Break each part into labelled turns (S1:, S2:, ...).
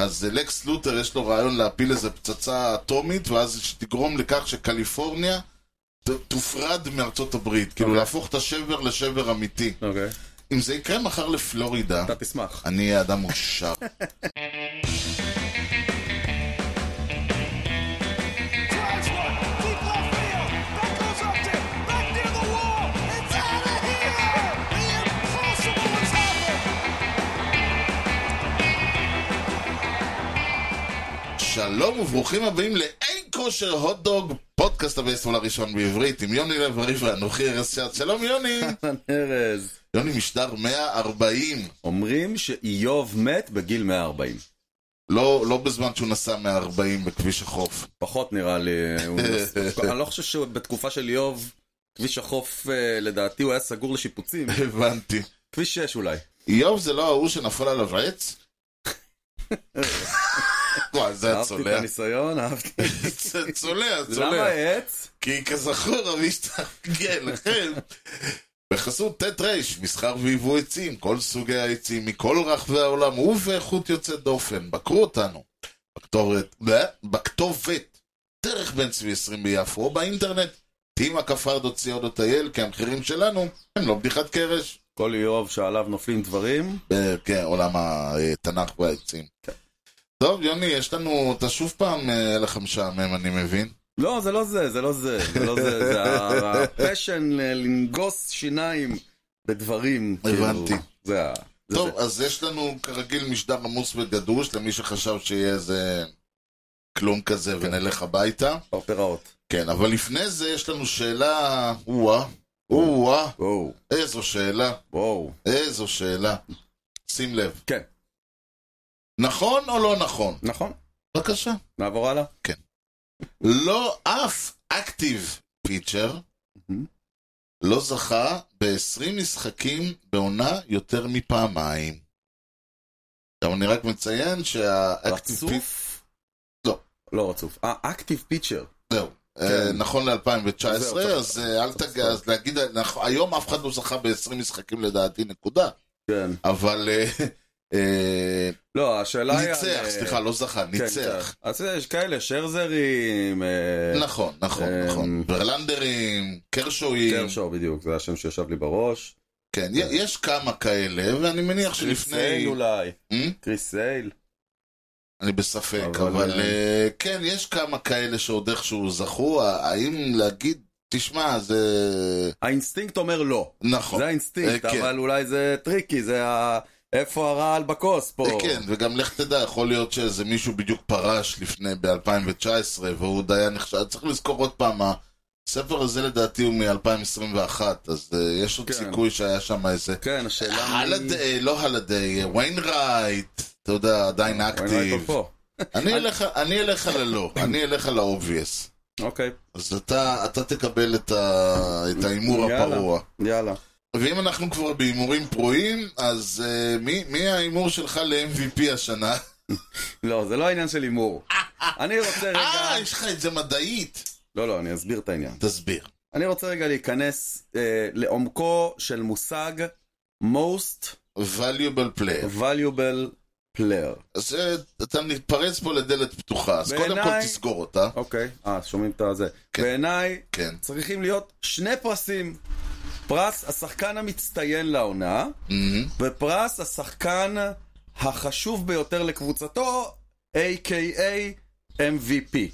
S1: אז לקס לותר יש לו רעיון להפיל איזה פצצה אטומית, ואז שתגרום לכך שקליפורניה ת- תופרד מארצות הברית. כאילו
S2: אוקיי.
S1: להפוך את השבר לשבר אמיתי.
S2: אוקיי.
S1: אם זה יקרה מחר לפלורידה,
S2: אתה תשמח.
S1: אני אהיה אדם מאושר.
S3: Drives one, deep left field. That goes up there, back near the wall. It's out of here. The impossible has happened.
S1: שלום וברוכים הבאים לאין כושר הוטדוג, פודקאסט הבייסבול הראשון בעברית, עם יוני לב ארי ואנוכי ארז שעד. שלום יוני!
S2: אהלן ארז.
S1: יוני משדר 140,
S2: אומרים שאיוב מת בגיל 140.
S1: לא, לא בזמן שהוא נסע 140 בכביש החוף.
S2: פחות נראה לי. הוא נס- אני לא חושב שבתקופה של איוב, כביש החוף אה, לדעתי הוא היה סגור לשיפוצים.
S1: הבנתי.
S2: כביש 6 אולי.
S1: איוב זה לא ההוא שנפל עליו עץ? וואי, זה היה
S2: אהבתי את
S1: צולע.
S2: הניסיון, אהבתי.
S1: זה צולע,
S2: למה
S1: צולע.
S2: עץ?
S1: כי כזכור, המשתגל, לכן. בחסות ט' ר', מסחר ויבוא עצים, כל סוגי העצים מכל רחבי העולם ובאיכות יוצאת דופן. בקרו אותנו. בכתורת, לא, בכתובת, דרך בן צבי 20 ביפו, או באינטרנט, תימא כפרד או ציוד או טייל, כי המחירים שלנו הם לא בדיחת קרש.
S2: כל איוב שעליו נופלים דברים.
S1: אה, כן, עולם התנ"ך והעצים.
S2: כן.
S1: טוב, יוני, יש לנו, אתה שוב פעם, אה, אין לך משעמם, אני מבין.
S2: לא, זה לא זה, זה לא זה, זה לא זה, זה ה- הפשן אה, לנגוס שיניים בדברים. כאילו.
S1: הבנתי.
S2: זה ה... זה
S1: טוב,
S2: זה.
S1: אז יש לנו כרגיל משדר עמוס וגדוש למי שחשב שיהיה איזה כלום כזה
S2: כן.
S1: ונלך הביתה.
S2: פרפראות.
S1: כן, אבל לפני זה יש לנו שאלה, או-אה, או-אה,
S2: וואו,
S1: איזו שאלה,
S2: וואו.
S1: איזו שאלה. שים לב.
S2: כן.
S1: נכון או לא נכון?
S2: נכון,
S1: בבקשה.
S2: נעבור הלאה.
S1: לא אף אקטיב פיצ'ר
S2: מהמם.
S1: לא זכה ב-20 משחקים בעונה יותר מפעמיים. גם אני רק מציין שהאקטיב פיצ'ר...
S2: רצוף?
S1: לא.
S2: לא רצוף. אה, אקטיב פיצ'ר.
S1: זהו.
S2: כן.
S1: אה, נכון ל-2019,
S2: זהו,
S1: אז אה, אל תג... אז להגיד, אנחנו- היום אף אחד לא זכה ב-20 משחקים לדעתי, נקודה.
S2: כן.
S1: אבל אה, אה,
S2: לא, השאלה היא... על,
S1: ניצח,
S2: אה,
S1: סליחה, לא זכה,
S2: כן,
S1: ניצח.
S2: כן. אז יש כאלה, שרזרים, אה,
S1: נכון, נכון,
S2: אה,
S1: נכון. ברלנדרים, קרשויים,
S2: קרשו כן, בדיוק, זה השם שישב לי בראש.
S1: כן, י- יש כמה כאלה, ואני מניח
S2: קריס סייל
S1: שלפני...
S2: אולי.
S1: Hmm?
S2: קריס סייל.
S1: אני בספק,
S2: אבל-
S1: אבל אה, כן, יש כמה כאלה שעוד איכשהו זכו, ה- האם להגיד, תשמע, זה...
S2: האינסטינקט אומר לא.
S1: נכון.
S2: זה
S1: אה,
S2: האינסטינקט,
S1: כן.
S2: אבל אולי זה טריקי, זה ה... איפה הרעל בכוס פה?
S1: אה, כן, וגם לך תדע, יכול להיות שאיזה מישהו בדיוק פרש לפני, ב-2019, והוא דיין נחשב, צריך לזכור עוד פעם, הספר הזה לדעתי הוא מ-2021, אז אה, יש עוד
S2: כן.
S1: סיכוי שהיה שם איזה...
S2: כן, השאלה
S1: הלדיי, לא הלדיי, אה, ויינרייט, אתה יודע, עדיין
S2: אה, אקטיב.
S1: אקטיב. אני אלך- אני אלך ללא, אני אלך לאובייס.
S2: אוקיי,
S1: אז אתה, אתה תקבל את, ה, את ההימור
S2: יאללה.
S1: הפרוע.
S2: יאללה.
S1: ואם אנחנו כבר בהימורים פרועים, אז uh, מי, מי ההימור שלך ל-MVP השנה?
S2: לא, זה לא העניין של הימור. אני רוצה
S1: אה,
S2: רגע...
S1: יש לך את זה מדעית.
S2: לא, לא, אני אסביר את העניין.
S1: תסביר.
S2: אני רוצה רגע להיכנס אה, לעומקו של מושג most
S1: valuable player.
S2: valuable player.
S1: אז אה, אתה מתפרץ פה לדלת פתוחה, אז קודם כל
S2: בעיניי-
S1: תסגור אותה.
S2: אוקיי, אה, שומעים את הזה.
S1: כן.
S2: בעיניי
S1: כן.
S2: צריכים להיות שני פרסים. פרס השחקן המצטיין לעונה,
S1: מהמם.
S2: ופרס השחקן החשוב ביותר לקבוצתו, A.K.A. MVP,
S1: אוקיי.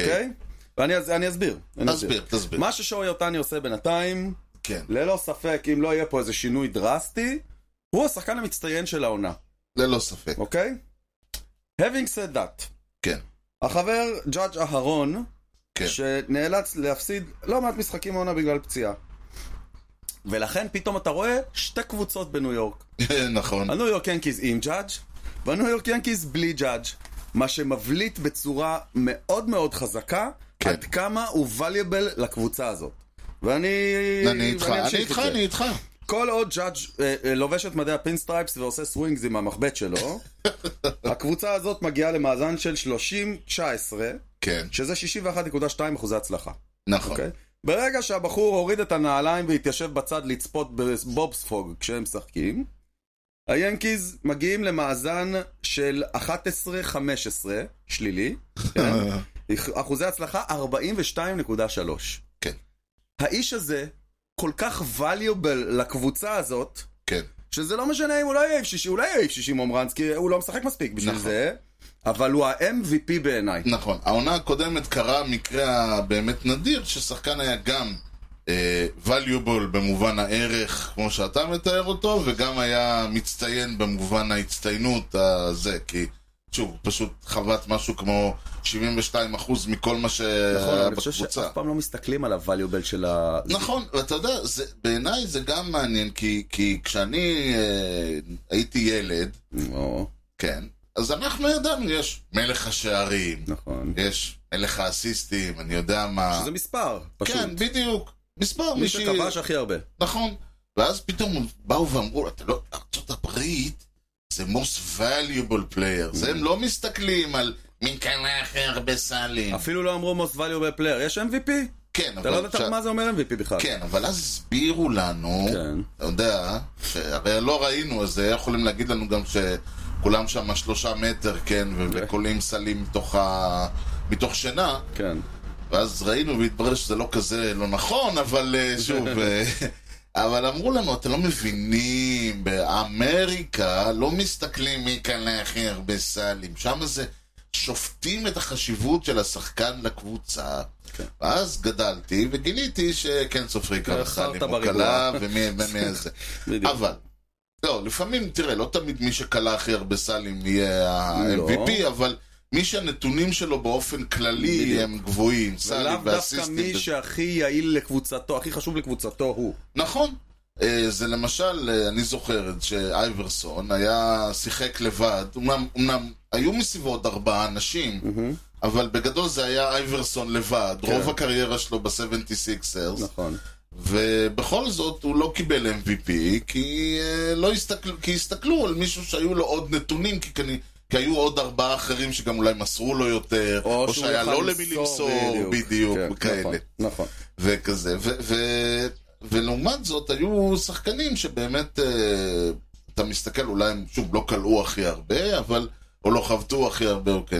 S2: אוקיי? ואני אז- אני אסביר. אני
S1: תסביר, תסביר.
S2: מה ששואי אותני עושה בינתיים,
S1: כן.
S2: ללא ספק, אם לא יהיה פה איזה שינוי דרסטי, הוא השחקן המצטיין של העונה,
S1: ללא ספק.
S2: אוקיי? Having said that,
S1: כן.
S2: החבר ג'אג' אהרון,
S1: כן.
S2: שנאלץ להפסיד לא מעט משחקים העונה בגלל פציעה. ולכן פתאום אתה רואה שתי קבוצות בניו יורק.
S1: נכון.
S2: הניו יורק ינקיז עם ג'אדג' והניו יורק ינקיז בלי ג'אדג'. מה שמבליט בצורה מאוד מאוד חזקה,
S1: כן.
S2: כן. עד כמה הוא valuable לקבוצה הזאת. ואני...
S1: אני איתך,
S2: ואני
S1: אני
S2: אמשיך
S1: איתך,
S2: את זה.
S1: אני איתך.
S2: כל עוד ג'אדג' אה, אה, לובש את מדי הפינסטרייפס ועושה סווינגס עם המחבט שלו, הקבוצה הזאת מגיעה למאזן של 30-19,
S1: כן,
S2: שזה 61.2 אחוזי הצלחה.
S1: נכון.
S2: אוקיי? ברגע שהבחור הוריד את הנעליים והתיישב בצד לצפות בבובספוג כשהם משחקים, היאנקיז מגיעים למאזן של 11-15, שלילי, כן? אחוזי הצלחה 42.3.
S1: כן.
S2: האיש הזה כל כך valuable לקבוצה הזאת,
S1: כן.
S2: שזה לא משנה אם הוא לא יעיף 60, אולי יעיף 60 עומרנס, כי הוא לא משחק מספיק בשביל
S1: נכון.
S2: זה, אבל הוא ה-MVP בעיניי.
S1: נכון. העונה הקודמת קרה מקרה באמת נדיר, ששחקן היה גם אה, valuable במובן הערך, כמו שאתה מתאר אותו, וגם היה מצטיין במובן ההצטיינות הזה, כי... שוב, הוא פשוט חבט משהו כמו 72% מכל מה שהיה
S2: נכון,
S1: בקבוצה.
S2: אני חושב שאף פעם לא מסתכלים על ה-valuable של ה...
S1: נכון, ואתה יודע, זה- בעיניי זה גם מעניין, כי, כי כשאני אה, הייתי ילד,
S2: או,
S1: כן, אז אנחנו ידענו, יש מלך השערים,
S2: נכון.
S1: יש מלך האסיסטים, אני יודע מה.
S2: שזה מספר, פשוט.
S1: כן, בדיוק. מספר
S2: מי
S1: מישהי,
S2: שכבש הכי הרבה.
S1: נכון. ואז פתאום באו ואמרו, אתה לא, ארצות הברית זה most valuable player, זה הם לא מסתכלים על מי קנה הכי הרבה סלים.
S2: אפילו לא אמרו most valuable player, יש MVP?
S1: כן,
S2: אתה לא
S1: אבל...
S2: יודעת
S1: כשה-
S2: מה זה אומר MVP בכלל.
S1: כן, אבל אז הסבירו לנו,
S2: כן.
S1: אתה יודע, שהרי לא ראינו, אז יכולים להגיד לנו גם שכולם שם שלושה מטר, כן, ו-
S2: אוקיי.
S1: וכולאים סלים מתוך, ה... מתוך שינה,
S2: כן.
S1: ואז ראינו והתברר שזה לא כזה לא נכון, אבל אה, שוב... אה, אבל אמרו לנו, אתם לא מבינים, באמריקה לא מסתכלים מי קנה הכי הרבה סלים, שם זה שופטים את החשיבות של השחקן לקבוצה.
S2: כן.
S1: ואז גדלתי וגיליתי שכן סופרים כמה סלים
S2: חרטא
S1: הוא
S2: בריבוע.
S1: קלה ומי ומי זה.
S2: בדיוק.
S1: אבל, לא, לפעמים, תראה, לא תמיד מי שקלע הכי הרבה סלים
S2: לא.
S1: יהיה ה-MVP, אבל מי שהנתונים שלו באופן כללי
S2: בדיוק.
S1: הם גבוהים, סלים
S2: ולאו דווקא
S1: ואסיסטים.
S2: מי שהכי יעיל לקבוצתו, הכי חשוב לקבוצתו הוא.
S1: נכון. אה, זה למשל, אה, אני זוכר את שאייברסון היה שיחק לבד, אמנם, אמנם היו מסביבו עוד ארבעה אנשים, אבל בגדול זה היה אייברסון לבד,
S2: כן.
S1: רוב הקריירה שלו ב-76ers,
S2: נכון.
S1: ובכל זאת הוא לא קיבל MVP, כי, אה, לא הסתכל, כי הסתכלו על מישהו שהיו לו עוד נתונים, כי, כני, כי היו עוד ארבעה אחרים שגם אולי מסרו לו יותר, או,
S2: שהוא
S1: שהיה
S2: יכל
S1: לא למי למסור, בדיוק,
S2: כן,
S1: כאלה.
S2: נכון, נכון.
S1: וכזה, ו- ו- ולעומת זאת היו שחקנים שבאמת, אה, אתה מסתכל, אולי הם שוב לא כלאו הכי הרבה, אבל, או לא חבטו הכי הרבה, או כן.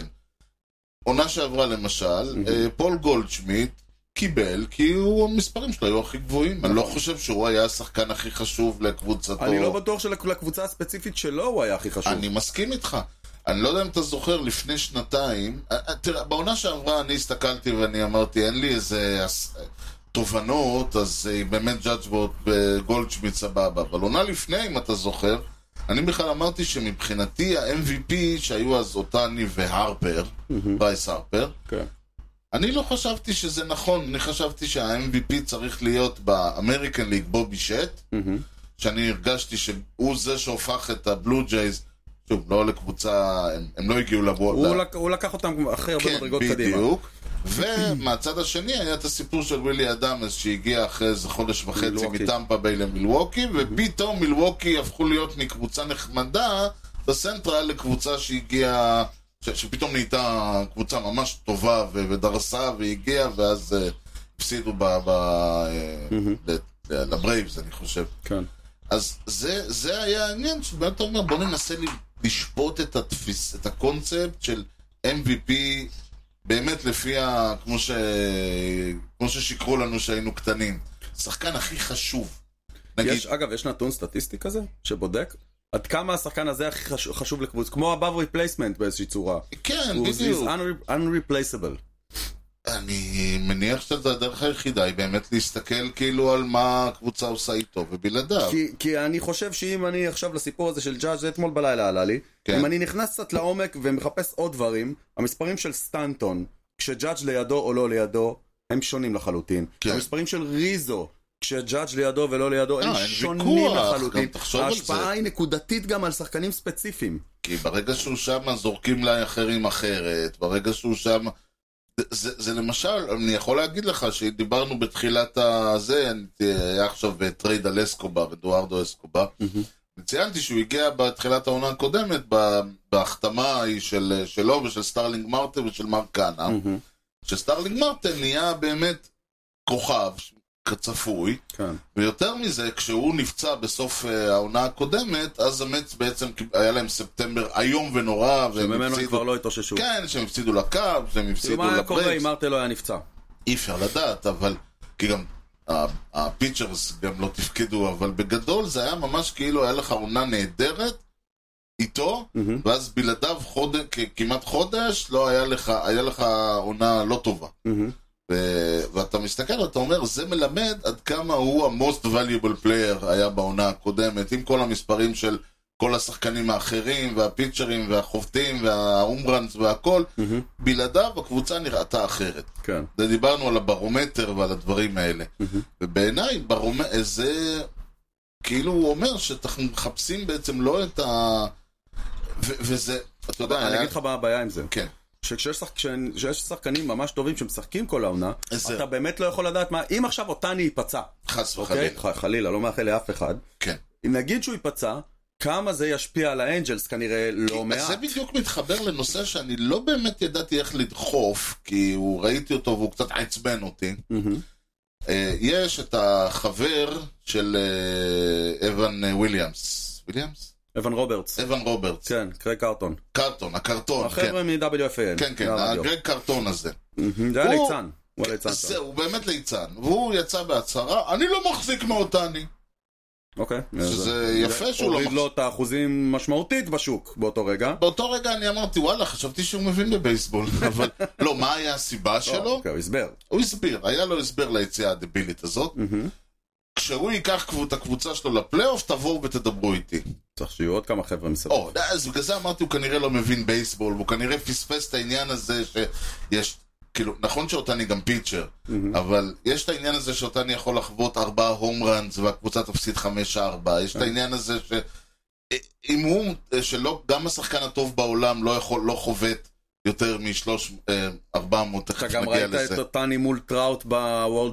S1: עונה שעברה למשל, אה, פול גולדשמיט קיבל, כי הוא, המספרים שלו היו הכי גבוהים. אני לא חושב שהוא היה השחקן הכי חשוב לקבוצתו.
S2: אני לא בטוח שלקבוצה הספציפית שלו הוא היה הכי חשוב.
S1: אני מסכים איתך. אני לא יודע אם אתה זוכר, לפני שנתיים, אה, אה, תראה, בעונה שעברה אני הסתכלתי ואני אמרתי, אין לי איזה אס- תובנות, אז אה, באמת ג'אג'בוט גולדשמיט סבבה. אבל עונה לפני, אם אתה זוכר, אני בכלל אמרתי שמבחינתי ה-MVP שהיו אז אותני והרפר, ברייס הרפר,
S2: כן.
S1: אני לא חשבתי שזה נכון, אני חשבתי שה-MVP צריך להיות באמריקן ליג בובי שט, שאני הרגשתי שהוא זה שהופך את הבלו ג'ייז, שוב, לא לקבוצה, הם, הם לא הגיעו לבוא...
S2: הוא
S1: ל-
S2: לק- הוא לקח אותם הכי הרבה
S1: כן,
S2: מדרגות קדימה.
S1: בדיוק. ומהצד השני היה את הסיפור של ווילי אדמס שהגיע אחרי איזה חודש וחצי
S2: מילווקי. Mhm.
S1: מטמפה ביי למילווקי, ופתאום מילווקי הפכו להיות מקבוצה נחמדה בסנטרל לקבוצה שהגיעה, ש- שפתאום נהייתה קבוצה ממש טובה ו- ודרסה והגיעה, ואז אה, הפסידו ב- ב- אה,
S2: Mhm.
S1: ל- ל- לברייבס, אני חושב.
S2: כן.
S1: אז זה, זה היה העניין, שבאמת אתה אומר, בוא ננסה ל- לשפוט את, התפיס, את הקונספט של MVP באמת לפי ה... כמו, ש... כמו ששיקרו לנו שהיינו קטנים. שחקן הכי חשוב. נגיד,
S2: יש, אגב, יש נתון סטטיסטי כזה, שבודק עד כמה השחקן הזה הכי חש- חשוב לקבוצה, כמו above replacement באיזושהי צורה.
S1: כן,
S2: הוא
S1: בדיוק.
S2: is unre- unreplaceable.
S1: אני מניח שזו הדרך היחידה היא באמת להסתכל כאילו על מה הקבוצה עושה איתו ובלעדיו.
S2: כי, כי אני חושב שאם אני עכשיו לסיפור הזה של ג'אג' זה אתמול בלילה עלה לי,
S1: כן.
S2: כן. אם אני נכנס קצת לעומק ומחפש עוד דברים, המספרים של סטנטון, כשג'אג' לידו או לא לידו, הם שונים לחלוטין.
S1: כן.
S2: כן. המספרים של ריזו, כשג'אג' לידו ולא לידו, הם
S1: אה, אין
S2: שונים
S1: ויכוח, גם
S2: לחלוטין.
S1: תחשוב על זה.
S2: ההשפעה היא נקודתית גם על שחקנים ספציפיים.
S1: כי ברגע שהוא שם, זורקים לאחרים אחרת. ברגע שהוא שם... זה, זה, זה למשל, אני יכול להגיד לך שדיברנו בתחילת הזה, אני- היה עכשיו טרייד על אסקובר, אדוארדו אסקובר. ציינתי שהוא הגיע בתחילת העונה הקודמת, ב- בהחתמה ההיא של, שלו ושל סטארלינג
S2: אה,
S1: מרטן ושל מרק קאנה. שסטארלינג מרטן נהיה באמת כוכב, כצפוי,
S2: כן.
S1: ויותר מזה, כשהוא נפצע בסוף אה, העונה הקודמת, אז המץ בעצם קיב- היה להם ספטמבר איום ונורא, והם
S2: וממנו הם כבר
S1: הפסידו...
S2: לא התאוששו.
S1: כן, שהם הפסידו לקאפ, שהם
S2: כאילו,
S1: הפסידו
S2: מה היה קורה
S1: לברקס,
S2: אם מרטל לא היה נפצע?
S1: אי אפשר לדעת, אבל... כי גם ה- הפיצ'רס גם לא תפקדו, אבל בגדול זה היה ממש כאילו היה לך עונה נהדרת איתו, ואז בלעדיו חוד... כ- כמעט חודש, לא היה לך, היה לך עונה לא טובה. ו... ואתה מסתכל, אתה אומר, זה מלמד עד כמה הוא ה-most valuable player היה בעונה הקודמת, עם כל המספרים של כל השחקנים האחרים, והפיצ'רים, והחובטים, והאומרנס והכל,
S2: Mm-hmm.
S1: בלעדיו הקבוצה נראתה אחרת.
S2: כן.
S1: זה דיברנו על הברומטר ועל הדברים האלה.
S2: Mm-hmm.
S1: ובעיניי, ברומ... זה כאילו הוא אומר שאנחנו מחפשים בעצם לא את ה... ו- וזה, אתה יודע,
S2: לא, אני
S1: היה-
S2: אגיד לך מה הבעיה עם זה.
S1: כן.
S2: שכשיש שחק- כשאני- כשיש שחקנים ממש טובים שמשחקים כל העונה,
S1: אז זהו.
S2: אתה באמת לא יכול לדעת מה, אם עכשיו אותני ייפצע,
S1: חס
S2: אוקיי?
S1: וחלילה.
S2: ח- חלילה, לא מאחל לאף אחד.
S1: כן.
S2: אם נגיד שהוא ייפצע, כמה זה ישפיע על האנג'לס כנראה לא
S1: אז
S2: מעט.
S1: אה, זה בדיוק מתחבר לנושא שאני לא באמת ידעתי איך לדחוף, כי הוא ראיתי אותו והוא קצת עצבן אותי.
S2: מהמם.
S1: אה, יש את החבר של אה, אבן אה, וויליאמס. וויליאמס?
S2: אבן רוברטס.
S1: אבן רוברטס.
S2: כן, קרי קרטון.
S1: קרטון, הקרטון, כן.
S2: החבר'ה מ-WFAN.
S1: כן, כן,
S2: מהרדיו.
S1: הגרג קרטון הזה.
S2: מהמם. זה היה
S1: הוא-
S2: ליצן. הוא היה ליצן.
S1: אז
S2: שם.
S1: זהו, הוא באמת ליצן. והוא יצא בהצהרה, אני לא מחזיק מאותני.
S2: אוקיי.
S1: שזה
S2: אז-
S1: יפה שהוא לא
S2: הוריד לו
S1: מחזיק.
S2: את האחוזים משמעותית בשוק באותו רגע.
S1: באותו רגע אני אמרתי, וואלה, חשבתי שהוא מבין בבייסבול, אבל לא, מה היה הסיבה שלו?
S2: אוקיי, הוא הסבר.
S1: הוא הסביר, היה לו הסבר ליציאה הדבילית הזאת.
S2: מהמם.
S1: כשהוא ייקח קבוצ- את הקבוצה שלו לפלייאוף, תבואו ותדברו איתי.
S2: צריך שיהיו עוד כמה חבר'ה מסביב.
S1: או, אז בגלל זה אמרתי, הוא כנראה לא מבין בייסבול, הוא כנראה פספס את העניין הזה שיש, כאילו, נכון שאותני גם פיצ'ר, אבל יש את העניין הזה שאותני יכול לחוות ארבעה הום ראנס והקבוצה תפסיד חמש-ארבע, יש את
S2: אה.
S1: העניין הזה ש... אם הוא, שלא, גם השחקן הטוב בעולם לא יכול, לא חובט יותר משלוש, אה, ארבע מאות,
S2: אתה
S1: תכף
S2: גם
S1: נגיע
S2: ראית
S1: לזה.
S2: את אותני מול טראוט לא,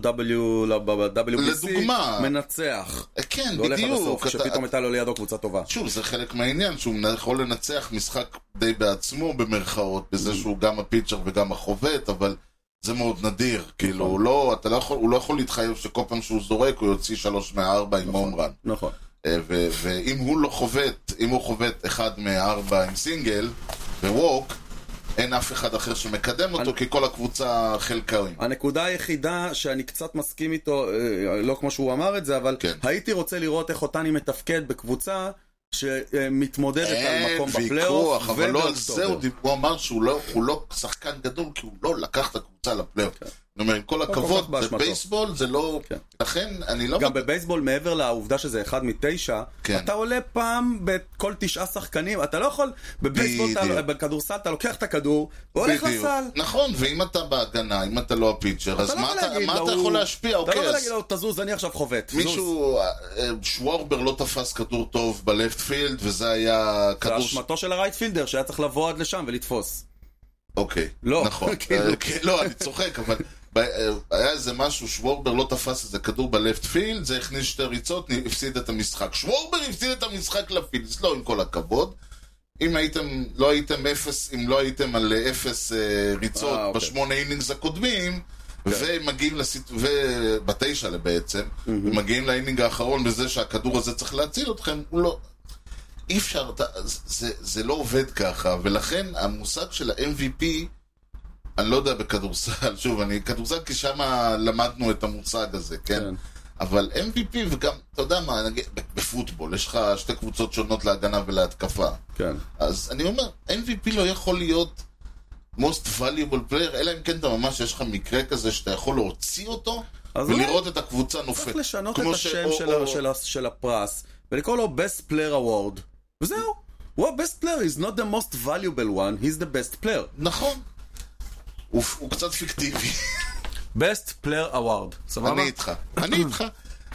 S2: ב-World W, ב-WBC,
S1: לדוגמה.
S2: מנצח.
S1: כן,
S2: לא הולך עד
S1: בדיוק.
S2: הסוף,
S1: אתה-
S2: כשפתאום הייתה לו לידו קבוצה טובה.
S1: שוב, זה חלק מהעניין, שהוא מנ- יכול לנצח משחק די בעצמו במרכאות, בזה שהוא גם הפיצ'ר וגם החובט, אבל זה מאוד נדיר. כאילו, הוא לא, אתה לא יכול, הוא לא יכול להתחייב שכל פעם שהוא זורק, הוא יוציא שלוש מארבע עם הומרן.
S2: נכון.
S1: אה, ו- ואם הוא לא חובט, אם הוא חובט אחד מארבע עם סינגל, וווק, אין אף אחד אחר שמקדם אותו, כי כל הקבוצה חלקאים.
S2: הנקודה היחידה שאני קצת מסכים איתו, אה, לא כמו שהוא אמר את זה, אבל
S1: כן.
S2: הייתי רוצה לראות איך אותני מתפקד בקבוצה שמתמודדת על מקום בפלייאוף
S1: ויכוח, אבל לא על זה
S2: ובאוקטובר.
S1: הוא דיבר, הוא אמר שהוא לא, הוא לא שחקן גדול, כי הוא לא לקח את הקבוצה לפלייאוף. אני אומר, עם כל
S2: כן. לא כל כך
S1: הכבוד, זה
S2: באשמתו.
S1: בייסבול, זה לא...
S2: כן.
S1: לכן, אני לא...
S2: גם בבייסבול, מעבר לעובדה שזה אחד מתשע,
S1: כן.
S2: אתה עולה פעם בכל תשעה שחקנים, אתה לא יכול, בבייסבול, אתה-
S1: בדיוק.
S2: בכדורסל אתה לוקח את הכדור, והולך
S1: בדיוק.
S2: לסל.
S1: נכון, ואם אתה בהגנה, אם אתה לא הפיצ'ר, אז
S2: אתה לא
S1: מה
S2: יכול
S1: אתה
S2: להגיד
S1: מה
S2: לו,
S1: אתה
S2: הוא-
S1: יכול להשפיע?
S2: אתה לא
S1: אוקיי,
S2: יכול
S1: אז
S2: להגיד לו, תזוז, אני עכשיו חובט. זוז.
S1: מישהו, אה, אה, שוורבר לא תפס כדור טוב בלפט פילד, וזה היה
S2: זה
S1: כדור... ש-
S2: אשמתו של הרייטפילדר שהיה צריך לבוא עד לשם ולתפוס.
S1: אוקיי.
S2: לא,
S1: נכון.
S2: כאילו.
S1: אה, כן, לא, אני צוחק, אבל ב- אה, היה איזה משהו, שוורבר לא תפס איזה כדור בלפט פילד, זה הכניס שתי ריצות, נ- הפסיד את המשחק. שוורבר הפסיד את המשחק לפילדס, לא עם כל הכבוד. אם הייתם, לא הייתם אפס, אם לא הייתם על אה, אפס אה, ריצות
S2: אה, אוקיי. כן.
S1: בשמונה אינינגס הקודמים, ומגיעים לסיט... ו- בתשע בעצם, מגיעים לאינינג האחרון בזה שהכדור הזה צריך להציל אתכם, הוא לא... אי אפשר, אתה, זה, זה לא עובד ככה, ולכן המושג של ה-MVP, אני לא יודע בכדורסל, שוב, אני כדורסל כי שם למדנו את המושג הזה, כן?
S2: כן.
S1: כן. אבל MVP וגם, אתה יודע מה, נגיד, בפוטבול, יש לך שתי קבוצות שונות להגנה ולהתקפה.
S2: כן.
S1: אז אני אומר, MVP לא יכול להיות most valuable player, אלא אם כן אתה ממש, יש לך מקרה כזה שאתה יכול להוציא אותו,
S2: אז
S1: ולראות את הקבוצה נופלת.
S2: צריך לשנות את
S1: כמו
S2: השם
S1: או-
S2: של
S1: או-
S2: ה- של ה- של הפרס, ולקרוא לו best player award, וזהו. הוא ה-best player, he's not the most valuable one, he's the best player.
S1: נכון. הוא, הוא קצת פיקטיבי.
S2: best player award, סבבה?
S1: אני איתך. אני איתך.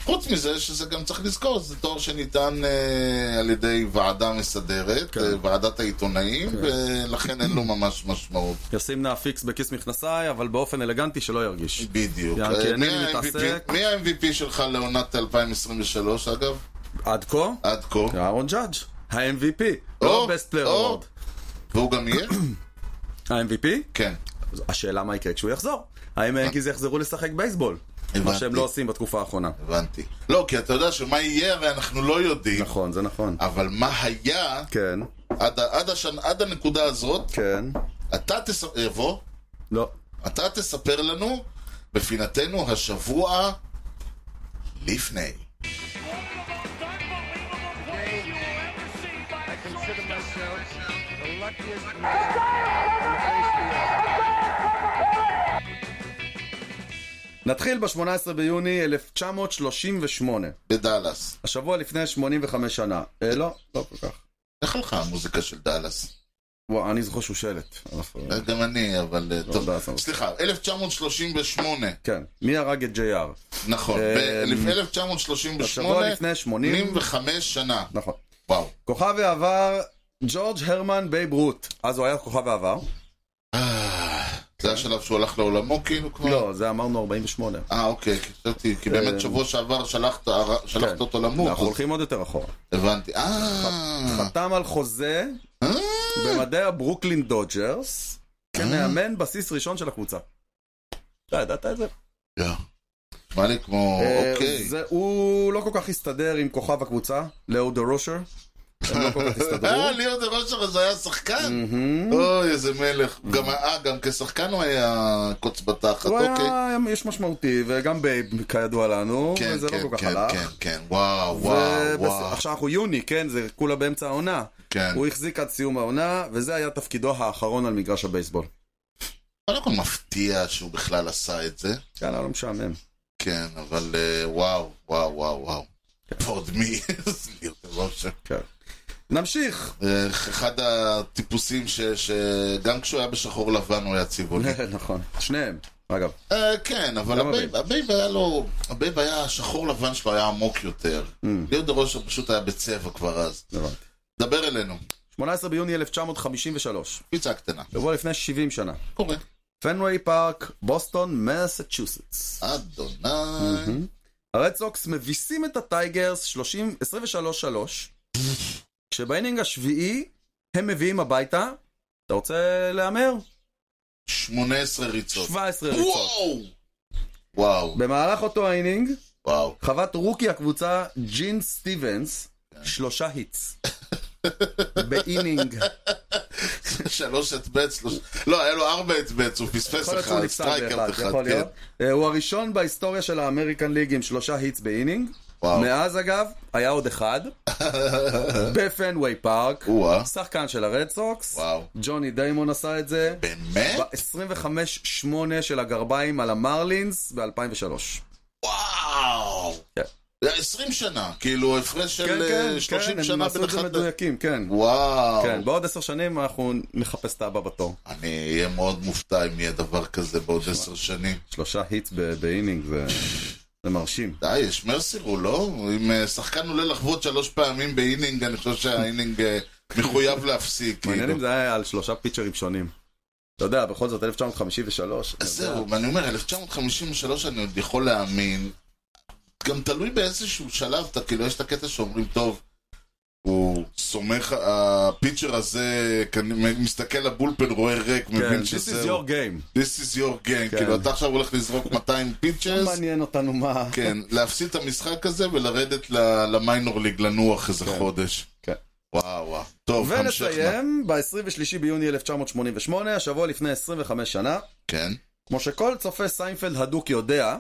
S1: חוץ מזה שזה גם צריך לזכור, זה תואר שניתן אה, על ידי ועדה מסדרת,
S2: כן.
S1: כן. אה, ועדת העיתונאים, כן. ולכן אין לו ממש משמעות.
S2: ישים נא פיקס בכיס מכנסיי, אבל באופן אלגנטי שלא ירגיש.
S1: בדיוק.
S2: יען,
S1: אה,
S2: כי אינני
S1: מי ה- MVP
S2: מתעסק.
S1: מי ה-MVP שלך לעונת 2023 אגב?
S2: עד כה,
S1: עד כה.
S2: אהרון ג'אדג', ה-MVP, לא
S1: או,
S2: best player
S1: או.
S2: award.
S1: והוא גם יהיה?
S2: ה-MVP?
S1: כן.
S2: השאלה מה יקרה כשהוא יחזור. האם היאנקיז יחזרו לשחק בייסבול? מה
S1: הבנתי.
S2: שהם לא עושים בתקופה האחרונה.
S1: הבנתי. לא, כי אתה יודע שמה יהיה הרי אנחנו לא יודעים,
S2: נכון, זה נכון.
S1: אבל מה היה
S2: כן,
S1: עד, ה- עד, השנ... עד הנקודה הזאת,
S2: כן.
S1: אתה תספר, יבוא,
S2: לא.
S1: אתה תספר לנו בפינתנו השבוע לפני.
S2: נתחיל ב-18 ביוני 1938.
S1: בדאלאס.
S2: השבוע לפני 85 שנה. אה, לא, לא כל כך.
S1: איך הלכה המוזיקה של דאלאס?
S2: וואו, אני זוכר שהוא שלט. אף-
S1: גם אני, אבל... אה, טוב,
S2: יודע, סבבה.
S1: סליחה, 1938,
S2: כן. מי הרג את JR?
S1: נכון,
S2: אה, השבוע
S1: ב-1938,
S2: לפני 80...
S1: 85 שנה.
S2: נכון.
S1: וואו.
S2: כוכב העבר, ג'ורג' הרמן בייב רות. אז הוא היה כוכב העבר?
S1: אה, זה השלב שהוא הלך לעולמו כאילו כבר?
S2: כן. לא, זה אמרנו 48.
S1: אה, אוקיי, כי חשבתי, כי
S2: אה,
S1: באמת שבוע שעבר שלחת אה, שלחת
S2: כן.
S1: אותו
S2: אנחנו
S1: למות, אז
S2: הולכים עוד יותר אחורה.
S1: הבנתי. אה,
S2: חתם על חוזה
S1: אה,
S2: במדעי הברוקלין דודג'רס כמאמן בסיס ראשון של הקבוצה. אתה ידעת את זה?
S1: יא. נשמע לי כמו,
S2: אה,
S1: אוקיי.
S2: זה- הוא לא כל כך הסתדר עם כוכב הקבוצה, לאו דה רושר. הם לא כל כך הסתדרו.
S1: אה, ליאור דה רושר הזה היה שחקן?
S2: מהמם.
S1: אוי, איזה מלך. גם, אה, גם כשחקן הוא היה קוץ בתחת,
S2: הוא
S1: אוקיי.
S2: היה איש משמעותי, וגם בייב, כידוע לנו,
S1: כן,
S2: וזה
S1: כן,
S2: לא כל כך
S1: כן,
S2: הלך.
S1: כן, כן, וואו, וואו,
S2: ובס-
S1: וואו.
S2: עכשיו אנחנו יוני, כן? זה כולה באמצע העונה.
S1: כן.
S2: הוא החזיק עד סיום העונה, וזה היה תפקידו האחרון על מגרש הבייסבול.
S1: קודם כל מפתיע שהוא בכלל עשה את זה.
S2: יאללה, לא משעמם.
S1: כן, אבל אה, וואו, וואו, וואו, וואו. ועוד מי? זה ליאור דה רושר.
S2: כן. נמשיך.
S1: אה, אחד הטיפוסים ש- שגם כשהוא היה בשחור לבן הוא היה צבעוני.
S2: נכון. שניהם, אגב.
S1: אה, כן, אבל
S2: גם
S1: הבייב- הבייב היה לו, הבייב היה, השחור לבן שלו היה עמוק יותר.
S2: Mm.
S1: ליאור דה רושר פשוט היה בצבע כבר אז.
S2: הבנתי.
S1: דבר אלינו,
S2: 18 ביוני 1953,
S1: פיצה קטנה.
S2: שבוע לפני 70 שנה.
S1: קורה.
S2: פנריי פארק, בוסטון, מסצ'וסטס.
S1: אדוני.
S2: Mm-hmm. הרד סוקס מביסים את הטייגרס 30 23-3, כשבאינינג השביעי הם מביאים הביתה, אתה רוצה להמר?
S1: 18 ריצות.
S2: 17 ריצות.
S1: וואו! וואו,
S2: במהלך אותו האינינג,
S1: וואו.
S2: חוות רוקי הקבוצה ג'ין סטיבנס, שלושה היטס. באינינג.
S1: שלוש אטבץ, שלוש... לא, היה לו ארבע אטבץ, הוא פספס
S2: יכול להיות שהוא
S1: אחד,
S2: נפסל
S1: סטרייק
S2: באחד,
S1: אאוט אחד,
S2: יכול
S1: כן.
S2: להיות. אה, הוא הראשון בהיסטוריה של האמריקן ליג עם שלושה היטס באינינג.
S1: וואו.
S2: מאז אגב, היה עוד אחד. בפנוויי פארק.
S1: או-אה.
S2: שחקן של הרד סוקס.
S1: וואו.
S2: ג'וני דיימון עשה את זה.
S1: באמת?
S2: ב-25-8 של הגרביים על המרלינס ב-2003.
S1: וואו!
S2: כן.
S1: זה היה 20 שנה, כאילו הפרש
S2: כן,
S1: של
S2: כן,
S1: אה, 30
S2: כן, הם
S1: שנה
S2: עשו
S1: בין
S2: את זה
S1: אחד... ל-
S2: מדויקים, כן.
S1: וואו.
S2: כן, בעוד עשר שנים אנחנו נחפש את הבא בתור.
S1: אני אהיה מאוד מופתע אם יהיה דבר כזה בעוד עשר שנים.
S2: שלושה היטס ב- באינינג זה- זה מרשים.
S1: די, יש מרסי הוא לא? אם אה, שחקן עולה לחוות שלוש פעמים באינינג, אני חושב שהאינינג אה, מחויב להפסיק.
S2: מעניין
S1: כאילו.
S2: אם זה היה על שלושה פיצ'רים שונים. אתה יודע, בכל זאת 1953.
S1: אז
S2: אתה יודע.
S1: זהו, ואני אומר, 1953 אני עוד יכול להאמין. גם תלוי באיזשהו שלב, אתה כאילו, יש את הקטע שאומרים, טוב, הוא סומך, הפיצ'ר הזה כנ- מסתכל לבולפן, רואה ריק,
S2: כן,
S1: מבין
S2: This
S1: שזהו.
S2: is your game.
S1: This is your game.
S2: כן.
S1: כאילו, אתה עכשיו הולך לזרוק 200 פיצ'רס,
S2: מעניין אותנו מה...
S1: כן, להפסיד את המשחק הזה ולרדת ל- למיינור ליג, לנוח איזה חודש.
S2: כן.
S1: וואו, וואו. טוב, המשכנו.
S2: ונסיים ב-23 ביוני 1988, השבוע לפני 25 שנה.
S1: כן,
S2: כמו שכל צופה סיינפלד הדוק יודע,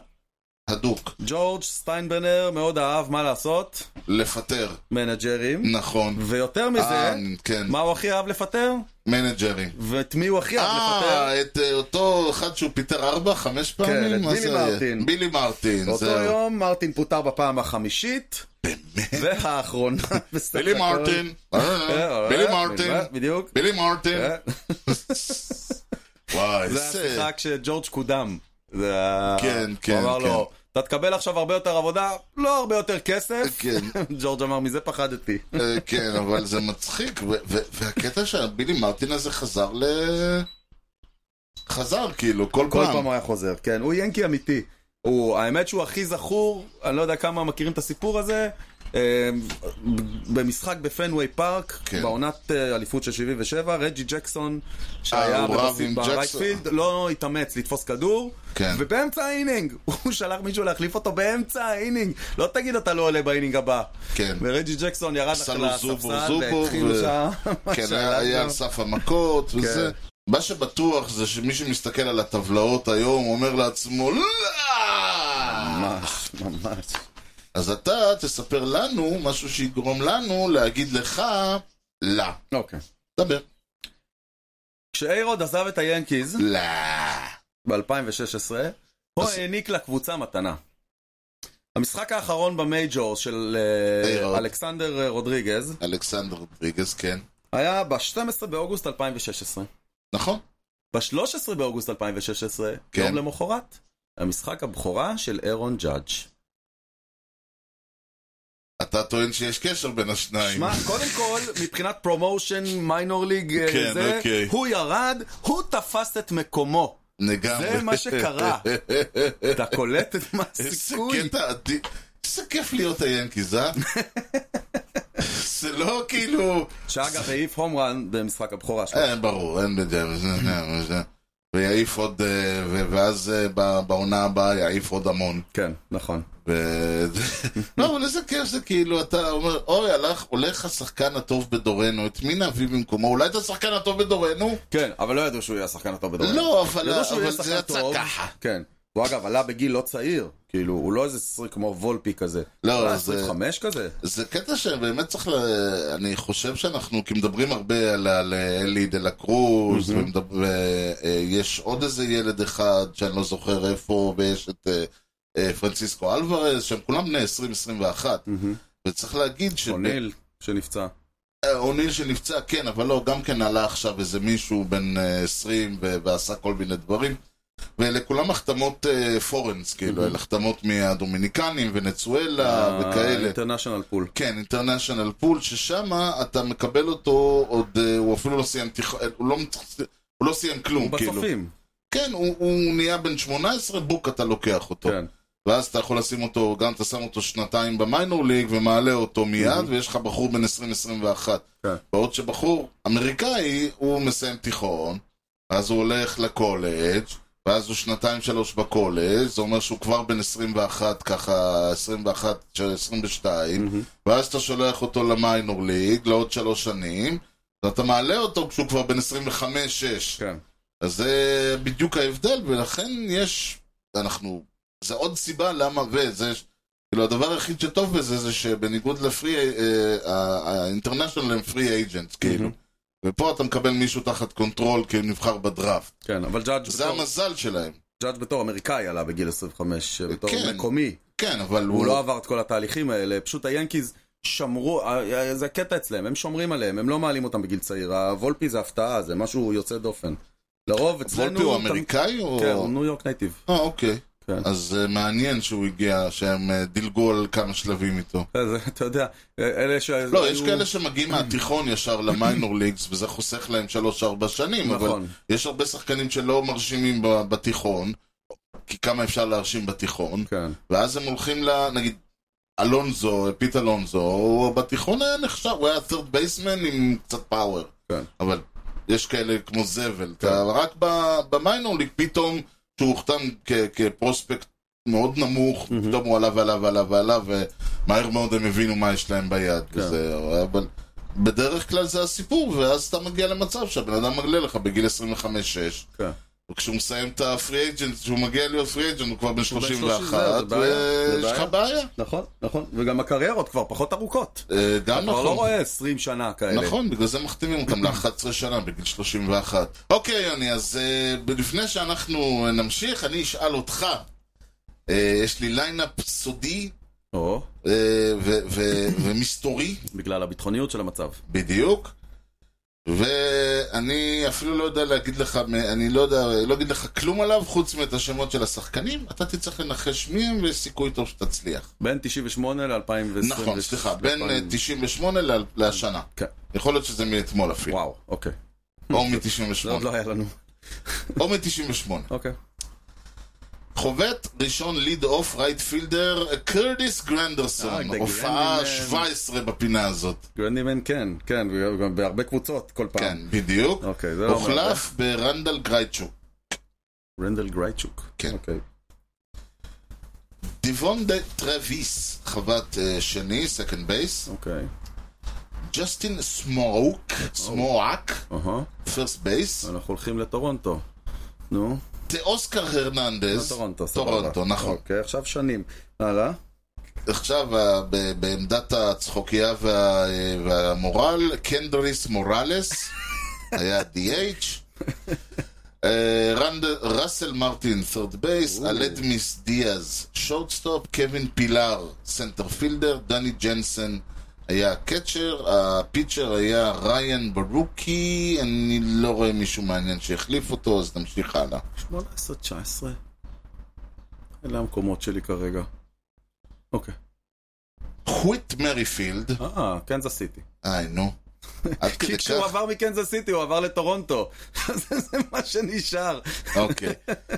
S1: הדוק.
S2: ג'ורג' סטיינבנר מאוד אהב מה לעשות,
S1: לפטר,
S2: מנג'רים,
S1: נכון.
S2: ויותר
S1: אה,
S2: מזה,
S1: כן,
S2: מה הוא הכי אהב לפטר?
S1: מנג'רים.
S2: ואת מי הוא הכי אהב לפטר? כן,
S1: אה, את אה, אותו אחד שהוא פיטר ארבע, חמש פעמים?
S2: את
S1: מה
S2: בילי
S1: זה היה?
S2: מרטין.
S1: בילי מרטין,
S2: באותו
S1: זהו.
S2: יום מרטין פוטר בפעם החמישית. והאחרונה בסך
S1: בילי
S2: הכל.
S1: מרטין. אה,
S2: אה,
S1: בילי
S2: אה,
S1: מרטין.
S2: בדיוק.
S1: בילי מרטין.
S2: אה,
S1: וואי,
S2: זה
S1: זה...
S2: המשחק שג'ורג' קודם. זה ה-
S1: כן, כן,
S2: הוא אמר לו,
S1: כן.
S2: אתה תקבל עכשיו הרבה יותר עבודה, לא הרבה יותר כסף.
S1: כן.
S2: ג'ורג' אמר, מזה פחדתי.
S1: אה, כן, אבל זה מצחיק. ו- ו- והקטע שהבילי מרטין הזה חזר ל... חזר, כאילו, כל
S2: כל פעם
S1: פעם.
S2: הוא היה חוזר, כן, הוא ינקי אמיתי. הוא, האמת שהוא הכי זכור, אני לא יודע כמה מכירים את הסיפור הזה, אה, במשחק בפנוויי פארק,
S1: כן.
S2: בעונת אה, אליפות של 77, רג'י ג'קסון,
S1: אה,
S2: שהיה
S1: הוא רב עם
S2: בבסיס
S1: ג'קסון.
S2: ברייטפילד, לא התאמץ לתפוס כדור,
S1: כן.
S2: ובאמצע האינינג, הוא שלח מישהו להחליף אותו באמצע האינינג, לא תגיד אתה לא עולה באינינג הבא.
S1: כן.
S2: ורג'י ג'קסון ירד לך
S1: עשה לו זובור
S2: לספסל,
S1: זובור,
S2: והתחילו
S1: ו-
S2: שם, מה
S1: כן,
S2: שהיה
S1: היה- היה
S2: שם.
S1: על סף המכות וזה. מה שבטוח זה שמי שמסתכל על הטבלאות היום אומר לעצמו, לא!
S2: ממש, ממש.
S1: אז אתה תספר לנו משהו שיגרום לנו להגיד לך, לא.
S2: אוקיי.
S1: דבר.
S2: כשאיירוד עזב את היאנקיז
S1: לא.
S2: ב-2016, הוא
S1: אז-
S2: העניק לקבוצה מתנה. המשחק האחרון במייג'ור של אה,
S1: איירוד.
S2: אלכסנדר אה, רודריגז
S1: אלכסנדר רודריגז, כן.
S2: היה ב-12 באוגוסט 2016.
S1: נכון?
S2: ב-13 באוגוסט 2016,
S1: כן.
S2: יום למחרת, המשחק הבכורה של אירון ג'אדג'.
S1: אתה טוען שיש קשר בין השניים.
S2: שמע, קודם כל, מבחינת פרומושן, מיינור ליג, אה,
S1: כן,
S2: זה,
S1: אוקיי.
S2: הוא ירד, הוא תפס את מקומו.
S1: לגמרי.
S2: זה מה שקרה. אתה קולט את מה
S1: איזה כן.
S2: הסיכוי?
S1: קטע אדיר. איזה כיף להיות היאנקיז, אה? זה לא כאילו...
S2: שאגב, העיף הום רן במשחק הבכורה שלו.
S1: אה, ברור, אין בדיוק. ויעיף עוד, אה, ו- ואז אה, ב- בעונה הבאה יעיף עוד המון.
S2: כן, נכון.
S1: ו- לא, אבל איזה כיף זה כאילו, אתה אומר, אוי, הלך, הולך השחקן הטוב בדורנו, את מי נביא במקומו? אולי את השחקן הטוב בדורנו?
S2: כן, אבל לא ידעו שהוא יהיה השחקן הטוב בדורנו.
S1: לא, אבל
S2: ידעו שהוא
S1: אבל
S2: יהיה
S1: זה
S2: שחקן
S1: יצא
S2: טוב.
S1: ככה.
S2: כן. הוא אגב עלה בגיל לא צעיר, כאילו, הוא לא איזה שחק כמו וולפי כזה.
S1: לא,
S2: הוא היה
S1: זה-
S2: 25 כזה?
S1: זה קטע שבאמת צריך ל... אני חושב שאנחנו, כי מדברים הרבה על, על אה, אלי דה לה קרוז,
S2: מהמם.
S1: ומדבר- אה, יש עוד איזה ילד אחד שאני לא זוכר איפה, ויש את אה, אה, פרנסיסקו אלוורז, שהם כולם בני 20-21. וצריך להגיד ש...
S2: אוניל, שנפצע.
S1: אה, אוניל שנפצע, כן, אבל לא, גם כן עלה עכשיו איזה מישהו בן אה, 20 ו- ועשה כל מיני דברים. ואלה כולם החתמות אה, פורנס, כאילו, אלה החתמות מהדומיניקנים
S2: אה,
S1: ונצואלה אה, וכאלה.
S2: אינטרנשיונל פול.
S1: כן, אינטרנשיונל פול, ששם אתה מקבל אותו עוד, אה, הוא אפילו לא סיים תיכון, הוא לא, מת- הוא לא סיים
S2: הוא
S1: כלום, כאילו.
S2: בצופים.
S1: כן, הוא, הוא נהיה בן 18, בוק אתה לוקח אותו.
S2: כן.
S1: ואז אתה יכול לשים אותו, גם אתה שם אותו שנתיים במיינור ליג ומעלה אותו מיד,
S2: Mhm.
S1: ויש לך בחור בן 20-21.
S2: כן.
S1: בעוד שבחור אמריקאי, הוא מסיים תיכון, אז הוא הולך לקולג', ואז הוא שנתיים שלוש בקולג', זה אומר שהוא כבר בן 21 ככה, 21, 22,
S2: מהמם.
S1: ואז אתה שולח אותו למיינור ליג לעוד שלוש שנים, ואתה מעלה אותו כשהוא כבר בן 25-6.
S2: כן.
S1: אז זה בדיוק ההבדל, ולכן יש, אנחנו, זה עוד סיבה למה, וזה, כאילו הדבר היחיד שטוב בזה זה שבניגוד לפרי, אה, האינטרנשיונל הם פרי אייג'נט, כאילו. ופה אתה מקבל מישהו תחת קונטרול, כי הוא נבחר בדראפט.
S2: כן, אבל ג'אדג'
S1: זה
S2: בתור-
S1: המזל שלהם.
S2: ג'אדג' בתור אמריקאי עלה בגיל 25, בתור
S1: כן.
S2: מקומי.
S1: כן, אבל
S2: הוא
S1: הוא...
S2: לא עבר את כל התהליכים האלה, פשוט היאנקיז שמרו, אה, אה, זה הקטע אצלם, הם שומרים עליהם, הם לא מעלים אותם בגיל צעיר, הוולפי זה הפתעה, זה משהו יוצא דופן. לרוב אצלנו...
S1: וולפי הוא
S2: אתה-
S1: אמריקאי או...
S2: כן, הוא ניו יורק נייטיב.
S1: אה, אוקיי.
S2: כן.
S1: אז אה, מעניין שהוא הגיע, שהם אה, דילגו על כמה שלבים איתו.
S2: אז אה, אתה יודע, אלה ש...
S1: לא, יש כאלה שמגיעים מהתיכון ישר למיינור ליגס, וזה חוסך להם 3-4 שנים, אבל
S2: נכון.
S1: יש הרבה שחקנים שלא מרשימים ב- בתיכון, כי כמה אפשר להרשים בתיכון,
S2: כן.
S1: ואז הם הולכים ל... נגיד, אלונזו, פית אלונזו, הוא בתיכון היה נחשב, הוא היה third baseman עם קצת פאוור.
S2: כן.
S1: אבל יש כאלה כמו זבל.
S2: כן.
S1: אתה רק ב- במיינור ליג, פתאום, שהוא הוחתם כ- כפרוספקט מאוד נמוך,
S2: Mhm.
S1: פתאום הוא עלה ועלה ועלה ועלה, ומהר מאוד הם הבינו מה יש להם ביד.
S2: כן.
S1: וזהו, אבל... בדרך כלל זה הסיפור, ואז אתה מגיע למצב שהבן אדם מגלה לך בגיל 25-6,
S2: כן.
S1: וכשהוא מסיים את הפרי אייג'נט, כשהוא מגיע להיות פרי אייג'נט, הוא כבר בן
S2: הוא בן
S1: 31,
S2: 30, זה בעיה. זה
S1: ויש לך
S2: בעיה.
S1: בעיה.
S2: נכון, נכון. וגם הקריירות כבר פחות ארוכות.
S1: אה,
S2: אתה
S1: גם
S2: כבר לא
S1: נכון.
S2: רואה 20 שנה כאלה.
S1: נכון, בגלל זה מחתימים אותם ל-11 שנה, בגיל 31. אוקיי, יוני, אז אה, ב- לפני שאנחנו אה, נמשיך, אני אשאל אותך. אה, יש לי ליינאפ סודי
S2: או,
S1: אה, ו- ו- ומסתורי,
S2: בגלל הביטחוניות של המצב.
S1: בדיוק. ואני אפילו לא יודע להגיד לך, מ- אני לא יודע, לא אגיד לך כלום עליו, חוץ מאת השמות של השחקנים, אתה תצטרך לנחש מי הם, ויש סיכוי טוב שתצליח.
S2: בין 98 ל-2020.
S1: נכון, סליחה, בין אה, 98 ל- לשנה.
S2: כן.
S1: יכול להיות שזה מאתמול אפילו,
S2: וואו, אוקיי.
S1: או
S2: זה עוד
S1: מ-98,
S2: לא היה לנו.
S1: או מ-98.
S2: אוקיי.
S1: חובט ראשון ליד אוף רייט פילדר, קרדיס
S2: אה,
S1: גרנדרסון,
S2: the
S1: הופעה
S2: Grandyman.
S1: 17 בפינה הזאת.
S2: גרנדימן כן, כן, וגם בהרבה קבוצות כל פעם.
S1: כן, בדיוק.
S2: אוקיי, זה לא...
S1: הוחלף ברנדל גרייצ'וק.
S2: רנדל גרייצ'וק.
S1: כן.
S2: אוקיי.
S1: דיבון דה טרוויס, חוות אה, שני, סקנד בייס.
S2: אוקיי.
S1: ג'סטין סמוק, סמואק,
S2: אהה.
S1: פרסט בייס.
S2: אנחנו הולכים לטורונטו. נו,
S1: אוסקר הרננדז.
S2: טורונטו, סבבה.
S1: טורונטו, נכון.
S2: אוקיי, עכשיו שנים. הלאה.
S1: עכשיו, ה- ב- בעמדת הצחוקייה וה- והמורל, קנדריס מוראלס, היה DH. אה, רנד- ראסל מרטין, third בייס, אלדמיס דיאז, שורטסטופ, קווין פילאר, סנטר פילדר, דני ג'נסן היה הקצ'ר, הפיצ'ר היה ריין ברוקי, אני לא רואה מישהו מעניין שיחליף אותו, אז נמשיך הלאה.
S2: 18, 19. אלה המקומות שלי כרגע. אוקיי.
S1: חוויט מריפילד,
S2: אה, קנזס סיטי.
S1: היי נו, עד
S2: כי
S1: כדי
S2: כשהוא
S1: כך.
S2: עבר מקנזס סיטי הוא עבר לטורונטו. זה זה מה שנשאר.
S1: אוקיי,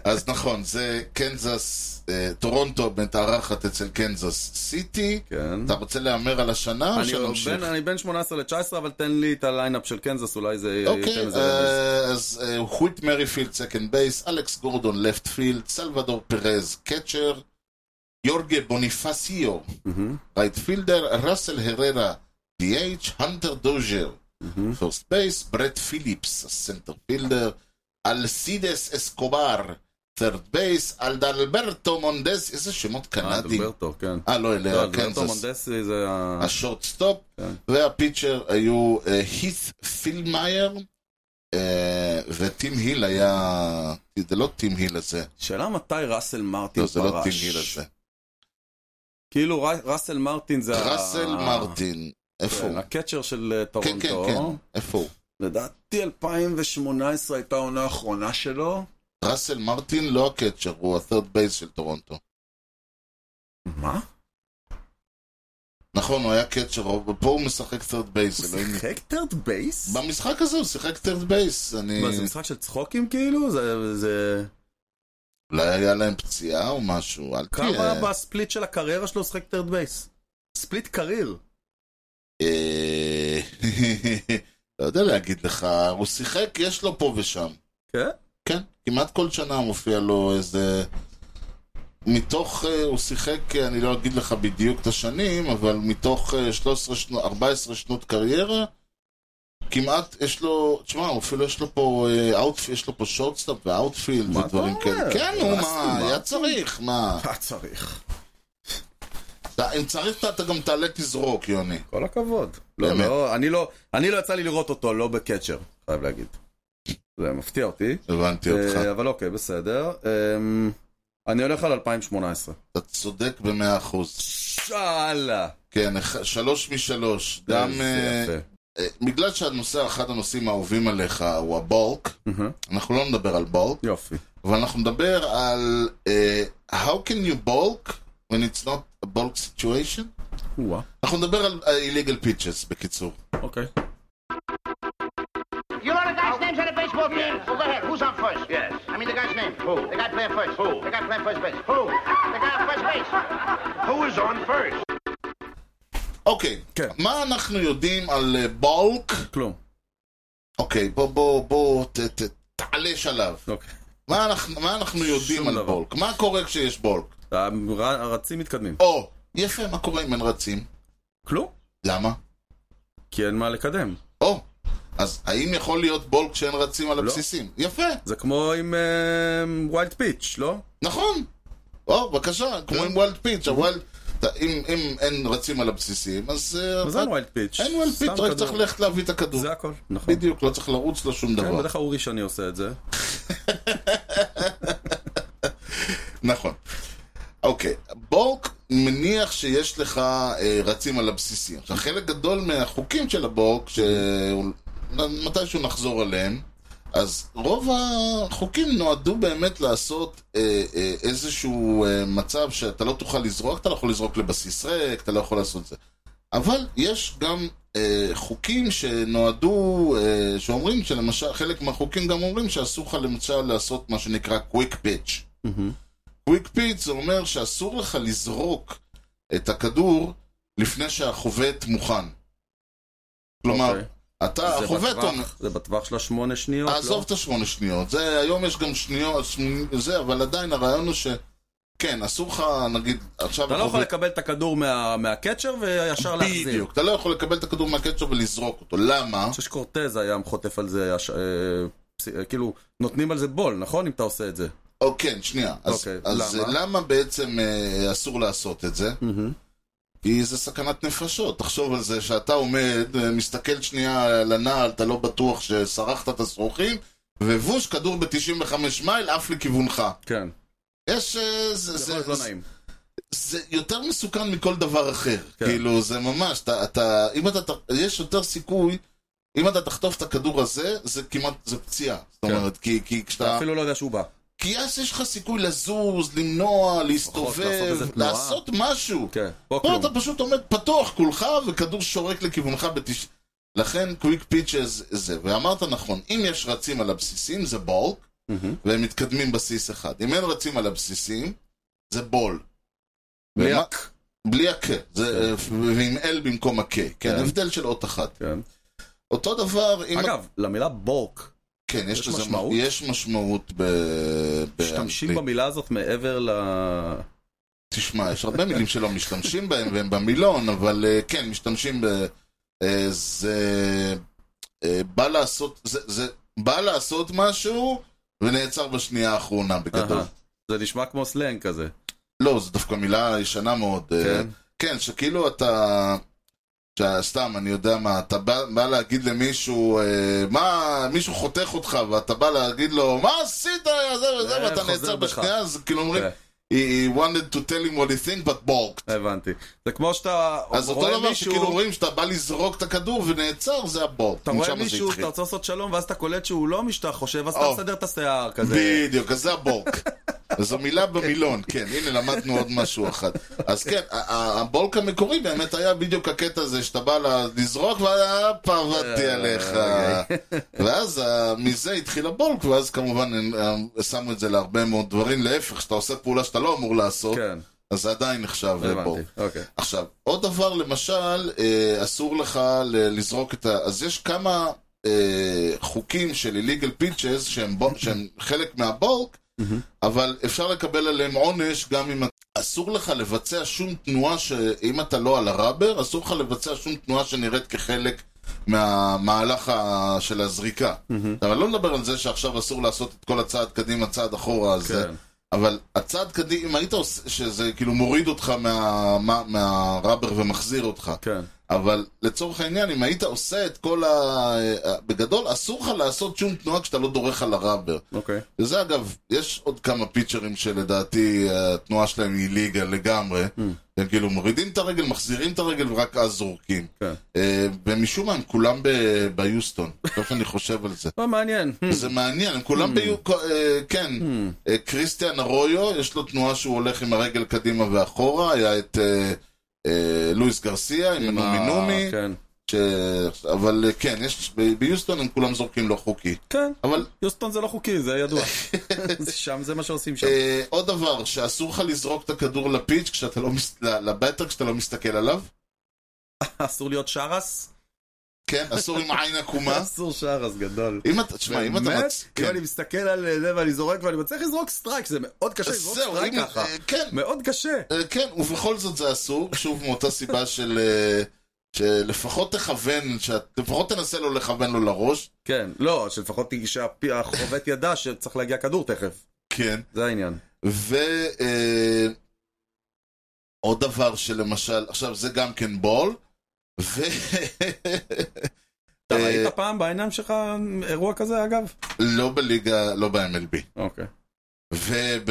S1: אז נכון, זה קנזס, אה, טורונטו מתארחת אצל קנזס סיטי.
S2: כן.
S1: אתה רוצה להמר על השנה או
S2: אני אה,
S1: שנמשיך?
S2: בין- אני בין 18 ל-19, אבל תן לי את הליינאפ של קנזס, אולי זה יהיה
S1: אוקיי,
S2: יותר מזה. רמז.
S1: אה, אז אה, חוויט מריפילד סקנד בייס, אלכס גורדון לפט פילד, סלבדור פרז קצ'ר, יורגה בוניפסיו
S2: מהמם,
S1: רייט פילדר, ראסל הררה DH, הנטר דוז'ר
S2: מהמם.
S1: פרסט בייס, ברט פיליפס, סנטר פילדר, אלסידס אסקובר, third בייס, אלדלברטו מונדס, איזה שמות
S2: אה,
S1: קנדים.
S2: אלברטו, כן.
S1: אה, לא,
S2: לא,
S1: אלה
S2: אלברטו
S1: קנזס.
S2: מונדסי זה ה...
S1: השורט סטופ,
S2: כן.
S1: והפיצ'ר היו אה, הית פילמייר, אה, וטים היל היה... זה לא טים היל הזה,
S2: שאלה מתי ראסל מרטין
S1: לא,
S2: פרש.
S1: זה לא טים היל הזה.
S2: כאילו ר- ראסל מרטין זה... ה-
S1: ראסל מרטין, איפה
S2: אה, כן,
S1: הוא?
S2: הקצ'ר של אה,
S1: כן, כן, כן,
S2: טורונטו.
S1: איפה הוא?
S2: לדעתי 2018 הייתה העונה האחרונה שלו.
S1: ראסל מרטין לא הקצ'ר, הוא ה-third base של טורונטו.
S2: מה?
S1: נכון, הוא היה קצ'ר, אבל פה הוא משחק third base.
S2: הוא
S1: אלוהים.
S2: שיחק טרד בייס?
S1: במשחק הזה הוא שיחק third base, אני...
S2: מה, זה משחק של צחוקים כאילו? זה- זה...
S1: כן. אולי היה להם פציעה או משהו, אל
S2: כמה
S1: תהיה...
S2: בספליט של הקריירה שלו הוא שיחק טרד בייס? ספליט קרייר.
S1: אה, לא יודע להגיד לך, הוא שיחק, יש לו פה ושם.
S2: כן?
S1: כן, כמעט כל שנה מופיע לו איזה... מתוך, אה, הוא שיחק, אה, אני לא אגיד לך בדיוק את השנים, אבל מתוך אה, 13 שנות, 14 שנות קריירה, כמעט יש לו, תשמע, הוא אפילו יש לו פה, אה, out, יש לו פה שורטסטאפ ואוטפילד
S2: מה אתה
S1: ודברים
S2: אומר?
S1: כאלה. כן, נו,
S2: רסטי,
S1: מה,
S2: מה?
S1: היה צריך, מה.
S2: מה צריך?
S1: אתה- אם צריך, אתה- אתה גם תעלה תזרוק, יוני.
S2: כל הכבוד. לא,
S1: באמת.
S2: לא, אני לא, אני לא יצא לי לראות אותו, לא בקצ'ר, חייב להגיד. זה מפתיע אותי.
S1: הבנתי אותך.
S2: אה, אבל אוקיי, בסדר. אמ, אני הולך על 2018.
S1: אתה צודק במאה אחוז.
S2: שאלה.
S1: כן, אח- שלוש משלוש. גם...
S2: זה
S1: אה,
S2: יפה.
S1: אה, בגלל שהנושא, אחד הנושאים האהובים עליך הוא הבולק,
S2: מהמם.
S1: אנחנו לא נדבר על בולק,
S2: יופי.
S1: אבל אנחנו נדבר על אה, How can you bulk when it's not a bulk situation?
S2: וואה.
S1: אנחנו נדבר על אה, illegal pitches, בקיצור.
S2: אוקיי.
S4: You know the guy's names on the baseball team? Well, go ahead. Who's on first? Yes. I mean the guy's name. Who? The guy playing first. Who? The guy playing first base. Who? The guy on first base. Who is on first?
S1: אוקיי,
S2: כן.
S1: מה אנחנו יודעים על בולק?
S2: כלום.
S1: אוקיי, בוא, בוא, בוא, ת- ת- תעלה שלב.
S2: אוקיי.
S1: מה אנחנו- מה אנחנו יודעים
S2: שום
S1: על
S2: דבר.
S1: בולק? מה קורה כשיש בולק?
S2: הרצים מתקדמים.
S1: או, יפה, מה קורה אם אין רצים?
S2: כלום.
S1: למה?
S2: כי אין מה לקדם.
S1: או, אז האם יכול להיות בולק כשאין רצים על
S2: לא.
S1: הבסיסים? יפה.
S2: זה כמו עם אמ, ווילד פיץ', לא?
S1: נכון. או, בבקשה, כמו עם ווילד פיץ', הווילד... אתה- אם אם אין רצים על הבסיסים, אז... אה,
S2: אבל זה
S1: רק-
S2: אין ווילד פיץ'.
S1: אין ווילד פיץ',
S2: סתם
S1: רק
S2: כדור.
S1: צריך ללכת להביא את הכדור.
S2: זה הכל. נכון.
S1: בדיוק, לא צריך לרוץ לו שום
S2: כן,
S1: דבר.
S2: בדרך כלל אורי שאני עושה את זה.
S1: נכון. אוקיי, בורק מניח שיש לך אה, רצים על הבסיסים. עכשיו, חלק גדול מהחוקים של הבורק, שמתישהו נחזור אליהם, אז רוב החוקים נועדו באמת לעשות אה, אה, איזשהו אה, מצב שאתה לא תוכל לזרוק, אתה לא יכול לזרוק לבסיס ריק, אתה לא יכול לעשות את זה. אבל יש גם אה, חוקים שנועדו, אה, שאומרים שלמשל, חלק מהחוקים גם אומרים שאסור לך למשל לעשות מה שנקרא quick pitch. קוויק פיט זה אומר שאסור לך לזרוק את הכדור לפני שהחובט מוכן. כלומר,
S2: אוקיי.
S1: אתה,
S2: זה
S1: החובט
S2: בטווח-
S1: אומר...
S2: זה בטווח של השמונה שניות,
S1: אה, עזוב
S2: לא?
S1: את השמונה שניות. זה, היום יש גם שניות, שמ- זה, אבל עדיין הרעיון הוא ש... כן, אסור לך, נגיד, עכשיו...
S2: אתה לא יכול
S1: החובט-
S2: לקבל את הכדור מה- מהקצ'ר וישר להחזיר.
S1: בדיוק. אתה לא יכול לקבל את הכדור מהקצ'ר ולזרוק אותו. למה?
S2: אני חושב שקורטז היה חוטף על זה, הש- אה, פס- אה, כאילו, נותנים על זה בול, נכון? אם אתה עושה את זה.
S1: או כן, שנייה. אז,
S2: אוקיי,
S1: אז
S2: למה?
S1: למה? למה בעצם אה, אסור לעשות את זה? כי זה סכנת נפשות. תחשוב על זה שאתה עומד, אה, מסתכל שנייה על הנעל, אתה לא בטוח שסרחת את השרוכים, ובוש, כדור ב-95 מייל עף לכיוונך.
S2: כן,
S1: יש... אה, זה,
S2: זה יכול להיות לא נעים.
S1: זה יותר מסוכן מכל דבר אחר.
S2: כן.
S1: כן. כאילו, זה ממש, אתה, אתה, אם אתה, ת- יש יותר סיכוי, אם אתה תחטוף את הכדור הזה, זה כמעט, זה פציעה. זאת
S2: כן.
S1: אומרת, כי, כי כשאתה...
S2: אתה אפילו לא יודע שהוא בא.
S1: כי אז יש לך סיכוי לזוז, למנוע,
S2: אוקיי, לעשות
S1: להסתובב,
S2: איזה תנועה.
S1: לעשות משהו.
S2: כן, פה
S1: פה
S2: כלום.
S1: לא, אתה פשוט עומד פתוח כולך, וכדור שורק לכיוונך בתש... לכן קוויק פיצ'ז זה, ואמרת נכון, אם יש רצים על הבסיסים זה בולק,
S2: מהמם.
S1: והם מתקדמים בסיס אחד. אם אין רצים על הבסיסים, זה בול.
S2: בלי
S1: ומה-
S2: הק.
S1: בלי הק, זה, ועם אל במקום הק,
S2: כן.
S1: כן, הבדל של אות אחת.
S2: כן.
S1: אותו דבר, אם...
S2: אגב, למילה בורק,
S1: כן, יש,
S2: יש
S1: לזה
S2: משמעות?
S1: משמעות? יש משמעות ב...
S2: משתמשים
S1: באנגלית.
S2: במילה הזאת מעבר ל...
S1: תשמע, יש הרבה מילים שלא משתמשים בהם, והם במילון, אבל אה, כן, משתמשים ב... אה, זה... אה, בא לעשות... זה, זה בא לעשות משהו, ונעצר בשנייה האחרונה, בגדול.
S2: אהה. זה נשמע כמו סלנג כזה.
S1: לא, זו דווקא מילה ישנה מאוד. כן,
S2: כן.
S1: כן שכאילו אתה... שסתם, אני יודע מה, אתה בא, בא להגיד למישהו, אה, מה, מישהו חותך אותך, ואתה בא להגיד לו, מה עשית, זה וזה,
S2: כן,
S1: ואתה
S2: חוזר
S1: נעצר
S2: בך.
S1: בשנייה, אז כאילו אומרים,
S2: כן.
S1: he, he wanted to tell him what he think, but balked.
S2: אה, הבנתי. זה כמו שאתה
S1: אז אותו
S2: רואה
S1: דבר
S2: מישהו,
S1: שכאילו רואים שאתה בא לזרוק את הכדור ונעצר, זה הבור.
S2: אתה רואה מישהו, אתה רוצה לעשות שלום, ואז אתה קולט שהוא לא משתה חושב, אז אתה
S1: או.
S2: מסדר את השיער כזה.
S1: בדיוק, אז זה הבורק. זו מילה במילון, כן, הנה למדנו עוד משהו אחד. אז כן, ה- ה- הבורק המקורי באמת היה בדיוק הקטע הזה שאתה בא ל- לזרוק והפה עבדתי עליך. ואז ה- מזה התחיל הבורק, ואז כמובן הם- הם שמו את זה להרבה מאוד דברים, להפך, כשאתה עושה פעולה שאתה לא אמור לעשות,
S2: כן,
S1: אז זה עדיין נחשב בורק.
S2: הבנתי. אוקיי.
S1: עכשיו, עוד דבר, למשל, אה, אסור לך ל- לזרוק את ה... אז יש כמה אה, חוקים של illegal pitches שהם, בו... שהם חלק מהבורק, אבל אפשר לקבל עליהם עונש גם אם... אסור לך לבצע שום תנועה ש... אם אתה לא על הראבר, אסור לך לבצע שום תנועה שנראית כחלק מהמהלך ה... של הזריקה. אבל לא נדבר על זה שעכשיו אסור לעשות את כל הצעד קדימה, צעד אחורה, אז זה...
S2: כן.
S1: אבל הצעד קדימה, אם היית עושה, שזה כאילו מוריד אותך מה, מה, מהראבר ומחזיר אותך.
S2: כן.
S1: אבל לצורך העניין, אם היית עושה את כל ה... אה, בגדול, אסור לך לעשות שום תנועה כשאתה לא דורך על הראבר.
S2: אוקיי.
S1: וזה אגב, יש עוד כמה פיצ'רים שלדעתי אה, התנועה שלהם היא ליגה לגמרי.
S2: Mm.
S1: הם כאילו מורידים את הרגל, מחזירים את הרגל ורק אז זורקים.
S2: כן.
S1: אה, ומשום מה הם כולם ב- ביוסטון, עכשיו שאני חושב על זה.
S2: לא, מעניין.
S1: זה מעניין, הם
S2: Hmm.
S1: כולם ביו... אה, כן, אה, קריסטיאן ארויו, יש לו תנועה שהוא הולך עם הרגל קדימה ואחורה, היה את אה, אה, לואיס גרסיה, עם נומי
S2: אה,
S1: נומי,
S2: כן.
S1: ש- אבל אה, כן, יש... ב- ביוסטון הם כולם זורקים לא חוקי.
S2: כן.
S1: אבל
S2: יוסטון זה לא חוקי, זה ידוע. שם זה מה שעושים שם.
S1: אה, עוד דבר, שאסור לך לזרוק את הכדור לפיץ' כשאתה לא מס... ל- לבטר כשאתה לא מסתכל עליו. אה.
S2: אסור להיות שרס?
S1: כן, אסור עם עין עקומה.
S2: אסור שרס, גדול.
S1: אם אתה, תשמע, אם אתה...
S2: באמת?
S1: מצ-
S2: אם
S1: כן.
S2: אני מסתכל על זה ואני זורק ואני מצליח לזרוק סטרייק, זה מאוד קשה
S1: אז
S2: לזרוק
S1: אה, זהו,
S2: סטרייק
S1: אם-
S2: ככה.
S1: אה, כן,
S2: מאוד קשה.
S1: אה, כן, ובכל זאת זה אסור, שוב מאותה סיבה של... אה, שלפחות תכוון, שאת- לפחות תנסה לו לכוון לו לראש,
S2: כן, לא, שלפחות שהחובט ידע שצריך להגיע כדור תכף.
S1: כן.
S2: זה העניין.
S1: ועוד אה, עוד דבר שלמשל, עכשיו זה גם כן בול, ו...
S2: אתה
S1: אה,
S2: ראית פעם בעיניים שלך אירוע כזה, אגב?
S1: לא בליגה, לא ב-MLB.
S2: אוקיי.
S1: וב...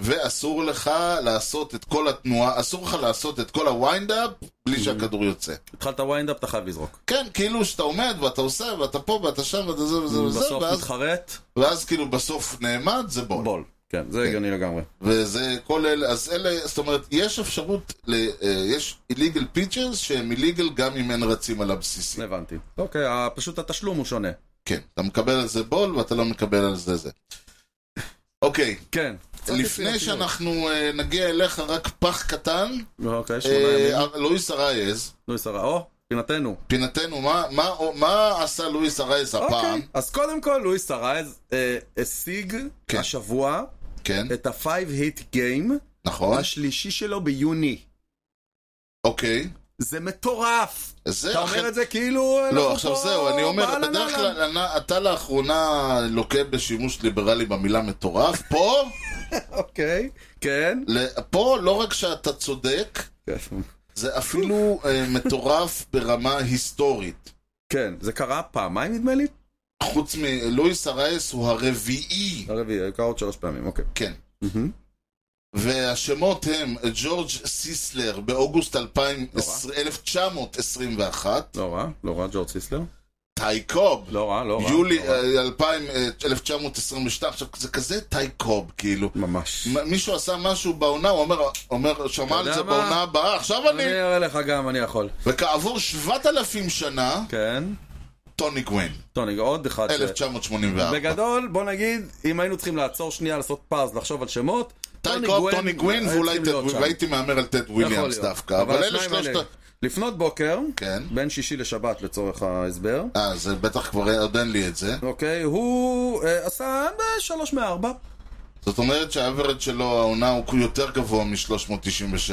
S1: ואסור לך לעשות את כל התנועה, אסור לך לעשות את כל הוויינדאפ
S2: Mm-hmm.
S1: בלי שהכדור יוצא.
S2: התחלת וויינדאפ, אתה חייב לזרוק.
S1: כן, כאילו שאתה עומד ואתה עושה ואתה פה ואתה שם ואתה זה וזה וזה,
S2: Mm, בסוף
S1: ואז,
S2: מתחרט,
S1: ואז כאילו בסוף נעמד, זה בול.
S2: בול. כן, זה הגיוני לגמרי.
S1: וזה כל אלה, אז אלה, זאת אומרת, יש אפשרות, ל, אה, יש illegal pitches שהם illegal גם אם אין רצים על הבסיסי.
S2: הבנתי. אוקיי, ה- פשוט התשלום הוא שונה.
S1: כן, אתה מקבל על זה בול ואתה לא מקבל על זה זה. אוקיי,
S2: כן, קצת
S1: לפני
S2: יצירתיות.
S1: שאנחנו אה, נגיע אליך, רק פח קטן.
S2: אוקיי, שמונה ימים.
S1: אה, לואיס ארייז,
S2: לואיס הרע, או, פינתנו.
S1: פינתנו, מה- מה- מה עשה לואיס ארייז הפעם?
S2: אוקיי, אז קודם כל לואיס הרייז אה, השיג
S1: כן.
S2: השבוע
S1: כן,
S2: את ה-5 hit game
S1: נכון,
S2: השלישי שלו ביוני.
S1: אוקיי.
S2: זה מטורף!
S1: זה
S2: אתה
S1: אחרי-
S2: אומר את זה כאילו...
S1: אה, לא,
S2: אנחנו
S1: עכשיו
S2: פה
S1: זהו, אני אומר,
S2: באהלן
S1: בדרך
S2: אהלן.
S1: כלל אני- אתה לאחרונה לוקה בשימוש ליברלי במילה מטורף, פה,
S2: אוקיי, כן.
S1: ל- פה לא רק שאתה צודק, זה אפילו אה, מטורף ברמה היסטורית.
S2: כן, זה קרה פעמיים נדמה לי?
S1: חוץ מלואיס הרייס הוא הרביעי,
S2: הרביעי, קרה עוד שלוש פעמים, אוקיי.
S1: כן.
S2: מהמם.
S1: והשמות הם ג'ורג' סיסלר באוגוסט 2000 1921,
S2: לא רע, לא רע, ג'ורג' סיסלר.
S1: טייקוב,
S2: לא רע, לא רע.
S1: יולי
S2: לא רע.
S1: אה, 2000, אה, 1922, עכשיו זה כזה טייקוב, כאילו.
S2: ממש.
S1: מ- מישהו עשה משהו בעונה, הוא אומר, אומר שמע
S2: יודע
S1: על זה
S2: מה?
S1: בעונה הבאה, עכשיו אני...
S2: אני אראה לך גם, אני יכול.
S1: וכעבור 7,000 שנה,
S2: כן.
S1: טוני גווין,
S2: טוני, עוד אחד. ש-
S1: 1984.
S2: כן. בגדול, בוא נגיד, אם היינו צריכים לעצור שנייה, לעשות פאז, לחשוב על שמות,
S1: טייקוב, טוני גווין,
S2: היה
S1: ואולי
S2: לא צריכים
S1: טד
S2: להיות
S1: וויליאמס,
S2: שם.
S1: והייתי מהמר על טד
S2: יכול
S1: וויליאמס
S2: להיות.
S1: דווקא, אבל אלה
S2: השניים
S1: שלושת... ה-
S2: לפנות בוקר,
S1: כן.
S2: בין שישי לשבת לצורך ההסבר,
S1: אה, זה בטח כבר עוד אין לי את זה.
S2: אוקיי, הוא אה, עשה אה, שלוש מארבע.
S1: זאת אומרת שהאברד שלו, העונה הוא יותר גבוה מ-397.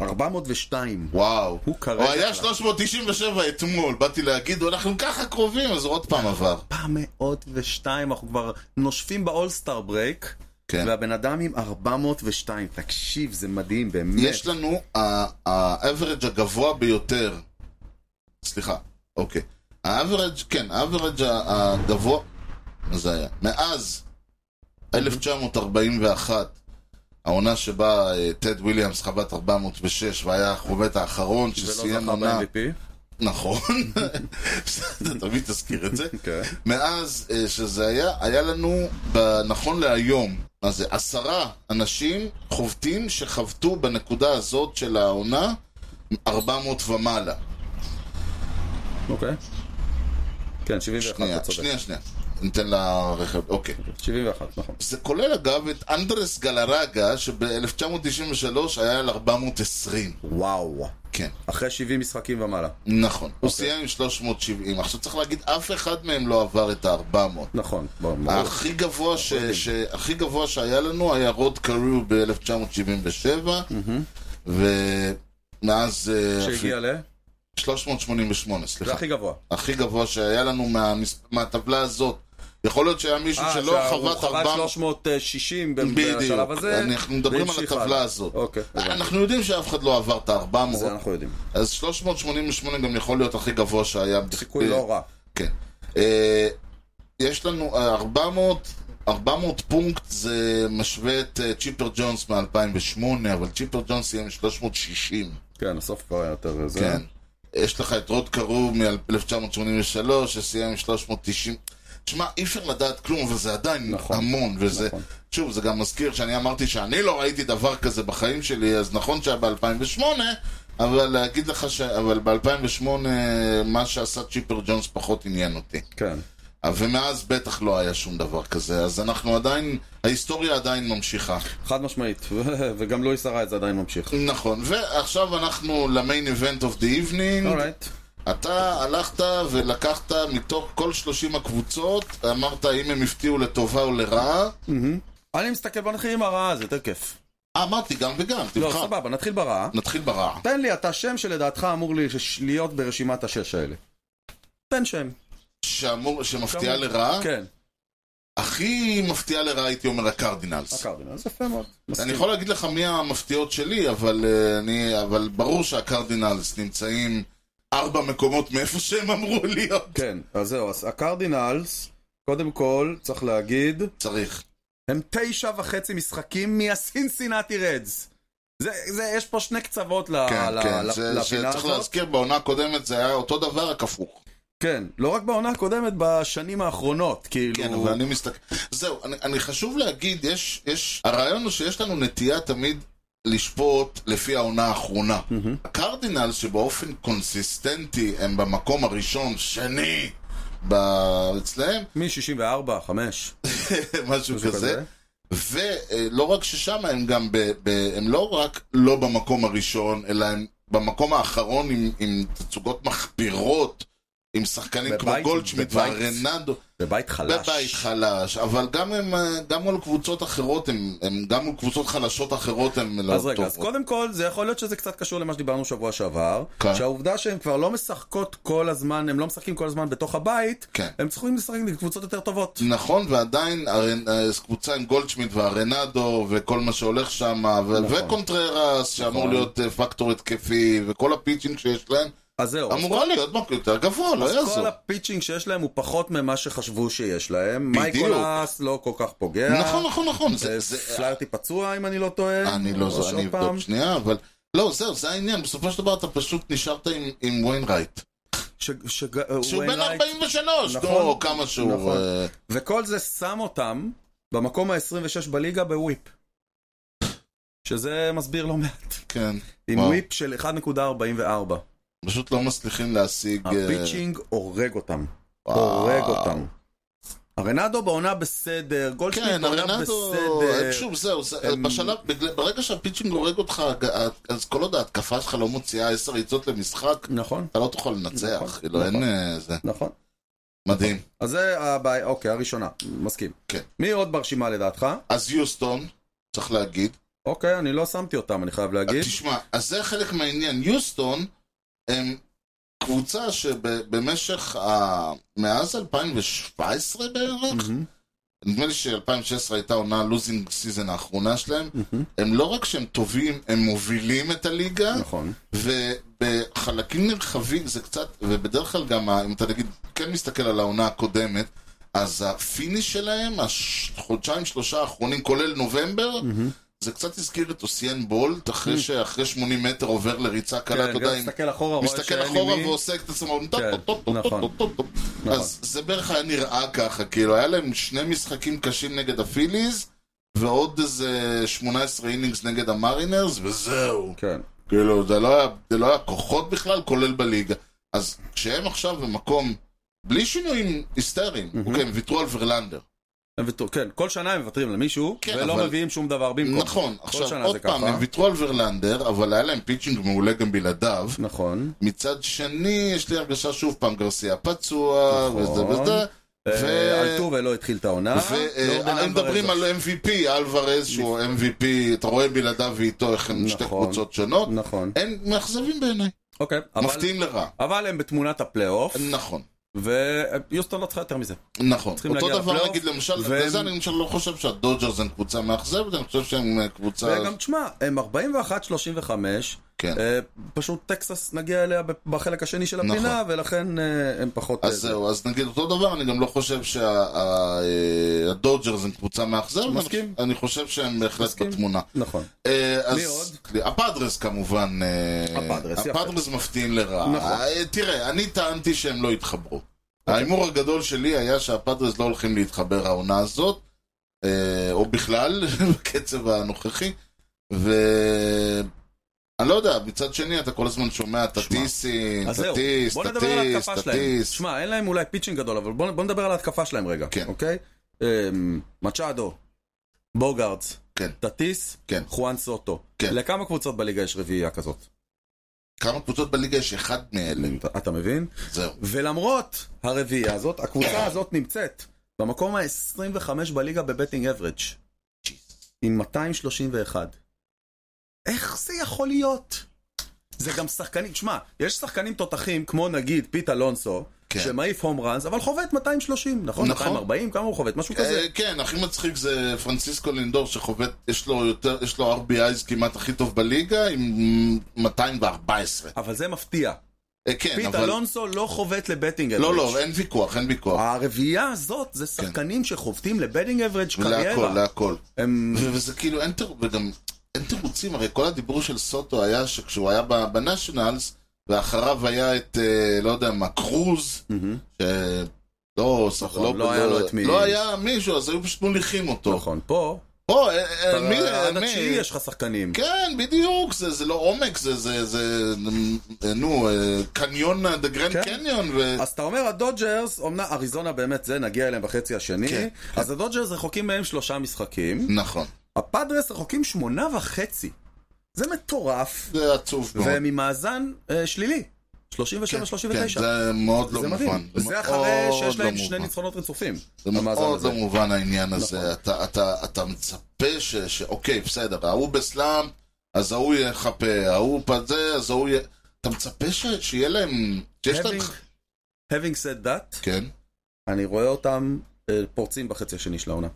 S2: 402.
S1: וואו.
S2: הוא כרגע-
S1: הוא היה 397 אתמול, באתי להגיד, אנחנו ככה קרובים, אז הוא עוד פעם עבר.
S2: 402, אנחנו כבר נושפים באולסטאר ברייק,
S1: כן.
S2: והבן אדם עם 402, תקשיב, זה מדהים, באמת.
S1: יש לנו האברג' הגבוה ביותר. סליחה, אוקיי. האברג', כן, האברג' הגבוה, מה זה היה? מאז 1941, העונה שבה אה, טד וויליאמס חבט 406 והיה החובט האחרון
S2: ולא
S1: שסיים
S2: לא זכה
S1: עונה...
S2: ב-MVP.
S1: נכון, אתה תמיד תזכיר את זה.
S2: כן.
S1: מאז אה, שזה היה, היה לנו, ב- נכון להיום, מה זה, עשרה אנשים חובטים שחבטו בנקודה הזאת של העונה 400 ומעלה.
S2: אוקיי. כן, 71,
S1: שנייה,
S2: אתה צודק.
S1: שנייה, שנייה. ניתן לה רכב, אוקיי.
S2: 71, נכון.
S1: זה כולל אגב את אנדרס גלרגה, שב-1993 היה על 420.
S2: וואו.
S1: כן,
S2: אחרי 70 משחקים ומעלה.
S1: נכון. הוא
S2: אוקיי.
S1: סיים עם 370. עכשיו צריך להגיד, אף אחד מהם לא עבר את ה-400.
S2: נכון,
S1: אה,
S2: ברור.
S1: הכי גבוה, ש... ש... הכי גבוה שהיה לנו היה רוד קריו ב-1977, ומאז... אה,
S2: שהגיע ל...
S1: 388, סליחה.
S2: זה הכי גבוה.
S1: הכי גבוה שהיה לנו מהמס... מהטבלה הזאת. יכול להיות שהיה מישהו שלא
S2: אה, הוא
S1: חבט 400...
S2: 360 ב-
S1: בדיוק.
S2: בשלב הזה.
S1: אנחנו מדברים על
S2: והמשיך
S1: הטבלה
S2: הלאה.
S1: הזאת. אה,
S2: אוקיי, הבנתי.
S1: אנחנו יודעים שאף אחד לא עבר את
S2: זה
S1: ה-400,
S2: אנחנו יודעים.
S1: אז 388 גם יכול להיות הכי גבוה שהיה.
S2: סיכוי לא רע.
S1: כן. אה, יש לנו אה, 400, 400 פונקט זה משווה את אה, צ'יפר ג'ונס מ-2008, אבל צ'יפר ג'ונס יהיה מ-360,
S2: כן, הסוף כבר היה יותר... זה.
S1: כן. יש לך את רוד קרוב מ-1983, שסיים עם 390. תשמע, אי אפשר לדעת כלום, אבל זה עדיין
S2: נכון,
S1: המון, וזה...
S2: נכון.
S1: שוב, זה גם מזכיר שאני אמרתי שאני לא ראיתי דבר כזה בחיים שלי, אז נכון שהיה ב-2008, אבל להגיד לך ש... אבל ב-2008, מה שעשה צ'יפר ג'ונס פחות עניין אותי.
S2: כן.
S1: ומאז בטח לא היה שום דבר כזה, אז אנחנו עדיין, ההיסטוריה עדיין ממשיכה.
S2: חד משמעית. וגם לואיס הרייט זה עדיין ממשיך.
S1: נכון, ועכשיו אנחנו למיין איבנט אוף דה איבנינג.
S2: אורייט.
S1: אתה הלכת ולקחת מתוך כל 30 הקבוצות, אמרת אם הם הפתיעו לטובה או לרעה.
S2: Mm. אני מסתכל, בוא נתחיל עם הרעה, זה יותר כיף.
S1: אה, אמרתי גם וגם,
S2: לא,
S1: תבחר.
S2: סבבה, נתחיל ברעה.
S1: נתחיל ברעה.
S2: תן לי אתה שם שלדעתך אמור לי- ש- להיות ברשימת השש האלה. תן שם.
S1: שאמור, שמפתיעה
S2: כאמור.
S1: לרעה,
S2: כן.
S1: הכי מפתיעה לרעה הייתי אומר הקרדינלס.
S2: הקרדינלס, יפה מאוד.
S1: אני
S2: מסכים.
S1: יכול להגיד לך מי המפתיעות שלי, אבל, אה, אני, אבל ברור שהקרדינלס נמצאים ארבע מקומות מאיפה שהם אמרו להיות.
S2: כן, אז זהו, אז הקרדינלס, קודם כל, צריך להגיד,
S1: צריך.
S2: הם תשע וחצי משחקים מהסינסינטי רדס. זה, זה, יש פה שני קצוות ל,
S1: כן,
S2: ל,
S1: כן,
S2: אה, ל,
S1: ש-
S2: לפינה
S1: שצריך
S2: הזאת.
S1: להזכיר, בעונה הקודמת זה היה אותו דבר, רק הפוך.
S2: כן, לא רק בעונה הקודמת, בשנים האחרונות, כאילו...
S1: כן, אבל אני מסתכל... זהו, אני, אני חשוב להגיד, יש, יש... הרעיון הוא שיש לנו נטייה תמיד לשפוט לפי העונה האחרונה. הקרדינל שבאופן קונסיסטנטי הם במקום הראשון, שני, ב... אצלהם,
S2: מ-64, 5.
S1: משהו
S2: משהו כזה.
S1: כזה. ולא רק ששם הם גם, ב, ב, הם לא רק לא במקום הראשון, אלא הם במקום האחרון עם, עם תצוגות מחפירות, עם שחקנים כמו
S2: בבית-
S1: גולדשמיט
S2: בבית.
S1: והרננדו.
S2: בבית חלש.
S1: בבית חלש, אבל גם הם, אה, גם מול קבוצות אחרות, הם, הם גם מול קבוצות חלשות אחרות הם לא
S2: אז רגע,
S1: טובות.
S2: אז קודם כל, זה יכול להיות שזה קצת קשור למה שדיברנו שבוע שעבר,
S1: כן.
S2: שהעובדה שהם כבר לא משחקות כל הזמן, הם לא משחקים כל הזמן בתוך הבית,
S1: כן.
S2: הם צריכים לשחק עם קבוצות יותר טובות.
S1: נכון, ועדיין הרנ- אה, קבוצה עם גולדשמיט והרנדו וכל מה שהולך שם, ו- וקונטררס שאמור
S2: נכון.
S1: להיות אה, פקטור התקפי, וכל הפיצ'ינג שיש להם,
S2: אז זהו, אז
S1: אמורה להיות מקום יותר גבוה, לא
S2: אז כל
S1: יעזור.
S2: הפיצ'ינג שיש להם הוא פחות ממה שחשבו שיש להם. מייקולס לא כל כך פוגע.
S1: נכון, נכון, נכון. זה-
S2: אה,
S1: זה-
S2: פלארטי פצוע, אם אני לא טועה.
S1: אני לא
S2: או
S1: זו,
S2: שעוד
S1: אני
S2: פעם.
S1: אבדוק שנייה, אבל... לא, זהו, זה העניין, בסופו של דבר אתה פשוט נשארת עם- עם ווינרייט.
S2: ש- ש- אה,
S1: שהוא בן
S2: ווינרייט-
S1: 43,
S2: נכון.
S1: או כמה שהוא...
S2: נכון.
S1: אה,
S2: וכל זה שם אותם במקום ה-26 בליגה בוויפ. שזה מסביר לא מעט.
S1: כן.
S2: עם
S1: וואו.
S2: וויפ של 1.44.
S1: פשוט לא מצליחים להשיג... אה,
S2: הפיצ'ינג הורג אותם.
S1: וואו.
S2: הורג אותם. הרנדו בעונה בסדר, גולדשמיט
S1: כן,
S2: בעונה
S1: הרנדו...
S2: בסדר.
S1: שוב, זהו, זה-
S2: הם-
S1: בשלב, בגלל- ברגע שהפיצ'ינג הורג אותך, אז כל עוד ההתקפה שלך לא מוציאה עשר ריצות למשחק,
S2: נכון,
S1: אתה לא תוכל לנצח,
S2: נכון,
S1: כאילו, אין
S2: נכון.
S1: אה, זה...
S2: נכון.
S1: מדהים.
S2: אז זה הבעיה, אוקיי, הראשונה, מסכים.
S1: כן.
S2: מי עוד ברשימה לדעתך?
S1: אז יוסטון, צריך להגיד,
S2: אוקיי, אני לא שמתי אותם, אני חייב להגיד.
S1: תשמע, אז זה חלק מהעניין. יוסטון הם קבוצה שבמשך, ה... מאז 2017 בערך,
S2: מהמם,
S1: נדמה לי ש-2016 הייתה עונה הלוזינג סיזן האחרונה שלהם,
S2: מהמם,
S1: הם לא רק שהם טובים, הם מובילים את הליגה,
S2: נכון.
S1: ובחלקים נרחבים זה קצת, ובדרך כלל גם, ה- אם אתה נגיד, כן מסתכל על העונה הקודמת, אז הפיניש שלהם, החודשיים שלושה האחרונים, כולל נובמבר,
S2: מהמם.
S1: זה קצת הזכיר את אוסיאן בולט, אחרי שאחרי 80 מטר עובר לריצה קלה,
S2: כן,
S1: אתה
S2: גם
S1: יודע, אם...
S2: מסתכל אחורה, רואה
S1: מסתכל
S2: שאין
S1: אחורה
S2: לי מי.
S1: ועושה את עצמו,
S2: כן, נכון.
S1: אז זה בערך היה נראה ככה, כאילו היה להם שני משחקים קשים נגד הפיליז, ועוד איזה 18 אינינגס נגד המרינרס, וזהו.
S2: כן.
S1: כאילו, זה לא היה, זה לא היה כוחות בכלל, כולל בליגה. אז כשהם עכשיו במקום, בלי שינויים היסטריים,
S2: Mhm.
S1: אוקיי, הם ויתרו על ורלנדר.
S2: הם ויתרו- כן, כל שנה הם מוותרים למישהו,
S1: כן,
S2: ולא
S1: אבל-
S2: מביאים שום דבר במקום.
S1: נכון,
S2: שנה
S1: עכשיו
S2: זה
S1: עוד פעם,
S2: ככה.
S1: הם ויתרו על ורלנדר, אבל היה להם פיצ'ינג מעולה גם בלעדיו.
S2: נכון.
S1: מצד שני, יש לי הרגשה שוב פעם, גרסיה פצוע,
S2: נכון.
S1: וזה וזה, ו-
S2: אה, אלטובה לא התחיל את העונה. לא לורדן
S1: והם מדברים
S2: אלוורז.
S1: על MVP, אלוורז שהוא MVP, אתה רואה בלעדיו ואיתו איך הם שתי
S2: נכון.
S1: קבוצות שונות,
S2: נכון.
S1: הם מאכזבים בעיניי,
S2: אוקיי, אבל-
S1: מפתיעים לרע.
S2: אבל הם בתמונת הפלייאוף,
S1: נכון.
S2: ויוסטון לא צריכה יותר מזה.
S1: נכון,
S2: צריכים
S1: אותו
S2: להגיע
S1: דבר
S2: לפלייאוף,
S1: נגיד למשל,
S2: והם-
S1: לזה אני למשל לא חושב שהדודג'רס הם קבוצה מאכזבת, אני חושב שהם אה, קבוצה...
S2: וגם, תשמע, הם 41-35,
S1: כן.
S2: אה, פשוט טקסס נגיע אליה בחלק השני של הפינה, ולכן אה, הם פחות...
S1: נכון. אז
S2: אה,
S1: זהו, אז נגיד אותו דבר, אני גם לא חושב שהדודג'רס הם קבוצה מאכזבת,
S2: מסכים.
S1: אני- אני חושב שהם בהחלט
S2: מסכים.
S1: בתמונה.
S2: נכון.
S1: אה, אז-
S2: מי עוד?
S1: הפאדרס כמובן. אה,
S2: הפאדרס, יפה.
S1: הפאדרס מפתיעים לרעה.
S2: נכון.
S1: אה, תראה, אני טענתי שהם לא התחברו. ההימור הגדול שלי היה שהפאדרס לא הולכים להתחבר העונה הזאת, אה, או בכלל, בקצב הנוכחי, ו... אני לא יודע, מצד שני אתה כל הזמן שומע טטיסים,
S2: אז זהו,
S1: טטיס,
S2: בוא נדבר על
S1: טטיס,
S2: ההתקפה שלהם.
S1: טטיס.
S2: שמע, אין להם אולי פיצ'ינג גדול, אבל בוא בוא נדבר על ההתקפה שלהם רגע,
S1: כן.
S2: אוקיי? אמ, מצ'אדו, בוגארדס,
S1: כן.
S2: טטיס,
S1: כן.
S2: חואן סוטו.
S1: כן.
S2: לכמה קבוצות בליגה יש רביעייה כזאת?
S1: כמה קבוצות בליגה יש אחד מאלה,
S2: אתה- אתה מבין?
S1: זהו.
S2: ולמרות הרביעייה הזאת, הקבוצה הזאת נמצאת במקום ה-25 בליגה בבטינג אברג' עם 231. איך זה יכול להיות? זה גם שחקנים, תשמע, יש שחקנים תותחים כמו נגיד פיט אלונסו,
S1: כן.
S2: שמעיף הום ראנס, אבל חובט 230, נכון?
S1: נכון.
S2: 240, כמה הוא חובט? משהו כזה.
S1: אה, כן, הכי מצחיק זה פרנסיסקו לינדור שחובט, יש לו יותר, יש לו RBI's כמעט הכי טוב בליגה עם 214.
S2: אבל זה מפתיע.
S1: אה, כן,
S2: פיט
S1: אבל...
S2: אלונסו לא חובט לבטינג אברג'.
S1: לא, אה. לא, אין ויכוח, אין ויכוח.
S2: אה, הרביעייה הזאת זה שחקנים שחובטים לבטינג אברג'
S1: להכל,
S2: קריירה.
S1: להכל.
S2: הם
S1: ו- וזה כאילו, אין תיר... וגם אין תירוצים, הרי כל הדיבור של סוטו היה שכשהוא היה ב- בנשיונלס, ואחריו היה את, אה, לא יודע מה, קרוז,
S2: מהמם.
S1: שלא,
S2: נכון, לא היה לו את מי-
S1: לא היה מישהו, אז היו פשוט מוליכים אותו.
S2: נכון, פה
S1: פה, אין- אין מי,
S2: אה, עד
S1: אין
S2: התשיעי
S1: מי.
S2: יש לך שחקנים.
S1: כן, בדיוק, זה, זה לא עומק, זה, זה, זה, אה, נו, אה, קניון, דה גרנד
S2: כן.
S1: קניון, ו...
S2: אז אתה אומר הדודג'רס, אמנם אריזונה באמת זה, נגיע אליהם בחצי השני,
S1: כן.
S2: אז הדודג'רס רחוקים מהם שלושה משחקים,
S1: נכון,
S2: הפאדרס רחוקים שמונה וחצי. זה מטורף,
S1: זה עצוב מאוד.
S2: וממאזן אה, שלילי. 37-39.
S1: נכון. כן, זה מאוד לא
S2: זה
S1: מובן.
S2: מדהים. זה אחרי
S1: מאוד
S2: שיש
S1: לא
S2: להם שני
S1: מובן.
S2: ניצחונות רצופים.
S1: זה
S2: המאזן
S1: מאוד
S2: הזה.
S1: לא מובן העניין
S2: נכון.
S1: הזה. אתה, אתה, אתה מצפה ש, ש... אוקיי, בסדר, ההוא בסלאם, אז ההוא יחפה, ההוא פזה, אז ההוא י... אתה מצפה ש... שיהיה להם... שיש להם...
S2: Having- Having said that,
S1: כן,
S2: אני רואה אותם אה, פורצים בחצי השני של העונה.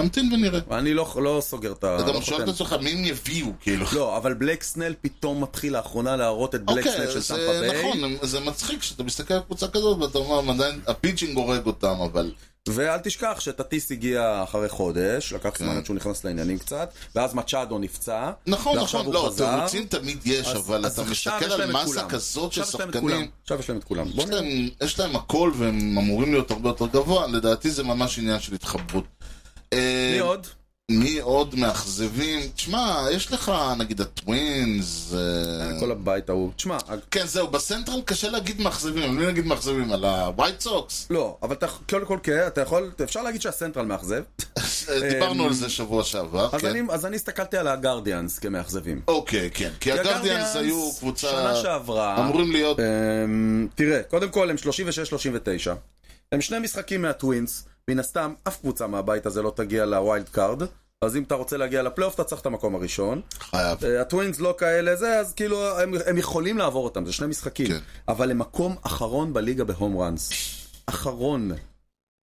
S1: נמתין ונראה.
S2: אני לא לא סוגר את ה...
S1: אתה
S2: לא
S1: גם שואל את
S2: חותם.
S1: עצמך מי הם יביאו, כאילו.
S2: לא, אבל בלק סנל פתאום מתחיל לאחרונה להראות את בלק סנל
S1: אוקיי,
S2: של
S1: זה
S2: טמפה ביי.
S1: נכון, זה מצחיק שאתה מסתכל על קבוצה כזאת ואתה אומר, "הם עדיין הפיצ'ינג הורג אותם, אבל...
S2: ואל תשכח שטטיס הגיע אחרי חודש, לקח
S1: כן.
S2: זמן עד שהוא נכנס לעניינים קצת, ואז מצ'אדו נפצע.
S1: נכון,
S2: ועכשיו
S1: נכון,
S2: הוא
S1: לא,
S2: חזר.
S1: תירוצים תמיד יש,
S2: אז-
S1: אבל
S2: אז
S1: אתה
S2: עכשיו
S1: מסתכל
S2: יש
S1: על
S2: להם את
S1: מסה
S2: כולם.
S1: כזאת של
S2: עכשיו יש להם את כולם,
S1: שחקנים,
S2: עכשיו יש להם את כולם. בוא
S1: יש
S2: נראה.
S1: להם- יש להם הכל והם אמורים להיות הרבה יותר גבוה, לדעתי זה ממש עניין של התחברות. אה,
S2: מי עוד?
S1: מי עוד מאכזבים? תשמע, יש לך נגיד הטווינס... אה,
S2: כל הבית ההוא. תשמע, ה-
S1: כן, זהו, בסנטרל קשה להגיד מאכזבים, אני לא אגיד מאכזבים על הווייט סוקס.
S2: לא, אבל אתה, קודם כל, כן, אתה יכול, אפשר להגיד שהסנטרל מאכזב.
S1: דיברנו
S2: אה,
S1: על זה שבוע שעבר,
S2: אז
S1: כן.
S2: אני- אז אני הסתכלתי על הגרדיאנס כמאכזבים.
S1: אוקיי, כן, כי הגרדיאנס
S2: הגרדיאנס
S1: היו קבוצה...
S2: שנה שעברה,
S1: אמורים להיות...
S2: אמ, תראה, קודם כל הם 36-39. הם שני משחקים מהטווינס, מן הסתם אף קבוצה מהבית הזה לא תגיע לווילד קארד, אז אם אתה רוצה להגיע לפלייאוף אתה צריך את המקום הראשון.
S1: חייב.
S2: אה, הטווינס לא כאלה זה, אז כאילו הם, הם יכולים לעבור אותם, זה שני משחקים.
S1: כן.
S2: אבל הם מקום אחרון בליגה בהום ראנס. אחרון.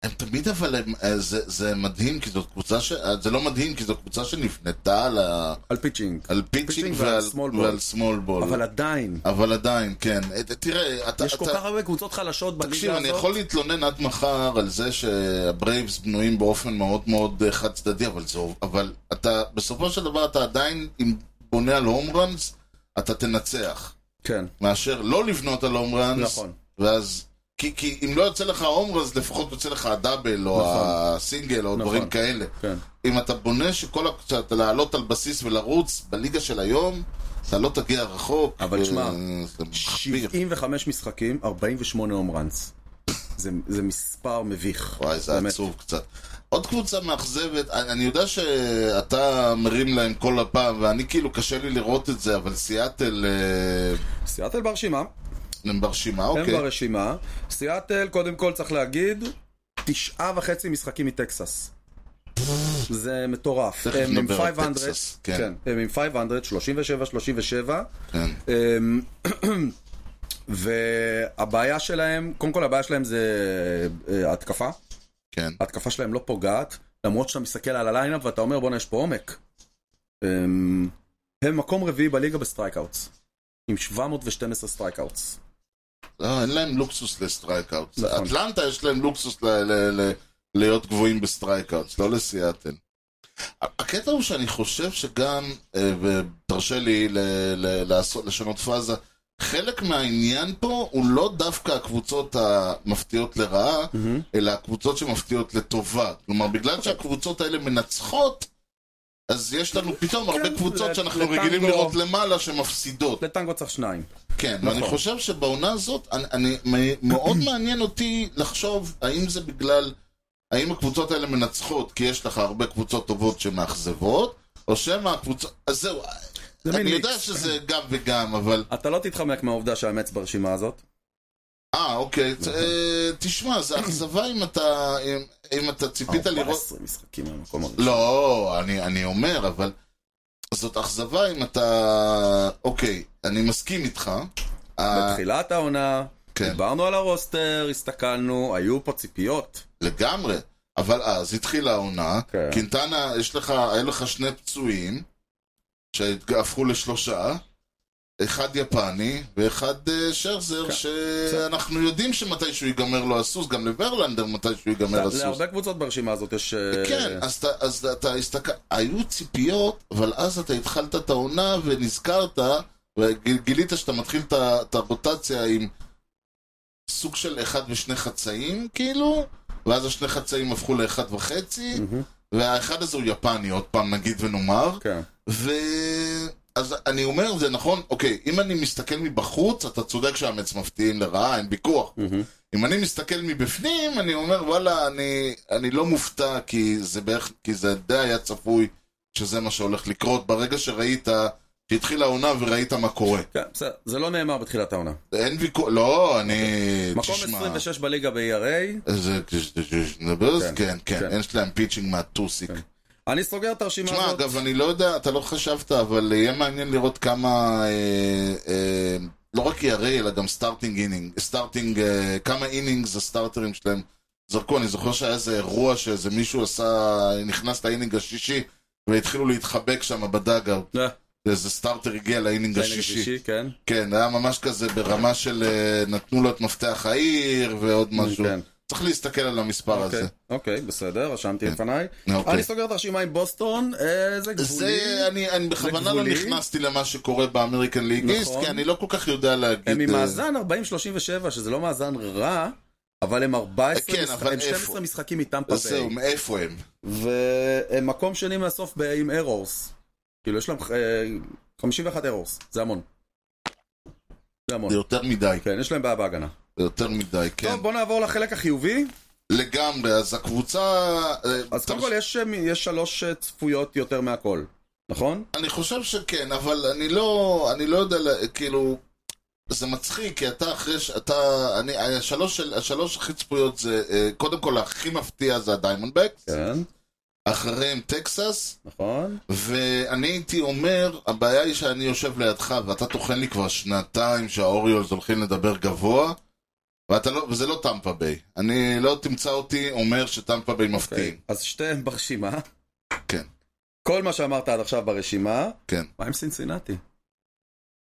S1: הם תמיד אבל הם... אה, זה זה מדהים, כי זאת קבוצה ש... אה, זה לא מדהים, כי זאת קבוצה שנבנתה על ה...
S2: על פיצ'ינג.
S1: על פיצ'ינג
S2: פיצ'ינג
S1: ועל
S2: ועל small ball.
S1: ועל סמול בול.
S2: אבל עדיין,
S1: אבל עדיין, כן. אה, תראה, אתה...
S2: יש כל
S1: אתה-
S2: כך הרבה קבוצות חלשות בליגה הזאת.
S1: תקשיב, אני יכול להתלונן עד מחר על זה שהברייבס בנויים באופן מאוד מאוד אה, חד צדדי, אבל זה... אבל אתה, בסופו של דבר אתה עדיין, אם בונה על הום ראנס, אתה תנצח.
S2: כן.
S1: מאשר לא לבנות על הום ראנס.
S2: נכון.
S1: ואז... כי, כי אם לא יוצא לך הום ראנס, לפחות יוצא לך הדאבל, או
S2: נכון.
S1: הסינגל, או
S2: נכון.
S1: דברים כאלה.
S2: כן.
S1: אם אתה בונה שכל הקצת לעלות על בסיס ולרוץ בליגה של היום, אתה לא תגיע רחוק.
S2: אבל
S1: ו-
S2: שמע,
S1: זה מחפיר.
S2: 75 משחקים, 48 הום ראנס. זה, זה מספר מביך.
S1: וואי, זה
S2: באמת.
S1: עצוב קצת. עוד קבוצה מאכזבת, אני אני יודע שאתה מרים להם כל הפעם, ואני כאילו קשה לי לראות את זה, אבל סיאטל אה,
S2: סיאטל ברשימה,
S1: הם ברשימה,
S2: הם
S1: אוקיי.
S2: ברשימה. סיאטל, קודם כל צריך להגיד, תשעה וחצי משחקים מטקסס. זה מטורף.
S1: תכף
S2: הם עם
S1: נדבר על
S2: 500,
S1: טקסס, כן.
S2: כן, הם עם 500, 37, 37.
S1: כן.
S2: אמ, והבעיה שלהם, קודם כל הבעיה שלהם זה אה, התקפה.
S1: כן.
S2: ההתקפה שלהם לא פוגעת, למרות שאתה מסתכל על הליינאפ ואתה אומר בואנה יש פה עומק. אמ, הם מקום רביעי בליגה בסטרייקאוטס. עם 712 סטרייקאוטס.
S1: לא, אין להם לוקסוס לסטרייקאוט.
S2: נכון.
S1: אטלנטה יש להם לוקסוס ל- ל- ל- להיות גבוהים בסטרייקאוט, לא לסיאטל. הקטע הוא שאני חושב שגם, אה, ותרשה לי ל- ל- לעשות- לשנות פאזה, חלק מהעניין פה הוא לא דווקא הקבוצות המפתיעות לרעה, אלא הקבוצות שמפתיעות לטובה. כלומר, בגלל
S2: אוקיי.
S1: שהקבוצות האלה מנצחות, אז יש לנו פתאום הרבה
S2: כן,
S1: קבוצות
S2: ל-
S1: שאנחנו
S2: לטנגו.
S1: רגילים לראות למעלה שמפסידות.
S2: לטנגו צריך שניים.
S1: כן,
S2: נכון.
S1: ואני חושב שבעונה הזאת, אני, אני, מ- מאוד מעניין אותי לחשוב האם זה בגלל, האם הקבוצות האלה מנצחות כי יש לך הרבה קבוצות טובות שמאכזבות, או שמא הקבוצות, אז זהו,
S2: זה מין
S1: אני יודע
S2: מיקס. כן.
S1: שזה גם וגם, אבל,
S2: אתה לא תתחמק מהעובדה שהמץ ברשימה הזאת.
S1: אה, אוקיי,
S2: נכון.
S1: ת- אה, תשמע, זה אכזבה אם אתה, אם, אם אתה ציפית לראות,
S2: 14 משחקים מהמקום הראשון.
S1: לא, אני, אני אומר, אבל זאת אכזבה אם אתה, אוקיי, אני מסכים איתך, אה,
S2: בתחילת העונה,
S1: כן.
S2: דיברנו על הרוסטר, הסתכלנו, היו פה ציפיות.
S1: לגמרי. אבל אז התחילה העונה,
S2: כן.
S1: קינטנה, יש לך, היה לך שני פצועים, שהפכו לשלושה, אחד יפני, ואחד אה, שרזר,
S2: כן.
S1: שאנחנו יודעים שמתישהו ייגמר לו הסוס, גם לברלנדר מתישהו ייגמר הסוס.
S2: להרבה קבוצות ברשימה הזאת יש... אה,
S1: כן, אז אתה, אז אתה הסתכל... היו ציפיות, אבל אז אתה התחלת את העונה ונזכרת, וגילית שאתה מתחיל את ה- את הרוטציה עם סוג של אחד ושני חצאים, כאילו, ואז השני חצאים הפכו לאחד וחצי,
S2: מהמם.
S1: והאחד הזה הוא יפני, עוד פעם נגיד ונאמר.
S2: כן.
S1: ו... אז אני אומר, זה נכון, אוקיי, אם אני מסתכל מבחוץ, אתה צודק שהמץ מפתיעים לרעה, אין ויכוח. אם אני מסתכל מבפנים, אני אומר, וואלה, אני, אני לא מופתע, כי זה בערך, כי זה די היה צפוי שזה מה שהולך לקרות. ברגע שראית, שהתחילה העונה וראית מה קורה.
S2: כן, בסדר. זה לא נאמר בתחילת העונה.
S1: אין ויכוח, לא, אני...
S2: מקום
S1: תשמע,
S2: 26 בליגה ב-ERA.
S1: זה- נדבר על זה?
S2: כן,
S1: כן, כן,
S2: כן.
S1: אין שלהם פיצ'ינג מהטוסיק.
S2: אני סוגר את הרשימה
S1: תשמע,
S2: הזאת.
S1: אגב, אני לא יודע, אתה לא חשבת, אבל יהיה מעניין לראות כמה... אה, אה, לא רק ירי, אלא גם סטארטינג אינינג. סטארטינג, אה, כמה אינינגס הסטארטרים שלהם זרקו. אני זוכר שהיה איזה אירוע שאיזה מישהו עשה, נכנס לאינינג השישי, והתחילו להתחבק שם בדאגר.
S2: אה,
S1: איזה סטארטר הגיע לאינינג
S2: זה נגד
S1: השישי.
S2: שישי, כן.
S1: כן, היה ממש כזה ברמה של אה, נתנו לו את מפתח העיר ועוד משהו.
S2: כן.
S1: צריך להסתכל על המספר
S2: אוקיי,
S1: הזה.
S2: אוקיי, בסדר, רשמתי לפניי.
S1: אה, אוקיי.
S2: אני סוגר את הרשימה עם בוסטון, אה, זה גבולי.
S1: זה, אני, אני בכוונה לא
S2: גבולי.
S1: נכנסתי למה שקורה באמריקן ליג
S2: נכון.
S1: איסט, כי אני לא כל כך יודע להגיד...
S2: הם עם
S1: אה,
S2: מאזן 40-37, שזה לא מאזן רע, אבל הם 14
S1: כן,
S2: משחק-
S1: אבל
S2: הם
S1: איפה?
S2: 12 משחקים איתם
S1: אז זהו,
S2: פאפי.
S1: מאיפה הם?
S2: נכון. והם מקום שני מהסוף ב- עם ארורס. כאילו, יש להם אה, 51 ארורס, זה המון. זה המון.
S1: זה יותר מדי,
S2: כן, יש להם בעיה בהגנה.
S1: זה יותר מדי, כן.
S2: טוב, בוא נעבור לחלק החיובי.
S1: לגמרי, אז הקבוצה... אה,
S2: אז קודם
S1: תרש-
S2: כל, יש, אה, יש שלוש אה, צפויות יותר מהכל, נכון?
S1: אני חושב שכן, אבל אני לא, אני לא יודע, ל- כאילו, זה מצחיק, כי אתה אחרי ש... אתה... אני, השלוש, של- השלוש הכי צפויות זה, אה, קודם כל, הכי מפתיע זה הדיימונדבקס,
S2: כן,
S1: אחריהם טקסס,
S2: נכון.
S1: ואני הייתי אומר, הבעיה היא שאני יושב לידך, ואתה טוחן לי כבר שנתיים שהאוריולס הולכים לדבר גבוה, ואתה לא, וזה לא טמפה ביי. אני לא תמצא אותי אומר שטמפה ביי מפתיעים.
S2: אוקיי, אז שתיהם ברשימה.
S1: כן.
S2: כל מה שאמרת עד עכשיו ברשימה.
S1: כן.
S2: מה עם סינצינטי?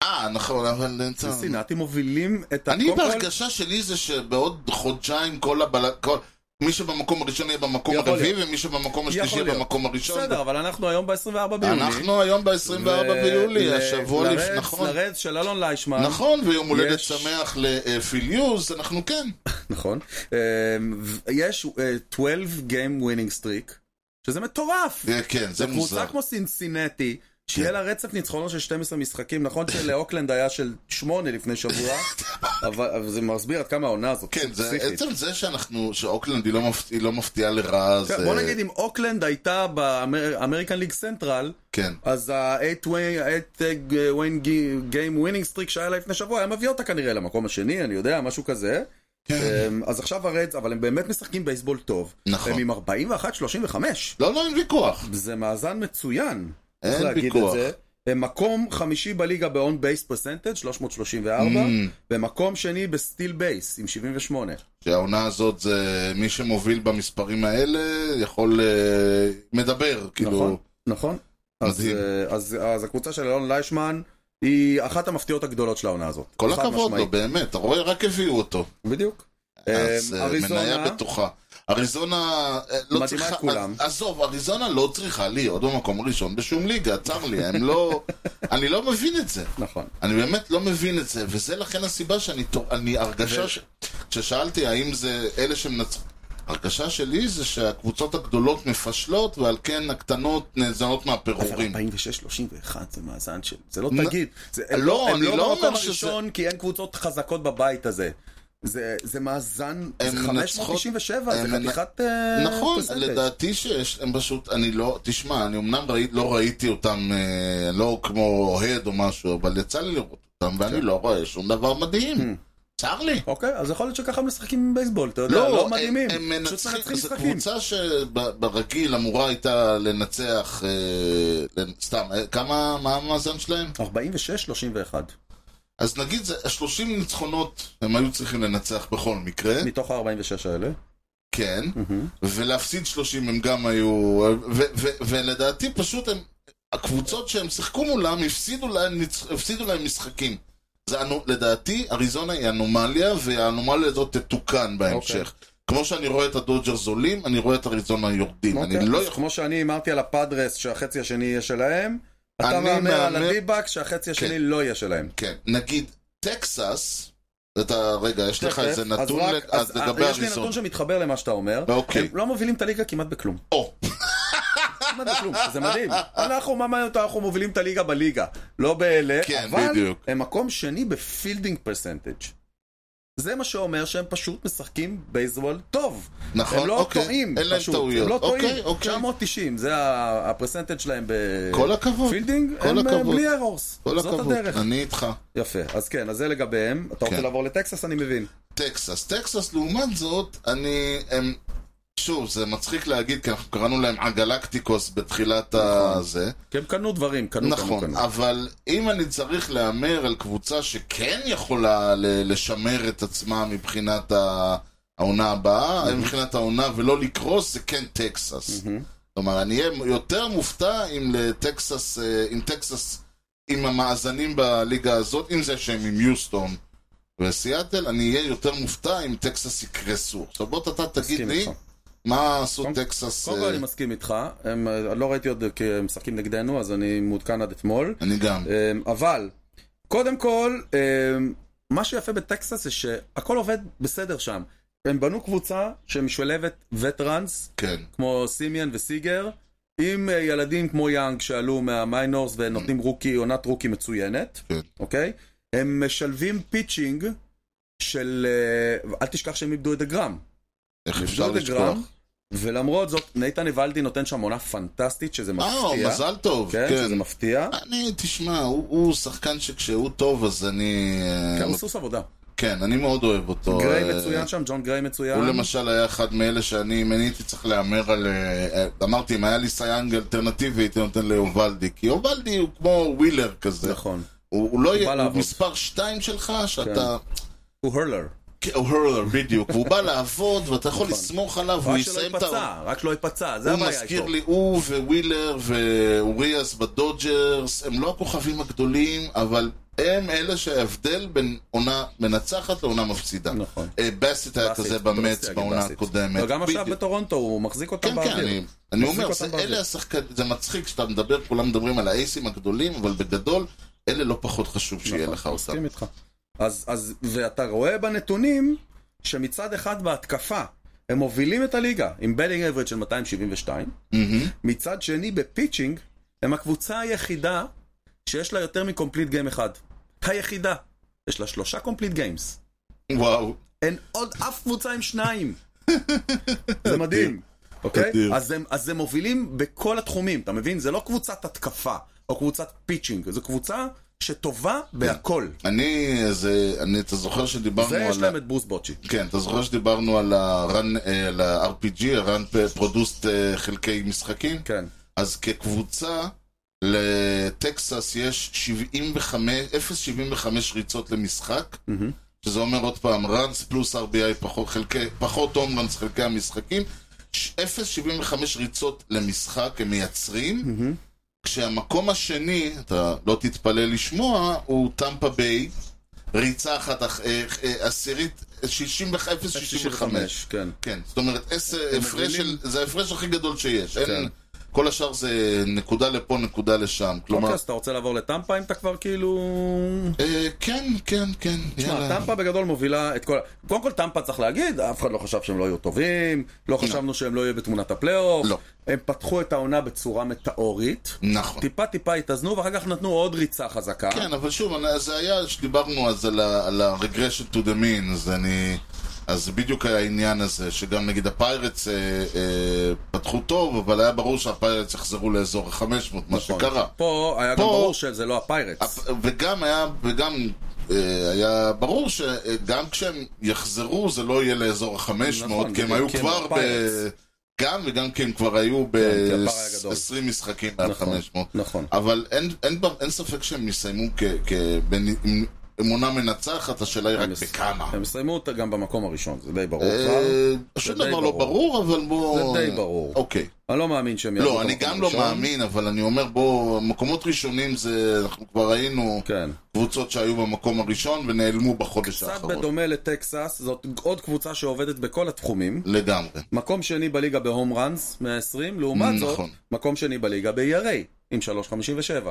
S1: אה, נכון, אבל...
S2: סינצינטי מובילים את ה...
S1: אני
S2: קודם כל-
S1: בהרגשה שלי זה שבעוד חודשיים כל הבל... כל... מי שבמקום הראשון יהיה במקום
S2: יכול
S1: הרביעי, ומי שבמקום השלישי
S2: יכול
S1: יהיה
S2: להיות.
S1: במקום הראשון.
S2: בסדר, אבל אנחנו היום ב-24 ביולי.
S1: אנחנו היום ב-24
S2: ו-
S1: ביולי,
S2: ל-
S1: השבוע
S2: לרדס-
S1: לפני, נכון.
S2: לרדס של אלון ליישמן.
S1: נכון, ויום הולדת
S2: יש-
S1: שמח לפיל יוז, אנחנו כן.
S2: נכון. אמ, ו- יש אה, 12 Game Winning Streak, שזה מטורף.
S1: אה, כן, זה מוזר.
S2: קבוצה כמו סינצינטי, שיהיה
S1: כן.
S2: לה רצף ניצחונות של 12 משחקים, נכון שלאוקלנד היה של 8 לפני שבוע, אבל אבל זה מסביר עד כמה העונה הזאת
S1: כן, זה,
S2: פסיכית.
S1: עצם זה שאנחנו, שאוקלנד היא לא, מפת... היא לא מפתיעה לרעה, זה...
S2: כן, בוא נגיד אם אוקלנד הייתה באמריקן ליג סנטרל,
S1: כן.
S2: אז ה-8 uh, Game Winning Streak שהיה לה לפני שבוע היה מביא אותה כנראה למקום השני, אני יודע, משהו כזה. אמ, אז עכשיו הרדס, אבל הם באמת משחקים בייסבול טוב.
S1: כן. נכון.
S2: הם עם 41-35.
S1: לא, לא, אין ויכוח.
S2: זה מאזן מצוין.
S1: אין
S2: צריך להגיד
S1: ויכוח.
S2: את זה. הם מקום חמישי בליגה ב-on base percentage, 334,
S1: Mm.
S2: ומקום שני בסטיל בייס עם 78.
S1: שהעונה הזאת זה מי שמוביל במספרים האלה יכול... אה, מדבר, כאילו...
S2: נכון, נכון. אז,
S1: מדהים.
S2: אה, אז, אז הקבוצה של אלון ליישמן היא אחת המפתיעות הגדולות של העונה הזאת.
S1: כל
S2: חד
S1: הכבוד לו,
S2: משמעית.
S1: באמת, אתה רואה, רק הביאו אותו.
S2: בדיוק.
S1: אז
S2: אמ,
S1: אה, מניה בטוחה. אריזונה אה, לא
S2: מדהימה
S1: צריכה...
S2: את כולם.
S1: אז- עזוב, אריזונה לא צריכה להיות במקום הראשון בשום ליגה, צר לי, הם לא... אני לא מבין את זה.
S2: נכון.
S1: אני באמת לא מבין את זה, וזה לכן הסיבה שאני... תו- אני הרגשה ש... כששאלתי האם זה אלה שמנצחים... הרגשה שלי זה שהקבוצות הגדולות מפשלות, ועל כן הקטנות נאזנות מהפירורים.
S2: 46-31 זה מאזן של... זה לא
S1: נ-
S2: תגיד. זה,
S1: לא,
S2: הם לא,
S1: אני
S2: הם לא
S1: לא
S2: במקום
S1: אומר שזה-
S2: הראשון כי אין קבוצות חזקות בבית הזה. זה, זה מאזן,
S1: הן
S2: זה
S1: מנצחות-
S2: 597, זה
S1: הן מנ-
S2: חתיכת... אה,
S1: נכון,
S2: percentage.
S1: לדעתי שיש, הם פשוט, אני לא, תשמע, אני אמנם ראי, לא ראיתי אותם, אה, לא כמו אוהד או משהו, אבל יצא לי לראות אותם,
S2: כן.
S1: ואני לא רואה שום דבר מדהים. צר לי.
S2: אוקיי, אז יכול להיות שככה הם משחקים עם בייסבול, אתה יודע,
S1: לא,
S2: לא,
S1: הם-
S2: מדהימים.
S1: הם
S2: פשוט
S1: מנצחים,
S2: מנצחים
S1: זו
S2: משחקים.
S1: קבוצה שברגיל אמורה הייתה לנצח, אה, לנ- סתם, אה, כמה, מה המאזן שלהם?
S2: 46-31,
S1: אז נגיד, זה 30 ניצחונות הם היו צריכים לנצח בכל מקרה,
S2: מתוך ה-46 האלה.
S1: כן.
S2: מהמם.
S1: ולהפסיד 30 הם גם היו... ו- ו- ולדעתי פשוט הם... הקבוצות שהם שיחקו מולם הפסידו להם, ניצ- הפסידו להם משחקים. זה אנו... לדעתי, אריזונה היא אנומליה, והאנומליה הזאת תתוקן בהמשך.
S2: אוקיי.
S1: כמו שאני רואה את הדודג'רס עולים, אני רואה את אריזונה יורדים.
S2: אוקיי,
S1: אני לא
S2: אז
S1: יכול...
S2: כמו שאני הימרתי על הפאדרס שהחצי השני יהיה שלהם, אתה
S1: אני
S2: מהמר על
S1: מהמר-
S2: הדיבאק שהחצי השני לא יהיה שלהם.
S1: כן, נגיד, טקסס, אתה... רגע, יש לך
S2: תכף,
S1: איזה
S2: אוקיי. אז
S1: נתון...
S2: רק-
S1: לג- אז
S2: אה,
S1: לגבי
S2: יש לי
S1: אריזונה.
S2: נתון שמתחבר למה שאתה אומר.
S1: אוקיי.
S2: הם לא מובילים את הליגה כמעט בכלום.
S1: או.
S2: למדנו כלום, זה מדהים. אנחנו, מה מעניין אותנו, אנחנו מובילים את הליגה בליגה. לא באלה,
S1: כן,
S2: אבל
S1: בדיוק.
S2: הם מקום שני בפילדינג פרסנטג'. זה מה שאומר שהם פשוט משחקים בייסבול טוב.
S1: נכון,
S2: הם לא
S1: אוקיי.
S2: טועים,
S1: אין להם
S2: פשוט.
S1: טעויות.
S2: הם לא
S1: אוקיי,
S2: טועים.
S1: אוקיי.
S2: 990, זה ה- הפרסנטג' שלהם
S1: כל הכבוד.
S2: בפילדינג.
S1: כל
S2: כן. הם אה,
S1: הכבוד.
S2: בלי ארורס.
S1: כל
S2: זאת
S1: הכבוד,
S2: הדרך.
S1: אני איתך.
S2: יפה, אז כן, אז זה לגביהם. אתה רוצה
S1: כן.
S2: לעבור לטקסס, אני מבין.
S1: טקסס. טקסס, לעומת זאת, אני... הם... שוב, זה מצחיק להגיד, כי אנחנו קראנו להם הגלקטיקוס בתחילת הזה.
S2: כי הם קנו דברים, קנו, קנו, קנו.
S1: נכון, אבל אם אני צריך להמר על קבוצה שכן יכולה ל- לשמר את עצמה מבחינת ה- העונה הבאה, מבחינת העונה ולא לקרוס, זה כן טקסס. כלומר, אני אהיה יותר מופתע אם לטקסס, אה, אם טקסס, עם המאזנים בליגה הזאת, עם זה שהם עם יוסטון וסיאטל, אני אהיה יותר מופתע אם טקסס יקרסו. עכשיו בוא אתה תגיד
S2: מסכים
S1: לי,
S2: איתך.
S1: מה עשו
S2: קודם-
S1: טקסס...
S2: קודם
S1: אה,
S2: כל אני מסכים איתך, הם, אה, לא ראיתי עוד כי הם משחקים נגדנו, אז אני מעודכן עד אתמול.
S1: אני גם.
S2: אמ, אבל, קודם כל, אמ, מה שיפה בטקסס זה שהכל עובד בסדר שם. הם בנו קבוצה שמשולבת וטרנס,
S1: כן,
S2: כמו סימיאן וסיגר, עם אה, ילדים כמו יאנג שעלו מהמיינורס ונותנים רוקי, עונת רוקי מצוינת,
S1: כן.
S2: אוקיי? הם משלבים פיצ'ינג של... אה, אל תשכח שהם איבדו את הגרם.
S1: איך אפשר
S2: איבדו את
S1: לשכוח?
S2: הגרם, ולמרות זאת, איתן איוולדי נותן שם עונה פנטסטית, שזה
S1: אה,
S2: מפתיע.
S1: מזל טוב,
S2: כן,
S1: כן.
S2: שזה מפתיע.
S1: אני, תשמע, הוא, הוא שחקן שכשהוא טוב אז אני...
S2: כן, הוא
S1: כן,
S2: סוס עבודה.
S1: כן אני מאוד אוהב אותו.
S2: גריי
S1: אה,
S2: מצוין שם, ג'ון גריי מצוין.
S1: הוא למשל היה אחד מאלה שאני, אם אני הייתי צריך להמר על... אה, אה, אמרתי, אם היה לי סייאנג אלטרנטיבי הייתי נותן ליובלדי, כי יובלדי הוא כמו ווילר כזה.
S2: נכון.
S1: הוא, הוא לא
S2: בא
S1: יהיה, הוא
S2: לעבוד.
S1: מספר 2 שלך, שאתה...
S2: הוא הרלר.
S1: כן, הוא הורלר, בדיוק. והוא בא לעבוד ואתה יכול
S2: נכון.
S1: לסמוך עליו, הוא
S2: רק שלא
S1: יסיים את העונה.
S2: ייפצע, רק שלא ייפצע, זה
S1: הוא
S2: הבעיה
S1: מזכיר
S2: איתו.
S1: לי, הוא ווילר ואוריאס בדודג'רס, הם לא הכוכבים הגדולים, אבל הם אלה שההבדל בין עונה מנצחת לעונה מפסידה.
S2: נכון.
S1: אה, בסט היה
S2: באסית,
S1: כזה
S2: אתה מנסה
S1: במץ
S2: להגיד
S1: בעונה
S2: באסית.
S1: הקודמת.
S2: לא, גם עכשיו
S1: בדיוק.
S2: בטורונטו הוא מחזיק אותם
S1: כן, כן, אני,
S2: באוויר.
S1: אני
S2: מחזיק
S1: אומר,
S2: אותם
S1: זה,
S2: באוויר.
S1: אלה השחקנים, זה מצחיק כשאתה מדבר, כולם מדברים על האייסים הגדולים, אבל בגדול, אלה לא פחות חשוב שיהיה
S2: נכון,
S1: לך אותם.
S2: מסכים איתך. אז, אז, ואתה רואה בנתונים שמצד אחד בהתקפה הם מובילים את הליגה עם בלינג אברד של 272,
S1: מהמם.
S2: מצד שני בפיצ'ינג הם הקבוצה היחידה שיש לה יותר מקומפליט גיים אחד. היחידה. יש לה שלושה קומפליט גיימס.
S1: וואו,
S2: אין עוד אף קבוצה עם שניים. זה מדהים. אוקיי?
S1: אדיר.
S2: אז הם, אז הם מובילים בכל התחומים, אתה מבין? זה לא קבוצת התקפה או קבוצת פיצ'ינג, זו קבוצה שטובה בהכל.
S1: אני, זה, אני, אתה זוכר שדיברנו על...
S2: ויש
S1: ה-
S2: להם את ברוס בוצ'י.
S1: כן, אתה זוכר שדיברנו על ה-run, אה, על ה-RPG, ה-run produced אה, חלקי משחקים?
S2: כן.
S1: אז כקבוצה, לטקסס יש 75, 0.75 ריצות למשחק, שזה אומר עוד פעם, runs פלוס RBI פחות, חלקי, פחות home runs חלקי המשחקים, ש- 0.75 ריצות למשחק הם מייצרים, כשהמקום השני, אתה לא תתפלא לשמוע, הוא טמפה ביי, ריצה אחת, אח- אה, אה, עשירית, 65, 0.65.
S2: כן.
S1: כן, זאת אומרת, עשר,
S2: הם
S1: הפרש של,
S2: מבינים-
S1: זה ההפרש הכי גדול שיש.
S2: כן.
S1: אין, כל השאר זה נקודה לפה, נקודה לשם.
S2: אוקיי,
S1: כלומר,
S2: אז אתה רוצה לעבור לטמפה אם אתה כבר כאילו...
S1: אה, כן, כן, כן,
S2: תשמע,
S1: יאללה.
S2: טמפה בגדול מובילה את כל... קודם כל טמפה צריך להגיד, אף אחד לא חשב שהם לא יהיו טובים, לא חשבנו שהם לא יהיו בתמונת הפלייאוף.
S1: לא.
S2: הם פתחו את העונה בצורה מטאורית.
S1: נכון.
S2: טיפה טיפה התאזנו ואחר כך נתנו עוד ריצה חזקה.
S1: כן, אבל שוב, אני- זה היה, שדיברנו אז על ה- על ה-regression to the mean, אז אני... אז זה בדיוק היה העניין הזה, שגם נגיד הפיירטס אה, אה, פתחו טוב, אבל היה ברור שהפיירטס יחזרו לאזור ה-500, מה
S2: נכון.
S1: שקרה.
S2: פה היה
S1: פה-
S2: גם ברור שזה לא הפיירטס.
S1: הפ- וגם היה, וגם אה, היה ברור שגם כשהם יחזרו זה לא יהיה לאזור ה-500,
S2: נכון,
S1: כי הם היו
S2: כי הם
S1: כבר ב...
S2: הפיירטס.
S1: גם וגם כי הם כבר היו
S2: כי הפער היה גדול.
S1: ב-20 משחקים מעל
S2: נכון,
S1: 500.
S2: נכון.
S1: אבל אין- אין ב- אין ספק שהם יסיימו כ- כבין- עם- עם עונה מנצחת, השאלה היא רק
S2: הם יס-
S1: בכמה.
S2: הם יסיימו אותה גם במקום הראשון, זה די ברור כבר.
S1: אה, שום
S2: זה די
S1: דבר לא
S2: ברור.
S1: ברור, אבל בואו...
S2: זה די ברור.
S1: אוקיי.
S2: אני לא מאמין שהם יעלו
S1: לא, אני
S2: במקום
S1: גם לא
S2: הראשון.
S1: מאמין, אבל אני אומר, בואו, מקומות ראשונים זה... אנחנו כבר ראינו...
S2: כן.
S1: קבוצות שהיו במקום הראשון ונעלמו בחודש
S2: קצת
S1: האחרון.
S2: בדומה לטקסס, זאת עוד קבוצה שעובדת בכל התחומים.
S1: לגמרי.
S2: מקום שני בליגה בהום ראנס, 120, לעומת זאת,
S1: נכון.
S2: מקום שני בליגה ב-ERA, עם 3.57.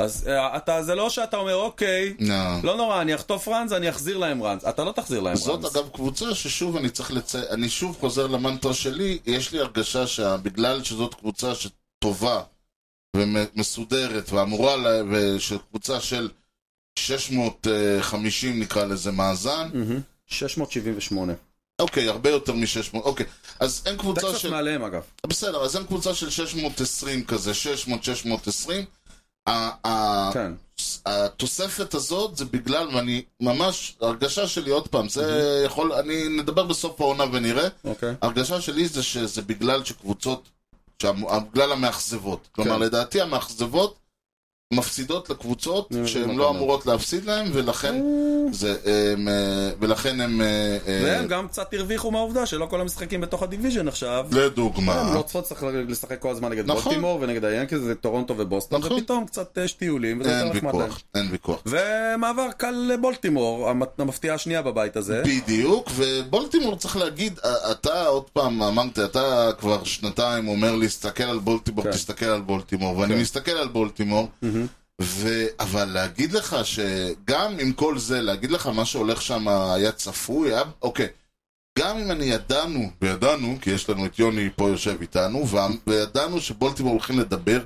S2: אז אה, אתה, זה לא שאתה אומר, אוקיי,
S1: נא.
S2: לא נורא, אני אחטוף ראנס, אני אחזיר להם ראנס. אתה לא תחזיר להם ראנס.
S1: זאת אגב קבוצה ששוב אני צריך לציין, אני שוב חוזר למנטרה שלי, יש לי הרגשה שבגלל שזאת קבוצה ש... טובה ומסודרת ואמורה, לה- ושל קבוצה של 650 נקרא לזה מאזן,
S2: 678.
S1: אוקיי, הרבה יותר מ-600, אוקיי. אז אין
S2: אתה
S1: קבוצה
S2: קצת
S1: של...
S2: מעליהם אגב.
S1: בסדר, אז אין קבוצה של 620 כזה, 600-620. ה- ה-
S2: כן.
S1: התוספת הזאת זה בגלל, ואני ממש, הרגשה שלי עוד פעם, זה יכול, אני נדבר בסוף העונה ונראה,
S2: אוקיי.
S1: הרגשה שלי זה שזה בגלל שקבוצות, שה- בגלל המאכזבות. כלומר,
S2: כן.
S1: לדעתי המאכזבות מפסידות לקבוצות
S2: אני מבין
S1: שהן
S2: מה
S1: לא
S2: אתה אומר.
S1: אמורות להפסיד להן, ולכן זה, הם, אה, ולכן הם, אה, אה,
S2: והם גם קצת הרוויחו מהעובדה שלא כל המשחקים בתוך הדיוויז'ן עכשיו. הם
S1: לדוגמה,
S2: לא צריכות לשחק- לשחק כל הזמן נגד
S1: אה. נכון.
S2: בולטימור ונגד היאנקיז, זה טורונטו ובוסטון,
S1: נכון.
S2: ופתאום קצת אה, שטיולים, וזה
S1: אין
S2: יותר נחמד להם.
S1: ויכוח, אין ויכוח.
S2: ומעבר קל לבולטימור, המת- המפתיעה השנייה בבית הזה.
S1: בדיוק, ובולטימור צריך להגיד, אה, אתה עוד פעם אמרת, אתה כבר שנתיים אומר להסתכל על בולטימור,
S2: כן.
S1: תסתכל על בולטימור, ואני
S2: כן.
S1: מסתכל על בולטימור, ו... אבל להגיד לך שגם עם כל זה, להגיד לך מה שהולך שם היה צפוי, היה... אוקיי, גם אם אני ידענו, וידענו, כי יש לנו את יוני פה יושב איתנו, ו... וידענו שבולטימור הולכים לדבר,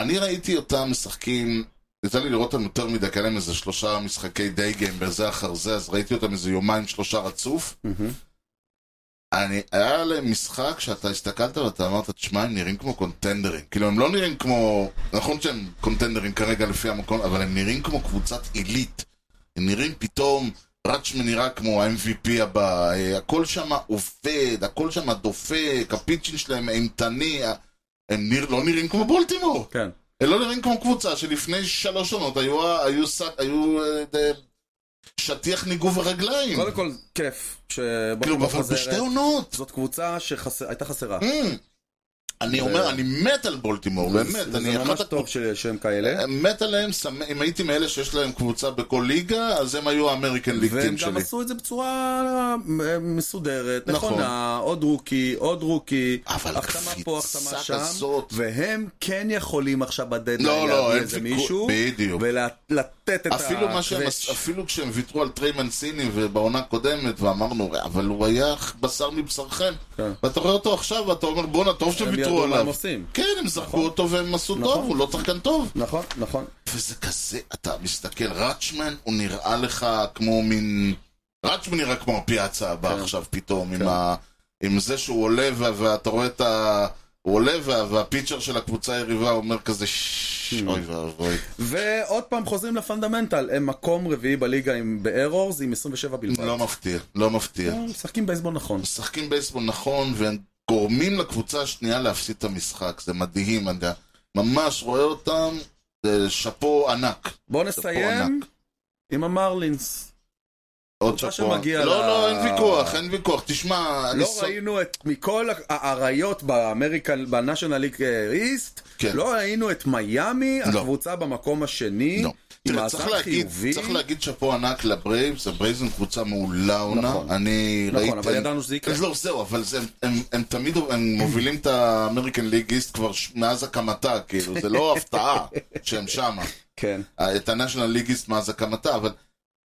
S1: אני ראיתי אותם משחקים, יצא לי לראות אותם יותר מדי, כאלה הם איזה שלושה משחקי די גיים בזה אחר זה, אז ראיתי אותם איזה יומיים שלושה רצוף.
S2: מהמם.
S1: אני, היה להם משחק שאתה הסתכלת ואתה אמרת, תשמע, הם נראים כמו קונטנדרים. כאילו, הם לא נראים כמו... נכון שהם קונטנדרים כרגע לפי המקום, אבל הם נראים כמו קבוצת עילית. הם נראים פתאום, ראצ'מן נראה כמו ה-MVP הבא, אה, הכל שם עובד, הכל שם דופק, הפיצ'ין שלהם אימתני, ה- הם נרא, לא נראים כמו בולטימור.
S2: כן.
S1: הם לא נראים כמו קבוצה שלפני שלוש עונות היו, ה- היו, ס- היו אה, אה, שטיח ניגוב הרגליים.
S2: קודם כל, כיף
S1: כאילו,
S2: שבולטימור
S1: אבל בשתי
S2: חוזרת.
S1: עונות.
S2: זאת קבוצה שהייתה חסרה.
S1: Mm. אני אומר, אני מת על בולטימור, באמת,
S2: זה-
S1: אני
S2: זה
S1: אחת
S2: ממש
S1: הקבוצות,
S2: טוב ש- שהם כאלה.
S1: מת עליהם, שמח- אם הייתי מאלה שיש להם קבוצה בכל ליגה, אז הם היו האמריקן ליג
S2: והם
S1: טים
S2: גם
S1: שלי.
S2: עשו את זה בצורה אה, מסודרת,
S1: נכון.
S2: נכונה, עוד רוקי, עוד רוקי,
S1: אבל
S2: החתמה פה, החתמה
S1: הקפיצה
S2: שם,
S1: כזאת,
S2: והם כן יכולים עכשיו בדדליין
S1: לא, לא,
S2: להביא
S1: אין
S2: איזה
S1: ויכוח,
S2: מישהו,
S1: בדיוק.
S2: ולתת את
S1: אפילו, מה שהם, עש-
S2: הקווץ'.
S1: אפילו כשהם ויתרו על טרי מנסיני ובעונה הקודמת, ואמרנו, אבל הוא היה בשר מבשרכם,
S2: כן.
S1: ואתה רואה אותו עכשיו, ואתה אומר, בואנה, טוב
S2: הם
S1: שוויתרו
S2: ידעו מה
S1: עליו.
S2: הם עושים.
S1: כן, הם זרקו
S2: נכון.
S1: אותו והם עשו טוב,
S2: נכון.
S1: הוא לא שחקן טוב.
S2: נכון, נכון.
S1: וזה כזה, אתה מסתכל, ראצ'מן הוא נראה לך כמו מין... ראצ'מן נראה כמו הפיאצה הבא
S2: כן.
S1: עכשיו פתאום, עם,
S2: כן.
S1: ה... עם זה שהוא עולה ו... ואתה רואה את ה... הוא עולה וה... והפיצ'ר של הקבוצה היריבה אומר כזה "ש- אוי
S2: Mm.
S1: ואבוי.
S2: ועוד פעם חוזרים לפונדמנטל, הם מקום רביעי בליגה עם בארורס עם 27 בלבד.
S1: לא מפתיע, לא מפתיע.
S2: הם משחקים בייסבול נכון.
S1: משחקים בייסבול נכון, והם גורמים לקבוצה השנייה להפסיד את המשחק, זה מדהים, אני ממש רואה אותם, זה שאפו ענק.
S2: בואו
S1: ענק.
S2: נסיים עם המרלינס.
S1: עוד
S2: קבוצה
S1: שאפו.
S2: שמגיע
S1: לא,
S2: ל-
S1: לא, אין ויכוח, אין ויכוח. תשמע, אני
S2: לא
S1: סוג-
S2: ראינו את מכל האריות באמריקן, בנאשונל ליג אה, איסט,
S1: כן.
S2: לא ראינו את מיאמי,
S1: לא.
S2: הקבוצה במקום השני,
S1: לא.
S2: עם
S1: תראה, צריך
S2: מאזן
S1: להגיד,
S2: חיובי.
S1: צריך להגיד שאפו ענק לברייבס, הברייבס הם קבוצה מעולה עונה,
S2: נכון.
S1: אני ראיתי...
S2: נכון, אבל ידענו שזה יקרה.
S1: אז לא, זהו, אבל זה- הם- הם תמיד הם מובילים את האמריקן ליג איסט כבר ש- מאז הקמתה, כאילו, זה לא הפתעה שהם שמה.
S2: כן.
S1: את הנשיונל ליג איסט מאז הקמתה, אבל